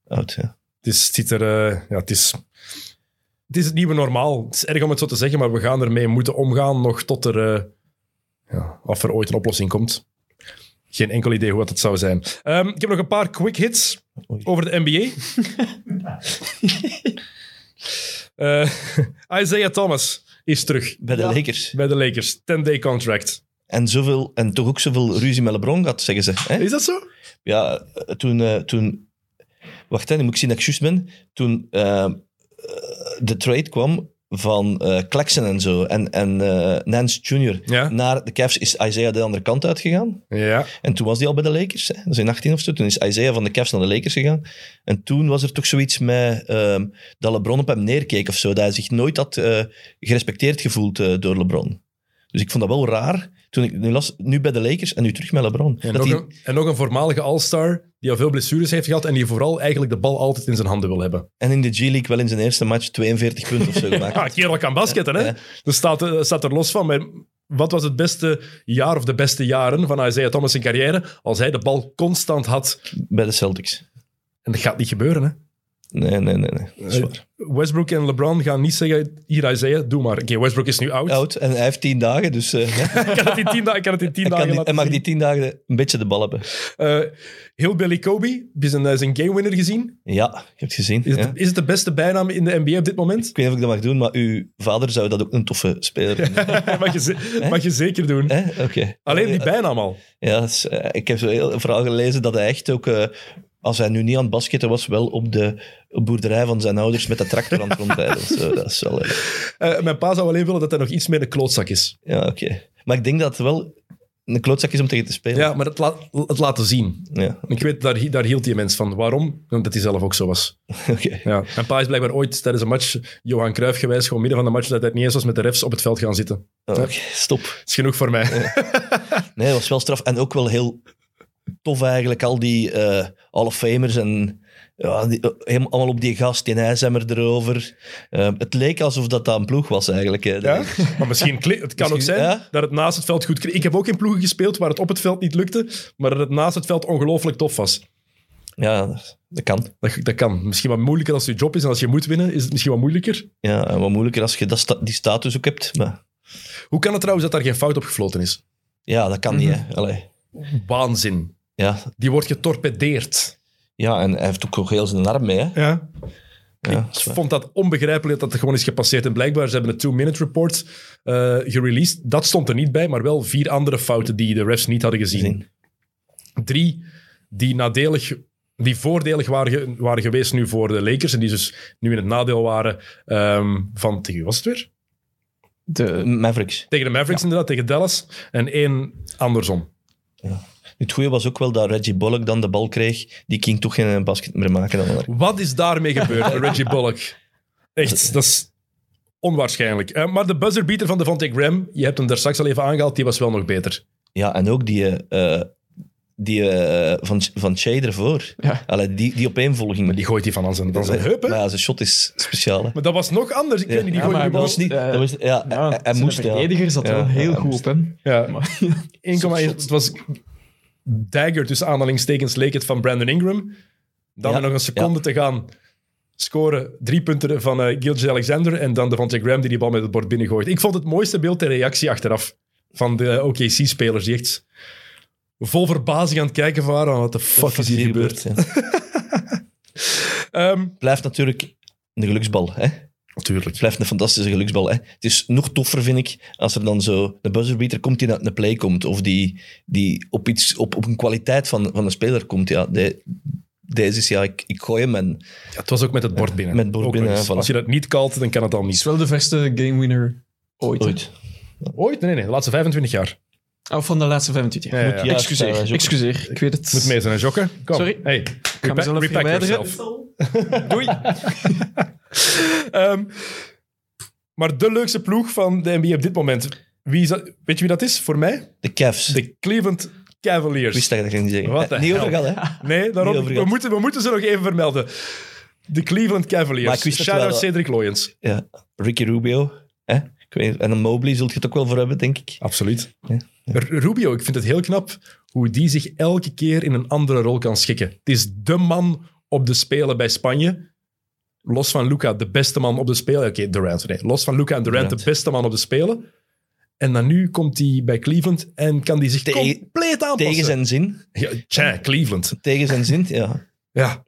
oud, ja.
Het is, het ziet er, eh, ja, het is, het is het nieuwe normaal. Het is erg om het zo te zeggen, maar we gaan ermee moeten omgaan nog tot er, eh, ja, of er ooit een oplossing komt. Geen enkel idee hoe dat het zou zijn. Ehm, ik heb nog een paar quick hits
Oei.
over de NBA.
*laughs*
Eh, *laughs* Isaiah Thomas is terug
Bij de Lakers.
bij de Lakers. 10-day contract.
En, zoveel, en toch ook zoveel ruzie met LeBron gehad, zeggen ze. Hè?
Is dat zo?
Ja, eh, toen... eh, toen wacht, hè, nu moet ik zien dat ik juist ben. Toen eh, eh, de trade kwam van eh Claxton en zo en, en eh, Nance Jr.
Ja.
naar de Cavs, is Isaiah de andere kant uitgegaan.
Ja.
En toen was hij al bij de Lakers. Hè? Dat is in 18 of zo. Toen is Isaiah van de Cavs naar de Lakers gegaan. En toen was er toch zoiets met ehm, dat LeBron op hem neerkeek of zo. Dat hij zich nooit had eh, gerespecteerd gevoeld eh, door LeBron. Dus ik vond dat wel raar. Toen ik nu las, nu bij de Lakers en nu terug met LeBron.
En,
dat
nog
hij,
een, en nog een voormalige All-Star die al veel blessures heeft gehad en die vooral eigenlijk de bal altijd in zijn handen wil hebben.
en in de G-League wel in zijn eerste match 42 punten of
*laughs*
zo gemaakt.
Ja, kerel kan basketten, hè?
Ja.
Dat staat, eh, staat er los van. Maar wat was het beste jaar of de beste jaren van Isaiah Thomas' zijn carrière? Als hij de bal constant had.
Bij de Celtics.
En dat gaat niet gebeuren, hè?
Nee, nee, nee. nee. Dat is waar.
Westbrook en LeBron gaan niet zeggen, hier Isaiah, doe maar. Oké, Westbrook is nu oud.
Oud en hij heeft 10 dagen, dus eh, ja,
*laughs* Ik kan het in tien, da- ik kan het in tien dagen
hij, kan die- hij
laten
mag
zien.
die 10 dagen een beetje de bal hebben.
Eh, heel Billy Kobe, die zijn, eh, zijn gamewinner gezien.
Ja, ik heb het gezien.
Is,
ja.
het, is het de beste bijnaam in de NBA op dit
*laughs*
moment?
Ik weet niet of ik dat mag doen, maar uw vader zou dat ook een toffe speler vinden.
mag, je, ze- mag je zeker doen.
Hè? Oké.
Alleen die bijnaam al.
Ja, dat is, eh, ik heb zo heel een verhaal gelezen dat hij echt ook, eh, als hij nu niet aan het basketten was, wel op de boerderij van zijn ouders met de tractor aan het rondrijden. was. Zo, dat is wel... eh,
Eh, mijn pa zou alleen willen dat hij nog iets meer een klootzak is.
ja, oké. Maar ik denk dat het wel een klootzak is om tegen te spelen.
Ja, maar het, laat- het laten zien.
Ja,
Ik weet, daar, hi- daar hield die mens van. Waarom? Omdat hij zelf ook zo was.
oké.
Ja. En Pa is blijkbaar ooit tijdens een match, Johan Cruijff gewijs, gewoon midden van de match, dat hij het niet eens was met de refs op het veld gaan zitten.
Oh, oké, Stop.
Dat is genoeg voor mij.
Nee, dat was wel straf. En ook wel heel tof eigenlijk, al die eh Hall of Famers en... Ja, die, eh, helemaal allemaal op die gast, die ijzemmer erover. Eh, het leek alsof dat, dat een ploeg was eigenlijk. eh,
Ja? *laughs* Maar misschien, kli- het kan ook
Misschien,
zijn
ja.
dat het naast het veld goed klinkt. Ik heb ook in ploegen gespeeld waar het op het veld niet lukte, maar dat het naast het veld ongelooflijk tof was.
*laughs* ja, dat kan.
Dat, dat kan. Misschien wat moeilijker als het je job is en als je moet winnen, is het misschien wat moeilijker.
Ja, en wat moeilijker als je dat sta- die status ook hebt. Maar
Hoe kan het trouwens dat daar geen fout op gefloten is?
ja, dat kan niet,
Mhm.
hè. Allee.
Waanzin.
Ja.
Die wordt getorpedeerd.
ja, en hij heeft ook nog heel zijn arm mee, hè.
Ja.
Ja,
ik
dat is waar.
vond dat onbegrijpelijk dat dat gewoon is gepasseerd. En blijkbaar, ze hebben een two-minute report eh, gereleased. Dat stond er niet bij, maar wel vier andere fouten die de refs niet hadden gezien.
Gezien.
Drie die nadelig, die voordelig waren, ge- waren geweest nu voor de Lakers. En die dus nu in het nadeel waren ehm, van, tegen wie was het weer?
De,
Eh, Mavericks.
Tegen de Mavericks inderdaad, tegen Dallas. En één andersom.
Het goede was ook wel dat Reggie Bullock dan de bal kreeg. Die ging toch geen eh, basket meer maken. Dan wel.
Wat is daarmee
*laughs*
gebeurd, Reggie Bullock? Echt, dat is onwaarschijnlijk. Eh, maar de buzzerbeater van Devontae Graham, je hebt hem daar straks al even aangehaald, die was wel nog beter.
Ja, en ook die, eh, eh, die eh, van, van Che ervoor.
Ja.
Allee, die, die opeenvolging.
Die gooit die van aan zijn, van zijn heup, hè?
Maar ja, zijn shot is speciaal. hè.
Maar dat was nog anders. Ik weet niet, die
Ja,
gooit
maar
die bal-
Dat was niet...
eh,
dat was, ja,
Ja,
hij, hij
zijn
moest... Ja.
verdediger zat er
Ja,
wel heel
hij
goed
moest.
op, hè.
Ja.
Maar-
1,1. Het was dagger tussen aanhalingstekens leek het van Brandon Ingram. Dan
Ja,
nog een seconde te gaan scoren. Drie punten van eh Gilgeous Alexander en dan Devontae Graham die die bal met het bord binnengooit. Ik vond het mooiste beeld de reactie achteraf van de OKC-spelers die echt vol verbazing aan het kijken waren van wat de fuck is hier gebeurd.
ja.
Ehm,
Blijft natuurlijk een geluksbal, hè.
Natuurlijk.
Het blijft een fantastische geluksbal. Hè? Het is nog toffer, vind ik, als er dan zo een buzzerbeater komt die naar een play komt. Of die, die op, iets, op, op een kwaliteit van, van een speler komt. Ja, de- deze is, ja, ik, ik gooi hem en
Ja, het was ook met het bord binnen.
Met het bord
Ook
binnen,
nog eens.
ja, voilà.
Als je dat niet kalt, dan kan het al
is
niet.
wel de verste game winner ooit. hè.
ooit.
Ooit? Nee, nee, de laatste 25 jaar. Eh,
Oh, van de laatste 25 jaar.
Ja, ja, ja.
Ja,
excuseer,
Sarah Joker.
excuseer. Ik weet het.
Moet mee zijn, hè, Jokke. Kom.
Sorry.
Hey,
ga
repa-
mezelf
repack
verwijderen.
yourself.
*laughs* Doei.
Ehm, maar de leukste ploeg van de NBA op dit moment. Wie is dat- weet je wie dat is voor mij?
De Cavs. Ik
De Cleveland
wist
Cavaliers.
dat je dat ging zeggen.
Wat de
niet
hel.
overgaan, hè?
Nee, daarom,
Niet
we,
overgaan.
moeten, we moeten ze nog even vermelden. De Cleveland
Maar ik
Cavaliers.
wist dat
Shout-out
wel.
Cedric Loyens.
Ja. Ricky Rubio. Hè? Ik weet, en een Mobley zult je het ook wel voor hebben, denk ik.
Absoluut.
Ja,
Rubio, ik vind het heel knap hoe die zich elke keer in een andere rol kan schikken. Het is de man op de Spelen bij Spanje. Los van Luca, de beste man op de Spelen. Oké, Durant. Nee. Los van Luca en Durant,
Durant.
de beste man op de Spelen. En dan nu komt hij bij Cleveland en kan die zich
Tegen-
compleet aanpassen.
Tegen zijn zin.
Ja, tja, Cleveland.
Tegen zijn zin, ja.
Ja.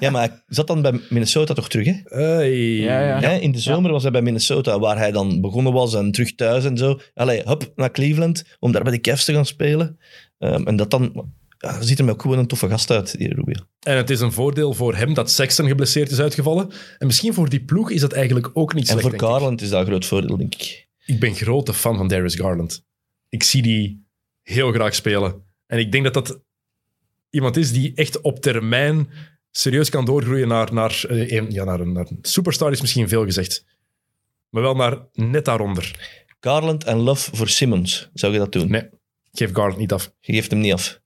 Ja, maar hij zat dan bij Minnesota toch terug, hè?
Hey.
Ja, ja.
Hè, in de zomer was hij bij Minnesota, waar hij dan begonnen was en terug thuis en zo. Allee, hup, naar Cleveland, om daar bij de Cavs te gaan spelen. Ehm, en dat dan... Ja, dan ziet hem ook gewoon een toffe gast uit, die Rubio.
En het is een voordeel voor hem dat Sexton geblesseerd is uitgevallen. En misschien voor die ploeg is dat eigenlijk ook niet
en
slecht.
voor
denk ik.
Garland is dat een groot voordeel, denk ik.
ik ben grote fan van Darius Garland. Ik zie die heel graag spelen. En ik denk dat dat iemand is die echt op termijn serieus kan doorgroeien naar, naar, eh, een, ja, naar, een, naar een superstar, is misschien veel gezegd. Maar wel naar net daaronder.
Garland en Love voor Simmons. Zou je dat doen?
Nee, geef Garland niet af.
Je geeft hem niet af.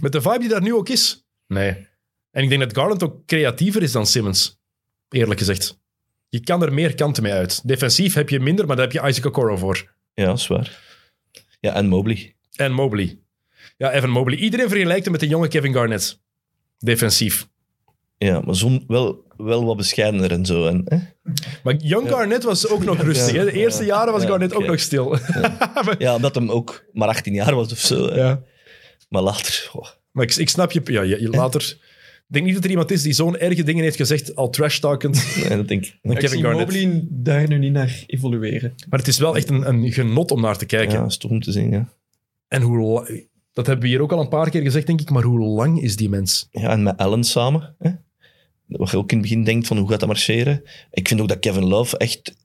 Met de vibe die daar nu ook is. Nee. En ik denk dat Garland ook creatiever is dan Simmons. Eerlijk gezegd. Je kan er meer kanten mee uit. Defensief heb je minder, maar daar heb je Isaac Okoro voor.
Ja, dat is waar. Ja, en Mobley.
En Mobley. Ja, Evan Mobley. Iedereen vergelijkt hem met de jonge Kevin Garnett. Defensief.
Ja, maar zon, wel, wel wat bescheidener en zo. En, hè?
Maar young Garnett was ook
*laughs*
nog rustig. Hè? De eerste jaren was
Ja,
Garnett ook
oké.
nog stil. *laughs*
Ja, omdat hem ook maar 18 jaar was of zo. hè.
Ja.
Maar later... goh.
Maar ik, ik snap je, ja, je, je later... Ik denk niet dat er iemand is die zo'n erge dingen heeft gezegd, al
*laughs*
trash-talkend.
Nee, dat denk ik.
Ik
Kevin
zie
Garnett.
Mobley daar nu niet naar evolueren.
Maar het is wel echt een, een genot om naar te kijken.
Ja, dat is toch om te zien, ja.
En hoe... la- Dat hebben we hier ook al een paar keer gezegd, denk ik. Maar hoe lang is die mens?
Ja, en met Allen samen. Hè? Wat je ook in het begin denkt van hoe gaat dat marcheren. Ik vind ook dat Kevin Love echt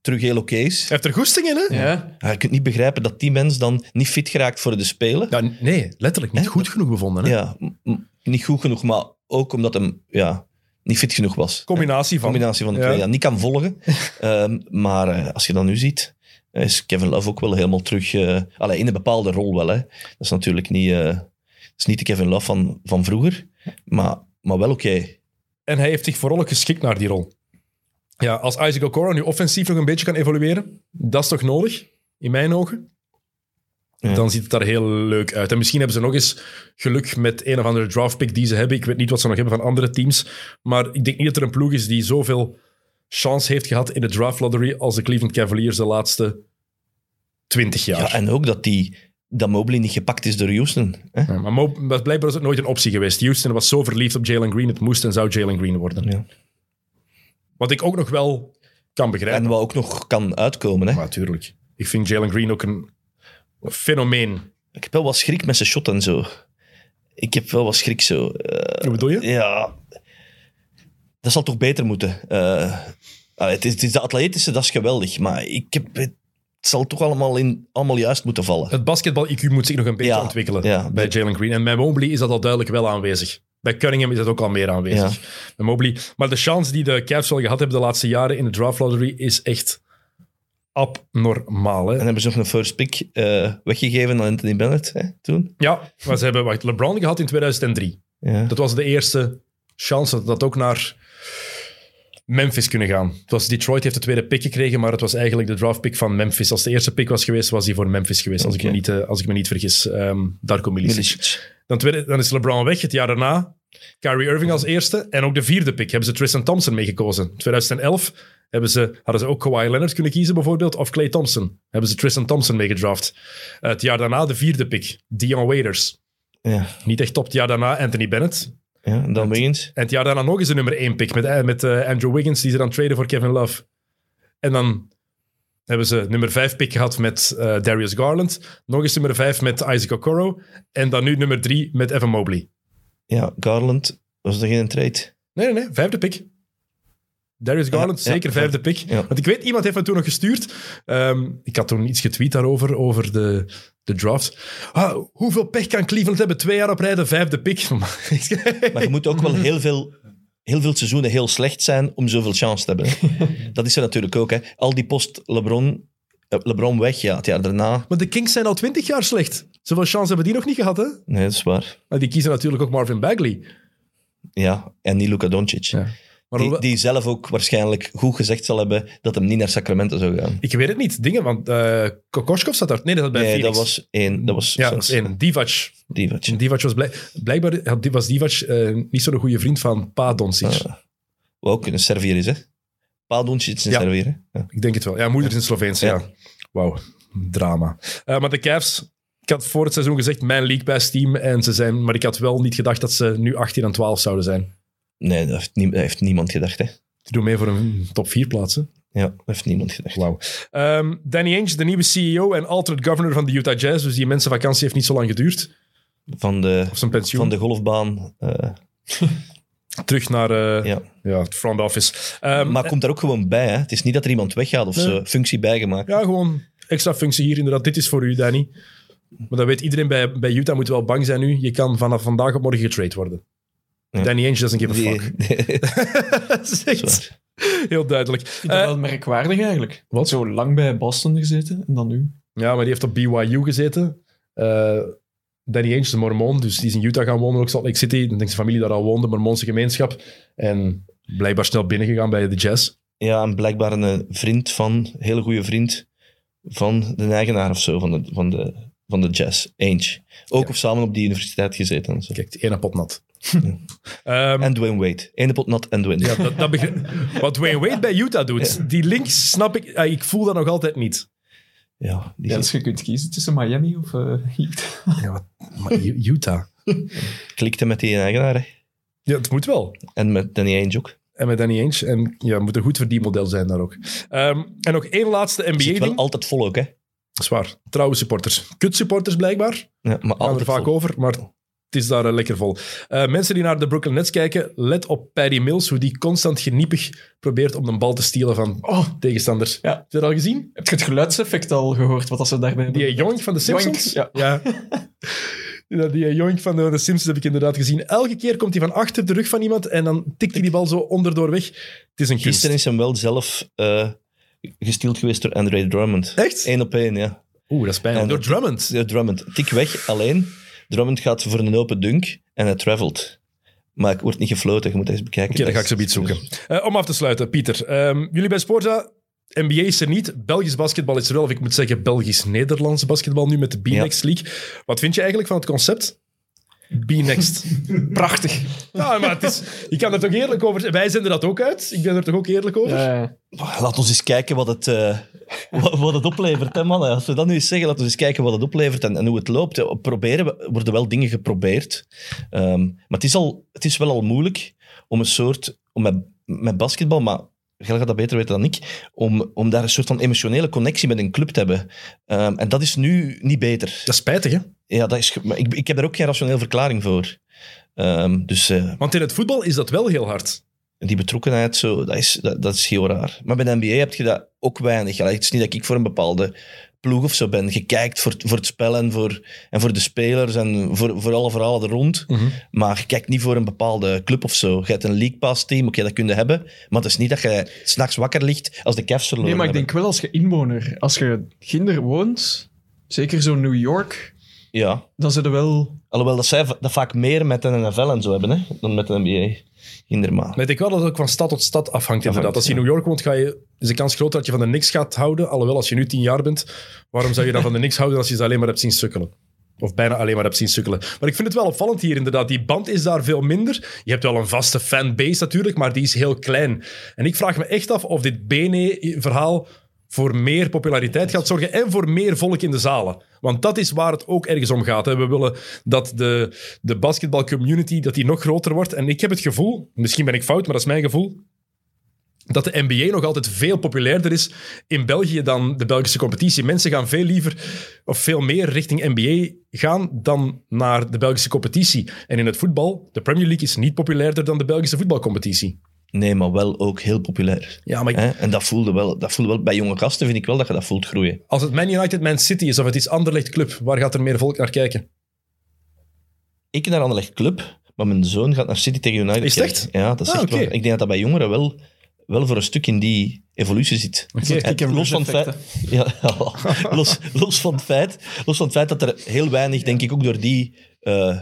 terug heel oké is.
Hij heeft er goesting in, hè?
Ja.
Ja, je kunt niet begrijpen dat die mens dan niet fit geraakt voor de Spelen. Ja,
Ja, nee, letterlijk niet
Hè?
goed genoeg bevonden. Hè?
m- m- niet goed genoeg, maar ook omdat hem ja, niet fit genoeg was.
Combinatie
Een
van.
combinatie van de
Ja.
twee. Ja, niet kan
*laughs*
volgen. Ehm, maar eh, als je dat nu ziet, eh, is Kevin Love ook wel helemaal terug... eh allee, in een bepaalde rol wel. Hè. Dat is natuurlijk niet, eh, dat is niet de Kevin Love van, van vroeger, maar, maar wel oké.
En hij heeft zich vooral ook geschikt naar die rol. Ja, als Isaac Okoro nu offensief nog een beetje kan evolueren, dat is toch nodig, in mijn ogen?
Ja.
Dan ziet het er heel leuk uit. En misschien hebben ze nog eens geluk met een of andere draftpick die ze hebben. Ik weet niet wat ze nog hebben van andere teams. Maar ik denk niet dat er een ploeg is die zoveel chance heeft gehad in de draft lottery als de Cleveland Cavaliers de laatste twintig jaar.
Ja, en ook dat, die, dat Mobley niet gepakt is door Houston. Hè?
Ja, maar Mo- maar blijkbaar is het nooit een optie geweest. Houston was zo verliefd op Jalen Green, het moest en zou Jalen Green worden.
Ja.
Wat ik ook nog wel kan begrijpen.
En wat ook nog kan uitkomen. Hè?
Maar natuurlijk. Ik vind Jalen Green ook een fenomeen.
Ik heb wel wat schrik met zijn shot en zo. Ik heb wel wat schrik zo. Eh,
Hoe bedoel je?
ja, dat zal toch beter moeten. Eh, ah, het, is, het is de atletische, dat is geweldig. Maar ik heb, het zal toch allemaal, in, allemaal juist moeten vallen.
Het basketbal-IQ moet zich nog een beetje
Ja,
ontwikkelen
ja.
bij Jalen Green. En bij Mobley is dat al duidelijk wel aanwezig. Bij Cunningham is dat ook al meer aanwezig. Bij Mobley. Maar de chance die de Cavs wel gehad hebben de laatste jaren in de draft lottery is echt abnormaal.
En
Hè?
hebben ze nog een first pick eh, weggegeven aan Anthony Bennett hè, toen.
Ja, maar ze hebben wacht, LeBron gehad in 2003.
Ja.
Dat was de eerste chance dat dat ook naar Memphis kunnen gaan. Het was Detroit heeft de tweede pick gekregen, maar het was eigenlijk de draftpick van Memphis. Als de eerste pick was geweest, was die voor Memphis geweest, als, ik,
Oké.
me niet, eh, als ik me niet vergis. Ehm Darko Milicic.
Milicic.
Dan, tweede, dan is LeBron weg het jaar daarna. Kyrie Irving als eerste. En ook de vierde pick hebben ze Tristan Thompson meegekozen. 2011 hebben ze, hadden ze ook Kawhi Leonard kunnen kiezen bijvoorbeeld. Of Clay Thompson. Hebben ze Tristan Thompson meegedraft. Eh, het jaar daarna de vierde pick. Dion Waiters.
Ja,
Niet echt top. Het jaar daarna Anthony Bennett.
ja. En dan Wiggins.
En het jaar daarna nog eens een nummer 1 pick met, eh, met eh, Andrew Wiggins, die ze dan traden voor Kevin Love. En dan hebben ze nummer 5 pick gehad met eh, Darius Garland. Nog eens nummer 5 met Isaac Okoro. En dan nu nummer 3 met Evan Mobley.
Ja, Garland. Was er geen trade?
Nee, nee, nee. Vijfde pick. Darius Garland,
ja,
zeker
ja.
vijfde pick.
Ja.
Want ik weet, iemand heeft me toen nog gestuurd. Ehm, ik had toen iets getweet daarover, over de, de draft. Ah, hoeveel pech kan Cleveland hebben? Twee jaar op rij de vijfde pick. *laughs*
Maar je moet ook wel heel veel, heel veel seizoenen heel slecht zijn om zoveel chance te hebben. hè. Dat is er natuurlijk ook. Hè. Al die post-LeBron eh, LeBron weg, ja, het jaar daarna.
Maar de Kings zijn al twintig jaar slecht. Zoveel chance hebben die nog niet gehad, hè?
Nee, dat is waar.
Maar die kiezen natuurlijk ook Marvin Bagley.
Ja, en niet Luka Doncic.
Maar
Die,
hoewel-
die zelf ook waarschijnlijk goed gezegd zal hebben dat hem niet naar Sacramento zou gaan.
Ik weet het niet. Dingen, want eh Kokoschkov zat daar. Nee, dat zat bij
Nee, dat
Phoenix.
was één. Dat was
Ja, dat
zelfs-
was één. Divac.
Divac.
Divac was blijk- blijkbaar... had- Was Divac eh, niet zo'n goede vriend van Pa Doncic.
Ah. Wat Eh, ook een Servier is, hè? Paal Doncic is een
Ja.
Servier, hè? Ja.
Ik denk het wel. Ja, moeder is in Sloveens, ja.
Ja.
Wauw, drama. Eh, maar de Cavs, ik had voor het seizoen gezegd mijn League Pass team. En ze zijn, maar ik had wel niet gedacht dat ze nu 18 en 12 zouden zijn.
Nee, dat heeft, nie- dat heeft niemand gedacht, hè?
Die doen mee voor een top 4 plaatsen.
Ja, dat heeft niemand gedacht.
Wauw. Ehm, Danny Ainge, de nieuwe CEO en alternate governor van de Utah Jazz. Dus die mensenvakantie heeft niet zo lang geduurd.
Van de,
Of zijn pensioen.
van de golfbaan. eh,
Terug naar eh, ja.
ja.
het front office. Ehm,
Maar komt daar ook gewoon bij, hè? Het is niet dat er iemand weggaat of
Nee.
zo. Functie bijgemaakt.
Ja, gewoon extra functie hier. Inderdaad, dit is voor u, Danny. Maar dat weet iedereen bij, bij Utah moet wel bang zijn nu. Je kan vanaf vandaag op morgen getrade worden.
Ja.
Danny Ainge doesn't give a
Die-
fuck.
*laughs*
Dat is echt
Dat is waar.
heel duidelijk.
vind dat
Eh,
wel merkwaardig eigenlijk.
wat?
Zo lang bij Boston gezeten en dan nu.
ja, maar die heeft op BYU gezeten. Eh, Danny Ainge is een mormoon, dus die is in Utah gaan wonen, ook Salt Lake City. Ik denk zijn familie daar al woonde, mormoonse gemeenschap. En blijkbaar snel binnengegaan bij de jazz.
ja, en blijkbaar een eh, vriend van, een hele goede vriend van de eigenaar of zo, van de, van de, van de jazz, Ainge. Ook of samen op die universiteit gezeten. En, zo.
Kijk, één pot
*laughs*
nat. Ehm,
en Dwayne Wade. Eén pot nat en Dwayne.
ja, dat, dat begri- Wat Wayne Wade bij Utah doet, die links snap ik, eh, ik voel dat nog altijd niet.
Ja, die
Ja, dus je kunt kiezen tussen Miami of... eh,
Maar U- Utah.
klikte met die eigenaar hè.
Ja, het moet wel.
en met Danny Ainge ook.
En met Danny Ainge. En ja, het moet een goed verdienmodel zijn daar ook. Ehm, en nog één laatste
Zit wel
NBA-ding.
altijd vol ook, hè?
Zwaar. Trouwe supporters. Kut supporters blijkbaar.
Ja, maar
Gaan we
altijd
er vaak
vol.
over, maar het is daar eh, lekker vol. Eh, mensen die naar de Brooklyn Nets kijken, let op Patty Mills, hoe die constant geniepig probeert om de bal te stelen van tegenstanders.
Ja.
Heb je dat al gezien?
Heb je het geluidseffect al gehoord, wat dat ze daarbij
Die eh, jonk van de Simpsons?
Jonk,
*laughs* ja. Ja, Die eh, jonk van de, de Simpsons heb ik inderdaad gezien. Elke keer komt hij van achter de rug van iemand en dan tikt hij die bal zo onderdoor weg. Het is een kunst.
Gisteren is hem wel zelf eh gestield geweest door Andre Drummond.
Echt?
Eén op één, ja.
Oeh, dat is pijnlijk.
En-
Door Drummond.
Ja, Drummond. Tik weg, alleen. Drummond gaat voor een open dunk en hij travelt. Maar ik word niet gefloten, je moet dat eens bekijken.
Oké, dan ga ik zo iets zoeken. Eh, om af te sluiten, Pieter. ehm, jullie bij Sporza, NBA is er niet. Belgisch basketbal is er wel. Of ik moet zeggen, Belgisch-Nederlands basketbal nu met de B-Next League. Wat vind je eigenlijk van het concept? *laughs* B-Next.
Prachtig.
ja, maar het is, je kan er toch eerlijk over zijn. Wij zenden dat ook uit. Ik ben er toch ook eerlijk over?
Laat ons eens kijken wat het, eh, *laughs* wat, wat het oplevert, hè, mannen. Als we dat nu eens zeggen, laat ons eens kijken wat het oplevert en, en hoe het loopt. hè. Proberen, we- worden wel dingen geprobeerd. Ehm, maar het is, al, het is wel al moeilijk om een soort... Om met, met basketbal, maar Gel gaat dat beter weten dan ik, om, om daar een soort van emotionele connectie met een club te hebben. Ehm, en dat is nu niet beter.
Dat is spijtig, hè?
Ja, dat is, ge- maar ik, ik heb daar ook geen rationele verklaring voor. Ehm, dus eh,
Want in het voetbal is dat wel heel hard.
die betrokkenheid, zo, dat, is, dat, dat is heel raar. Maar bij de NBA heb je dat ook weinig. Allee, het is niet dat ik voor een bepaalde ploeg of zo ben. Je kijkt voor, het- voor het spel en voor, en voor de spelers en voor, voor alle verhalen er rond.
Mhm.
Maar je kijkt niet voor een bepaalde club of zo. Je hebt een League Pass team, oké, dat kun je hebben. Maar het is niet dat je s'nachts wakker ligt als de Cavs verloren
Nee, maar ik
hebben.
denk wel als je inwoner, als je kinder woont, zeker zo New York,
Ja.
dan zitten wel.
Alhoewel dat zij va- dat vaak meer met een NFL en zo hebben hè, dan met de NBA. Inderdaad.
Maar ik denk wel dat het ook van stad tot stad afhangt. Inderdaad. Als je in New York woont, ga je, is de kans groot dat je van de niks gaat houden. Alhoewel, als je nu tien jaar bent, waarom zou je dan van de niks houden als je ze alleen maar hebt zien sukkelen? Of bijna alleen maar hebt zien sukkelen. Maar ik vind het wel opvallend hier inderdaad. Die band is daar veel minder. Je hebt wel een vaste fanbase natuurlijk, maar die is heel klein. En ik vraag me echt af of dit Bene-verhaal voor meer populariteit gaat zorgen en voor meer volk in de zalen. Want dat is waar het ook ergens om gaat. Hè. We willen dat de, de basketbalcommunity dat die nog groter wordt. En ik heb het gevoel, misschien ben ik fout, maar dat is mijn gevoel, dat de NBA nog altijd veel populairder is in België dan de Belgische competitie. Mensen gaan veel liever of veel meer richting NBA gaan dan naar de Belgische competitie. En in het voetbal, de Premier League is niet populairder dan de Belgische voetbalcompetitie.
Nee, maar wel ook heel populair.
Ja, maar ik-
Hè? En dat voelde, wel, dat voelde wel bij jonge gasten, vind ik wel dat je dat voelt groeien.
als het Man United, Man City is of het is Anderlecht Club, waar gaat er meer volk naar kijken?
Ik naar Anderlecht Club, maar mijn zoon gaat naar City tegen United.
Is het echt?
kijken. Ja, dat is
Ah,
echt
oké.
waar. Ik denk dat dat bij jongeren wel, wel voor een stuk in die evolutie zit.
soort
En
kick-and-rush
Los van, het feit, ja, *laughs* los, los, van het feit, los van het feit dat er heel weinig, denk ik, ook door die eh,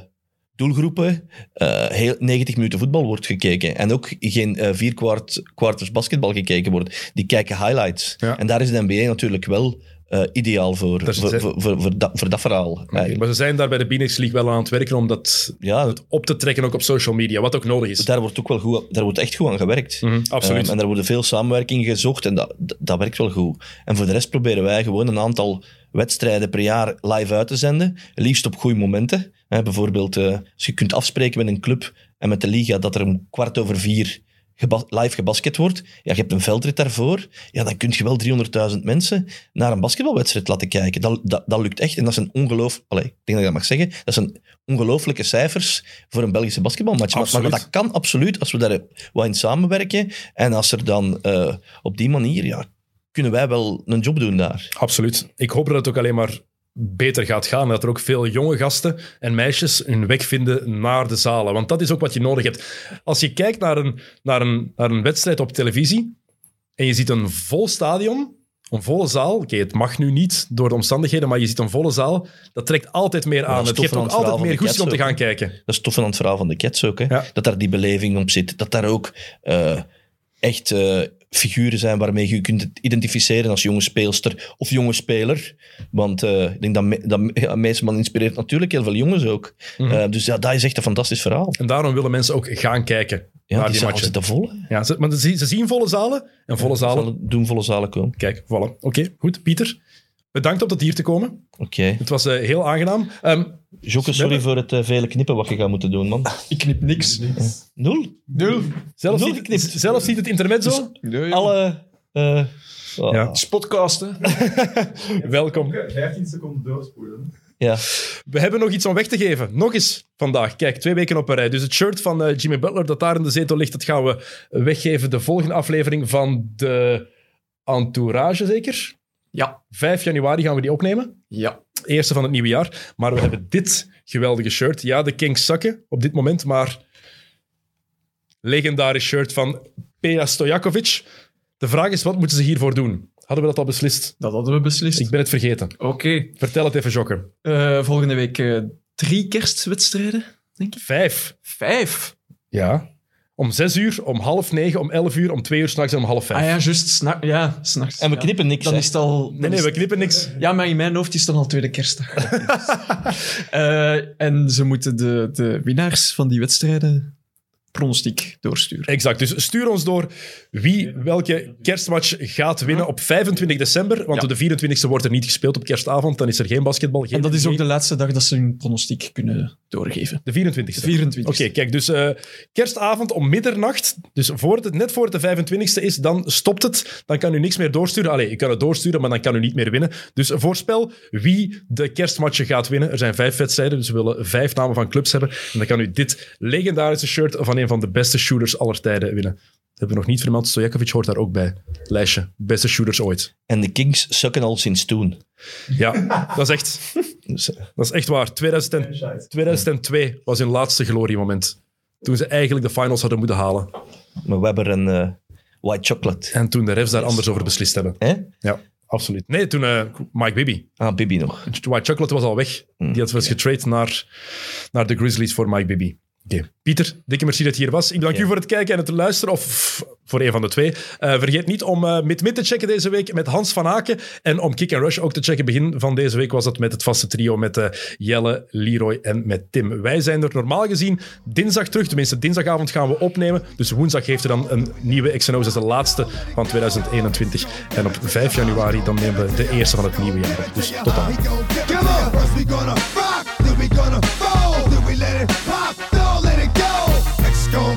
doelgroepen eh, heel 90 minuten voetbal wordt gekeken. En ook geen eh, vier kwart, quarters basketbal gekeken wordt. Die kijken highlights.
Ja.
En daar is de NBA natuurlijk wel eh, ideaal voor,
Daar zit
voor,
zij-
voor, voor, voor dat, voor dat verhaal. eigenlijk.
Maar ze zijn daar bij de Phoenix League wel aan het werken om dat
Ja, dat-
op te trekken, ook op social media, wat ook nodig is.
daar wordt ook wel goed, daar wordt echt goed aan gewerkt.
Mhm, absoluut.
Ehm, en daar worden veel samenwerkingen gezocht en dat, dat, dat werkt wel goed. En voor de rest proberen wij gewoon een aantal wedstrijden per jaar live uit te zenden. Liefst op goede momenten. Hè, bijvoorbeeld, eh, als je kunt afspreken met een club en met de liga dat er om kwart over vier geba- live gebasket wordt. Ja, je hebt een veldrit daarvoor. Ja, dan kun je wel 300.000 mensen naar een basketbalwedstrijd laten kijken. Dat, dat, dat lukt echt. En dat zijn ongeloof... Allee, ik denk dat ik dat mag zeggen. Dat zijn ongelooflijke cijfers voor een Belgische basketbalmatch. Maar, maar
Absoluut.
dat kan absoluut als we daar wat in samenwerken. En als er dan eh, op die manier... Ja, kunnen wij wel een job doen daar.
Absoluut. Ik hoop dat het ook alleen maar beter gaat gaan. en Dat er ook veel jonge gasten en meisjes hun weg vinden naar de zalen. Want dat is ook wat je nodig hebt. Als je kijkt naar een, naar een, naar een wedstrijd op televisie en je ziet een vol stadion, een volle zaal. Oké, het mag nu niet door de omstandigheden, maar je ziet een volle zaal. Dat trekt altijd meer aan.
dat is
Het
tof
geeft
aan
ook
het verhaal
altijd
van
meer
de
goesting om te
Cats
gaan kijken.
Dat is tof aan het verhaal van de Cats ook. Hè?
Ja.
Dat daar die beleving op zit. Dat daar ook eh, echt eh, figuren zijn waarmee je kunt identificeren als jonge speelster of jonge speler. Want eh, ik denk dat, me, dat me- ja, Meisman inspireert natuurlijk heel veel jongens ook.
Mhm.
Eh, dus ja, dat is echt een fantastisch verhaal.
En daarom willen mensen ook gaan kijken
Ja,
naar
die
die
zaal
matchen.
zitten vol. hè.
Ja, ze, maar ze, ze zien volle zalen en volle zalen.
Zal doen volle zalen komen.
Kijk, voilà. Oké, goed. Pieter, bedankt om tot hier te komen.
Oké.
Het was eh, heel aangenaam. Ehm,
Jokke, sorry voor het eh, vele knippen wat je gaat moeten doen, man.
*laughs* Ik knip niks.
Nul?
Nul.
zelfs,
Nog
ziet,
geknipt.
zelfs ziet het intermezzo.
Nee,
Alle... eh, oh,
Ja.
is podcasten.
Welkom.
15 seconden doorspoelen.
ja.
We hebben nog iets om weg te geven. Nog eens vandaag. Kijk, twee weken op een rij. Dus het shirt van eh, Jimmy Butler dat daar in de zetel ligt, dat gaan we weggeven. De volgende aflevering van de Entourage, zeker?
Ja.
5 januari gaan we die opnemen.
Ja.
eerste van het nieuwe jaar. Maar we hebben dit geweldige shirt. Ja, de Kings zakken op dit moment, maar legendarisch shirt van Peja Stojakovic. De vraag is, wat moeten ze hiervoor doen? Hadden we dat al beslist?
Dat hadden we beslist.
Ik ben het vergeten.
Oké.
Vertel het even, Jokke.
Eh, volgende week eh, drie kerstwedstrijden.
Vijf.
Vijf.
Ja. Om zes uur, om half negen, om elf uur, om twee uur s'nachts en om half vijf.
Ah ja, juist. Sna ja, s'nachts.
En we
Ja.
knippen niks,
Dan
hè.
is het al...
Nee, nee, we knippen niks.
Ja, maar in mijn hoofd is het dan al tweede kerstdag. Eh, en ze moeten de, de winnaars van die wedstrijden pronostiek doorsturen.
Exact. Dus stuur ons door wie welke kerstmatch gaat winnen op 25 december. Want
Ja.
op de 24e wordt er niet gespeeld op kerstavond. Dan is er geen basketbal. Geen
En dat is ook
NBA.
de laatste dag dat ze hun pronostiek kunnen doorgeven.
de 24e.
24.
Oké, kijk, dus eh, kerstavond om middernacht, dus voor het, net voor het de 25e is, dan stopt het. Dan kan u niks meer doorsturen. Allee, je kan het doorsturen, maar dan kan u niet meer winnen. Dus voorspel wie de kerstmatchen gaat winnen. Er zijn vijf wedstrijden, dus we willen vijf namen van clubs hebben. En dan kan u dit legendarische shirt van een een van de beste shooters aller tijden winnen. Dat hebben we nog niet vermeld. Stojakovic hoort daar ook bij. Lijstje. Beste shooters ooit.
En de Kings sukken al sinds toen.
Ja, dat is echt,
Dus, eh,
dat is echt waar. 2000 en- 2002 was hun laatste gloriemoment. Toen ze eigenlijk de finals hadden moeten halen.
maar we hebben een eh, white chocolate.
En toen de refs daar anders over beslist hebben.
Hè?
Ja, absoluut. Nee, toen eh, Mike Bibby.
Ah, Bibi nog.
White Chocolate was al weg. Die had wel eens getraind naar, naar de Grizzlies voor Mike Bibby. Pieter, dikke merci dat je hier was. Ik bedank u voor het kijken en het luisteren, of f- voor een van de twee. Eh, vergeet niet om eh Mid-Mid te checken deze week met Hans van Aken. En om Kick and Rush ook te checken. Begin van deze week was dat met het vaste trio met eh, Jelle, Leroy en met Tim. Wij zijn er normaal gezien dinsdag terug. Tenminste, dinsdagavond gaan we opnemen. Dus woensdag heeft er dan een nieuwe XNO's. Dat is de laatste van 2021. En op 5 januari dan nemen we de eerste van het nieuwe jaar op. Dus tot dan.
We gon' Come on. First we gonna rock, then we gonna roll, then we let it pop, don't let it go. X gon'